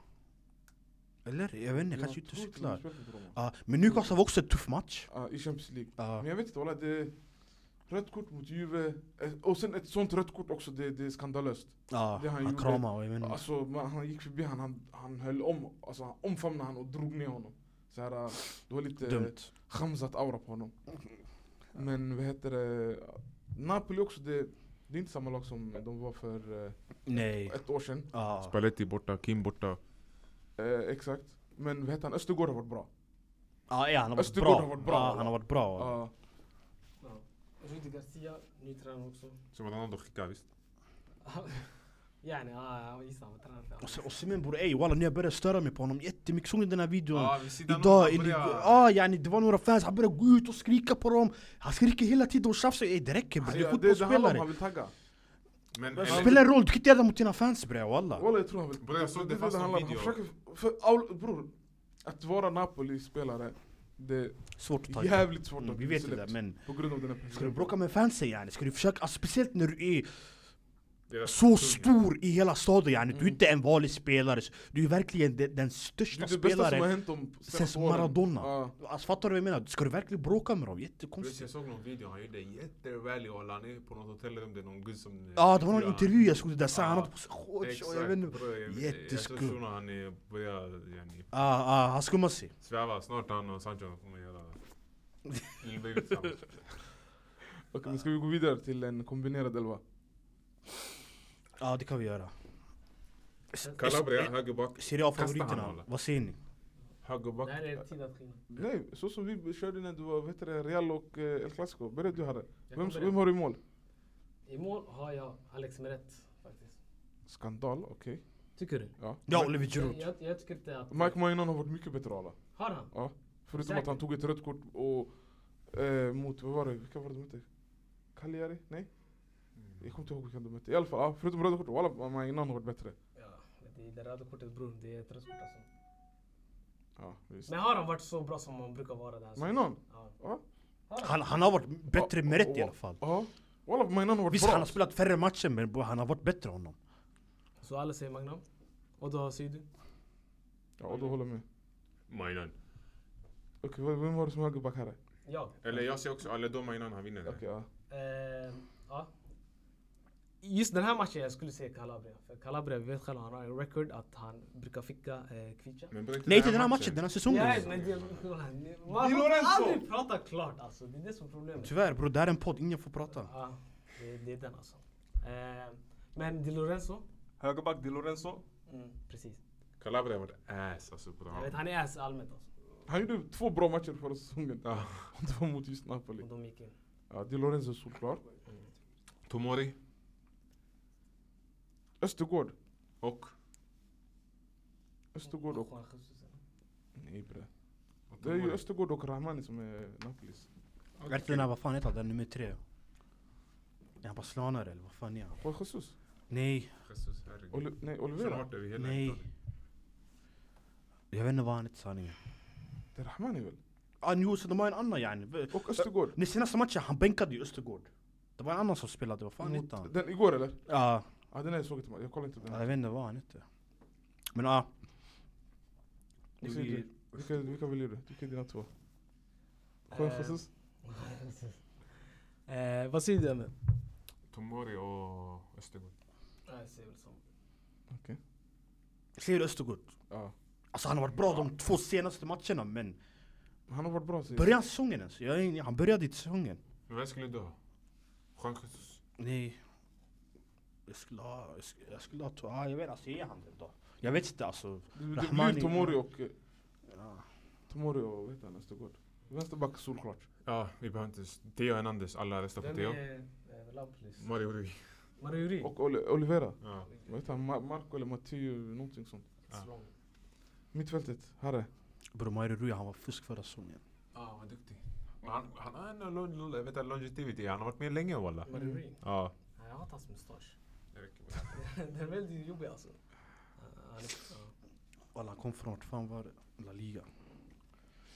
D: Eller? Jag vet inte, kanske
C: Jag
D: inte
C: tror
D: cyklar.
C: de spelar för Roma.
D: Ja, men Newcastle var också en tuff match.
C: Ja, I Champions League.
D: Ja.
C: Men jag vet inte, walla, det... Rött kort mot Juve, eh, och sen ett sånt rött kort också, det, det är skandalöst.
D: Ja,
C: Det han
D: han
C: gjorde.
D: kramade och jag vet inte.
C: Alltså man, han gick förbi han, han, han höll om, alltså han omfamnade han och drog ner honom. Så här, äh, det var lite
D: Dumt.
C: chamsat aura på honom. Men vad heter det, Napoli också, det, det är inte samma lag som de var för eh,
D: Nej.
C: ett år sedan.
D: Ja.
E: Spalletti borta, Kim borta.
C: Eh, exakt. Men vad heter han, Östergård har varit bra.
D: Ja, ja, han har varit
C: Östergård
D: bra.
C: har varit bra,
D: Ja,
C: va?
D: han har varit bra.
C: Ja.
A: Rudi Garcia, ny tränare också.
E: Som att han ändå skickar visst.
A: Yani, ja, jag gissar han var tränare för
D: Och
A: honom.
D: sen- Och Semen bror, ey walla nu jag börjar störa mig på honom jättemycket. Såg ni den här videon?
E: vid sidan om,
D: Idag,
E: han
D: eller,
E: börjar-
D: ah, yani, det var några fans, han började gå ut och skrika på dem Han skriker hela tiden och tjafsar, ey det räcker bror, du är
C: Ja, det, det handlar om han
D: fotbollsspelare
C: vill tagga.
E: Men
D: Det
E: eller-
D: spelar roll, du kan inte göra det mot dina fans bre walla
C: Walla jag tror han vill
E: Bror, jag såg det fast
C: handlar om.
E: en
C: Han
E: video.
C: försöker- för, all, bror, att vara Napoli-spelare, det
D: Svårt att ta
C: är
D: igen.
C: jävligt svårt
D: mm,
C: att
D: Vi
C: bli
D: vet det där
C: släppt.
D: men
C: På grund av den här
D: Ska du
C: personen.
D: bråka med fansen yani? Ska du försöka, alltså, speciellt när du är
E: Deras
D: så
E: kung.
D: stor i hela staden yani Du är inte en vanlig spelare, du är verkligen de, den
C: Det
D: största
C: är det bästa som har
D: spelaren
C: hänt de
D: sen
C: senaste åren.
D: Maradona.
C: Ja.
D: Alltså fattar du vad jag menar? Ska du verkligen bråka med dem?
E: Precis,
D: Jättekonstigt
E: jag såg någon video, han gjorde jättevälj och han är på något hotellrum, det är någon gud som...
D: Ja det var någon intervju jag såg det där, så han
E: Ja.
D: hade på sig shorts och
E: Exakt,
D: jag vet inte
E: bror, jag-
D: Jätteskumt.
E: Jag tror shunon han är- börjar yani,
D: Ah, ah, han skummar sig
E: sväva, snart han och Sancho kommer göra lillbaby tillsammans.
C: Okej, men ska vi gå vidare till en kombinerad elva?
D: Ja det kan vi göra S-
E: Calabria,
D: S-
E: högerback.
D: Serie
E: Kasta han,
D: A-favoriterna,
E: eller?
D: vad säger ni?
E: Högerback.
A: Det här är tid att skilja.
C: Nej, så som vi körde när du var vet du, det, Real och eh, El Clasico. Börja du Harry.
A: Jag
C: Vem,
A: kan börja.
C: vem har du i mål?
A: I mål har jag Alex Meret faktiskt.
C: Skandal, okej.
A: Tycker du?
C: Ja.
D: Ja Oliver
A: Jag,
D: Giroud
A: jag, jag tycker inte att...
C: Mike Maignan har varit mycket bättre av alla.
A: Har han?
C: Förutom att han tog ett rött kort och eh, mot, vad var det, vilka var det de mötte? Cagliari? Nej? Jag kommer inte ihåg vilka de mötte. I alla fall, ja, förutom röda kort, alla Maignan har varit bättre.
A: Ja, det, det röda kortet bror, det är ett rött kort alltså.
C: Ja, visst.
A: Men har han varit så bra som han brukar vara där? Alltså?
C: Maignan?
A: Ja.
C: Ja.
D: han, han har varit bättre med rätt i alla fall
C: Ja. Walla, Maignan har varit
D: Visst
C: bra.
D: han har spelat färre matcher men bro, han har varit bättre än honom
A: Så alla säger Magnum. Och då säger du?
C: Ja, och då håller jag med.
E: Mainan.
C: Okej, vem- vem var det som högerback här?
A: Jag?
E: Eller jag ser också, eller då Mainan han vinner.
C: Okej, ja.
A: Eh, ja. Just den här matchen jag skulle säga Calabria. För Calabria, vi vet själva, han har en record att han brukar ficka eh, Kvicha.
E: Men bro,
D: Nej inte den här matchen, den här
A: Ja,
D: säsongen
A: men det... Man får aldrig prata klart alltså. Det är det som är problemet.
D: Tyvärr bror, det här är en podd, ingen får prata
A: Ja, det, det är den alltså. Eh, men Di Lorenzo?
B: Högerback Di Lorenzo.
A: Mm, precis.
E: Calabria har varit ass alltså på den
A: Jag vet,
E: här.
A: han är ass allmänt alltså.
C: Han gjorde två bra matcher förra säsongen.
E: Ja.
C: Och det var mot just Napoli.
A: Om de gick in.
C: Ja, Di Lorenzo är solklar.
E: Tomori
C: Östergård.
E: och...
C: Östergård och...
A: Juan Jesus.
C: Nej bre.
E: och
C: Det är ju
E: Tomori.
C: Östergård och Rahmani som är Napolis.
D: Vet du den här, vad fan heter han, den nummer tre? Är han brasilianare eller vad fan är han?
C: Juan Jesus.
D: Nej,
E: Jesus, herregud.
C: Oli nej, Olivera.
E: Snart är vi hela
D: nej
E: Italien.
D: Jag vet inte vad han heter sanningen
C: Det är Rahmani väl?
D: Ah jo, så de har en annan yani
C: Och Östergård.
D: Den senaste matchen, han bänkade ju Östergård Det var en annan som spelade, vad fan
C: Mot-
D: hette han?
C: Den igår eller?
D: Ja,
C: Ja den här såg inte Jag kollade inte på den.
D: jag vet inte vad han hette Men ja
C: Vad säger
D: vi-
C: du? Vilka, vilka väljer du? Vilka är dina två? Juan
A: Eh,
C: Jesus?
A: Eh, vad säger du Emil?
E: Tomori och Östergård.
A: Jag ser väl som...
D: Ser du Östergård?
C: Ja.
D: Alltså han har varit bra de två senaste matcherna men
C: Han har varit bra säger
D: Började han säsongen ens? Jag, är- han började inte säsongen
E: Men vem skulle du ha? Juan Jesus.
D: Nej Jag skulle ha, jag skulle, jag skulle ha, to- ah, jag vet alltså jag är han det då Jag vet inte alltså
C: du. Det, det
D: Rahmani-
C: blir Tomori och... eh,
D: Ja.
C: Tomori och vad heter han? Östergård. Vänsterback solklart.
E: Ja, vi behöver inte... s- Theo Hernandez, alla röstar på
A: Vem
E: Theo.
A: är eh, Lamplis?
E: Mario Rui.
A: Mario Yuri?
C: Och Oli- Olivera.
E: Ja.
C: Vad heter han? Ma- Marco eller Matteo någonting sånt.
E: Ja.
A: Strong.
C: Mittfältet, Harre.
D: Bror Mario Rui han var fusk förra säsongen
E: Ja, vad duktig. Men han, han har ändå lon- lon- jag vet inte, longevity, han har varit med länge walla.
A: Mario Yuri?
E: Ja.
A: Nej, Mm. jag hatar hans mustasch. Den är väldigt jobbig alltså. Eh, han är- ja.
D: Walla han kom från vart fan var det? La Liga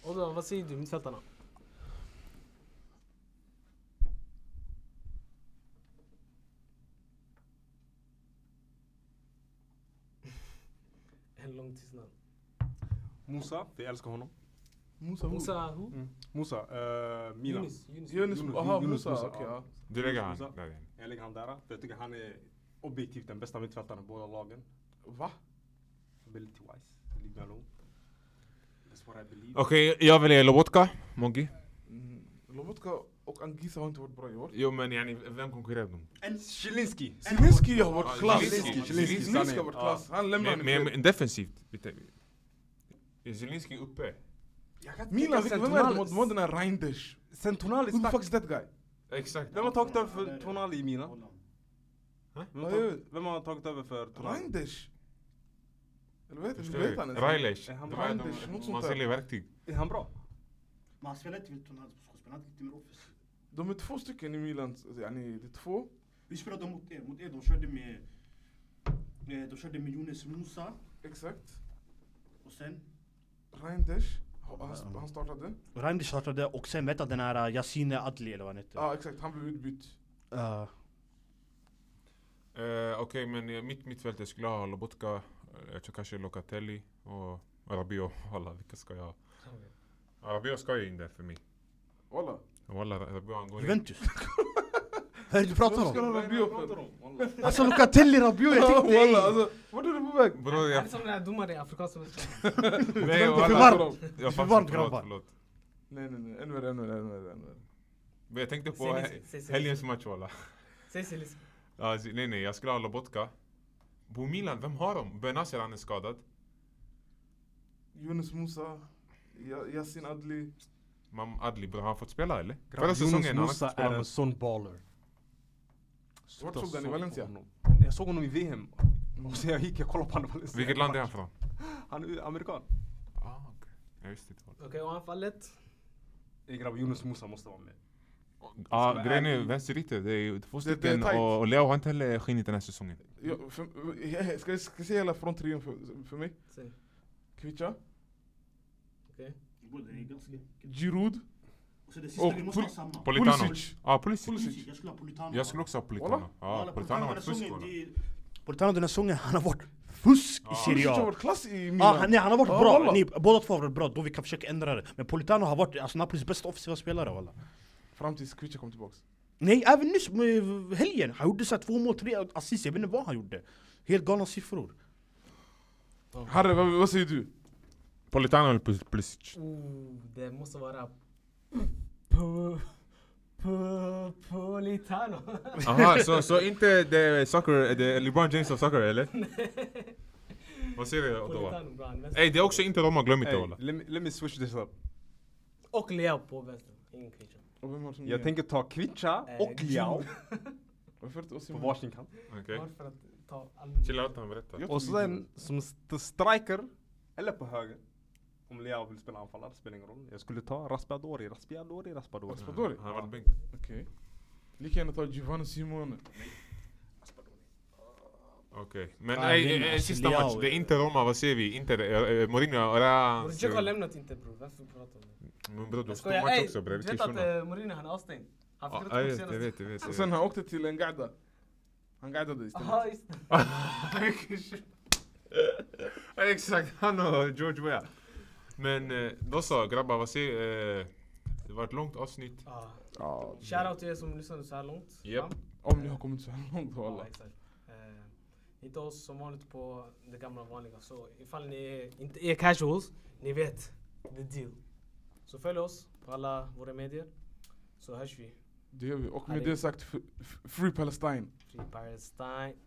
A: Och då, vad säger du mittfältarna? En lång tystnad.
B: Musa, vi älskar honom.
C: Musa, Musa.
A: Musa, who?
B: Musa, eh, Milan.
A: Yunus. Yunus.
C: Yunus,
B: Yunus,
C: aha,
B: Yunus,
C: Musa.
B: Musa,
C: Okej,
B: ja.
C: ja.
E: Du lägger han
B: Musa.
E: där igen.
B: Jag lägger han där, för jag tycker han är objektivt den bästa mittfältaren i båda lagen.
C: Va?
B: Ability wise, leave me alone. That's what I believe.
E: Okej, jag väljer Lobotka, Moggi.
C: Mm. Lobotka och Angisa har inte varit bra i år.
E: Jo men yani, vem konkurrerar med
B: En Zielinski.
C: Zielinski har varit klass.
E: Zielinski,
B: Zielinski,
C: Zielinski har
B: sanning.
C: varit klass. Han lämnar
E: dem?
C: nu.
E: Men, men defensivt. lite. Är Zielinski uppe?
C: Milan, vem är det? De har den här Reinders.
B: Centonali
C: Who the
B: stack.
C: fuck is that guy?
E: Exakt.
B: Vem har tagit över för Tonali i Milan?
Q: Holland.
B: Vem har tagit- Vem har tagit över för Tonali?
C: Reinders? Eller vad heter
E: Förstår
C: hur heter han?
E: du?
C: ens?
E: Railers.
B: Är han
E: Det
B: bra?
E: var de-
C: Anders, något sånt
E: Man
C: där.
E: säljer verktyg.
B: Är han bra?
Q: Men han spelar inte Wilton Hans position, spelar inte mer offensivt.
C: De är två stycken i Milan. alltså, Yani, det är två.
Q: Vi spelade mot er, mot er. De körde med... eh, De körde med Jonas Musa
C: Exakt.
Q: och sen...
C: Reinders. ha- Han, han startade.
D: Raimdi startade och sen vet jag den här uh, Yassine Adli eller vad han
C: Ja,
D: heter.
C: ah, exakt. Han blev utbytt.
D: Eh,
E: Eh, Okej, men eh, mitt mittfält jag skulle ha Lobotka, eh, Tjokashi Locatelli och Rabiot. Alla, vilka ska jag ha? Rabiot ska ju in där för mig.
C: Walla.
E: Walla, Rabiot han går in.
D: Juventus. Vad är det du pratar
C: Vad ska
D: om?
C: han ha bio för?
D: Alltså Locatelli, Rabiot, jag tänkte ey!
C: Walla, alltså. Vart är du på väg?
E: Bror,
A: Han
E: jag...
A: är som den här domaren i Afrikanska
E: Nej,
D: För
E: walla.
D: varmt.
E: Jag
D: för
E: fattar,
D: varmt,
E: förlåt,
D: grabbar.
E: förlåt.
C: Nej, nej, nej. Ännu värre, ännu värre, ännu värre, ännu värre.
E: Men jag tänkte på
A: Säg
E: he-
A: Zielinski, säg Zielinski.
E: helgens match walla.
A: Säg Zielinski.
E: Ja, Zi- nej, nej, jag skulle ha Lobotka. På Milan, vem har de? Benasir han är skadad.
C: Yunus Musa. Ja- Yasin Adli.
E: Mam Adli, bror, har han fått spela eller? Förra säsongen, han har inte
B: är en
E: spelat.
B: sån baller.
C: Vart såg han i Valencia?
B: Jag såg honom i VM. Och sen jag gick, jag kollade på honom i Valencia.
E: Vilket land är han från?
B: Han är amerikan.
E: Ah, okej. Jag visste inte.
A: Okej, och anfallet?
B: Ey grabbar, Jonas Musa måste vara med.
E: Ja,
B: Som är
E: grejen Alltså, är
B: ärlig.
E: vänsterytter, det är ju två
C: Det- det är
E: stycken
C: tajt.
E: och, och Leo har inte heller skinit den här säsongen.
C: Ja, för- eh, Ska jag ska jag säga hela fronttrion för, för mig?
A: Säg.
C: Kvicha,
Q: Bror, det är ganska...
C: Giroud,
Q: Och så det sista,
C: Och
Q: vi måste ha
C: Pul-
Q: samma.
E: Politano.
C: Pulisic.
E: Ja, ah, Pulisic.
Q: Pulisic, Jag skulle ha Politano.
E: Jag skulle också ha Politano.
C: Walla?
E: Ja, Politano har varit fusk walla.
D: Politano den här säsongen, han har varit fusk i Serie
C: Pulisic har
D: A.
C: varit klass i
D: Ja, han,
C: Milan.
D: nej, han har varit
C: Ja,
D: bra,
C: walla.
D: ni, båda två har varit bra, då vi kan försöka ändra det. Men Politano har varit alltså, Napolis bästa offensiva spelare walla.
C: Fram tills Kvicha kom tillbaks.
D: Nej, även nyss med helgen, han gjorde så här två mål, tre assist, jag vet inte vad han gjorde. Helt galna siffror.
C: Harry, vad, vad säger du?
E: Politano eller Pul- Pulisic?
A: Oh, det måste vara... Pu- pu- Politano.
E: Aha, så, så inte det soccer, det LeBron James av soccer eller? Vad säger du då?
A: Politano, bra. han är vänster.
E: Ey, det är också inte de har glömt det
B: Ey,
E: walla.
B: let, me- let me switch this up.
E: Eh.
A: Och Leao på vänster. Ingen kritik.
C: Och vem har som
B: Jag tänker ta Kvicha
A: Eh,
B: och Liao
C: Varför inte
B: på
C: Osimhen?
B: varsin kant.
E: Okej.
A: Varför att ta all...
E: Eh. Chilla ut, han berättar.
C: Jag
B: Och
C: tror vi-
B: sen som st- striker, eller på höger. Om Liao vill spela anfallare, spelar ingen roll. Jag skulle ta Raspadori, Raspadori, Raspadori.
C: Raspadori?
E: Han har varit bänk.
C: Okej. Lika gärna ta Giovanni Simone.
E: Okej. Men
D: Fan,
E: ey,
D: Lin-
E: ey, ey,
D: alltså,
E: sista
D: Leao
E: match, det är
D: är-
E: inte Roma, vad säger vi? Inte det, eh, Mourinho, Ora...
A: Mourinho har lämnat inte bror, varför pratar du om det?
E: Men bror, du har
A: Jag
E: stor
A: skojar,
E: match
A: ey!
E: också bre,
A: Du
E: vilken
A: vet att
E: shuno.
A: eh, Mourinho han är avstängd? Han fick
E: Ja, jag
A: rött
E: vet, jag
A: kort senast.
E: vet, jag vet.
C: Och
E: jag
C: sen
E: vet.
C: han åkte till en gada. Han guidade istället.
A: Jaha, just det.
E: Ja, Exakt, han och George Weah. Men eh, då så grabbar, vad säger eh, Det var ett långt avsnitt.
A: Ah,
C: Ja,
A: Shoutout till er som lyssnade så här långt.
E: Japp.
A: Ja.
C: om ni har kommit så här långt
A: Ja,
C: walla.
A: exakt. Eh, Hitta oss som vanligt på det gamla vanliga. Så ifall ni är- inte är casuals, ni vet the deal. Så följ oss på alla våra medier. Så hörs vi.
C: Det gör vi. Och med
A: Hade-
C: det sagt, f- f- Free Palestine.
A: Free Palestine.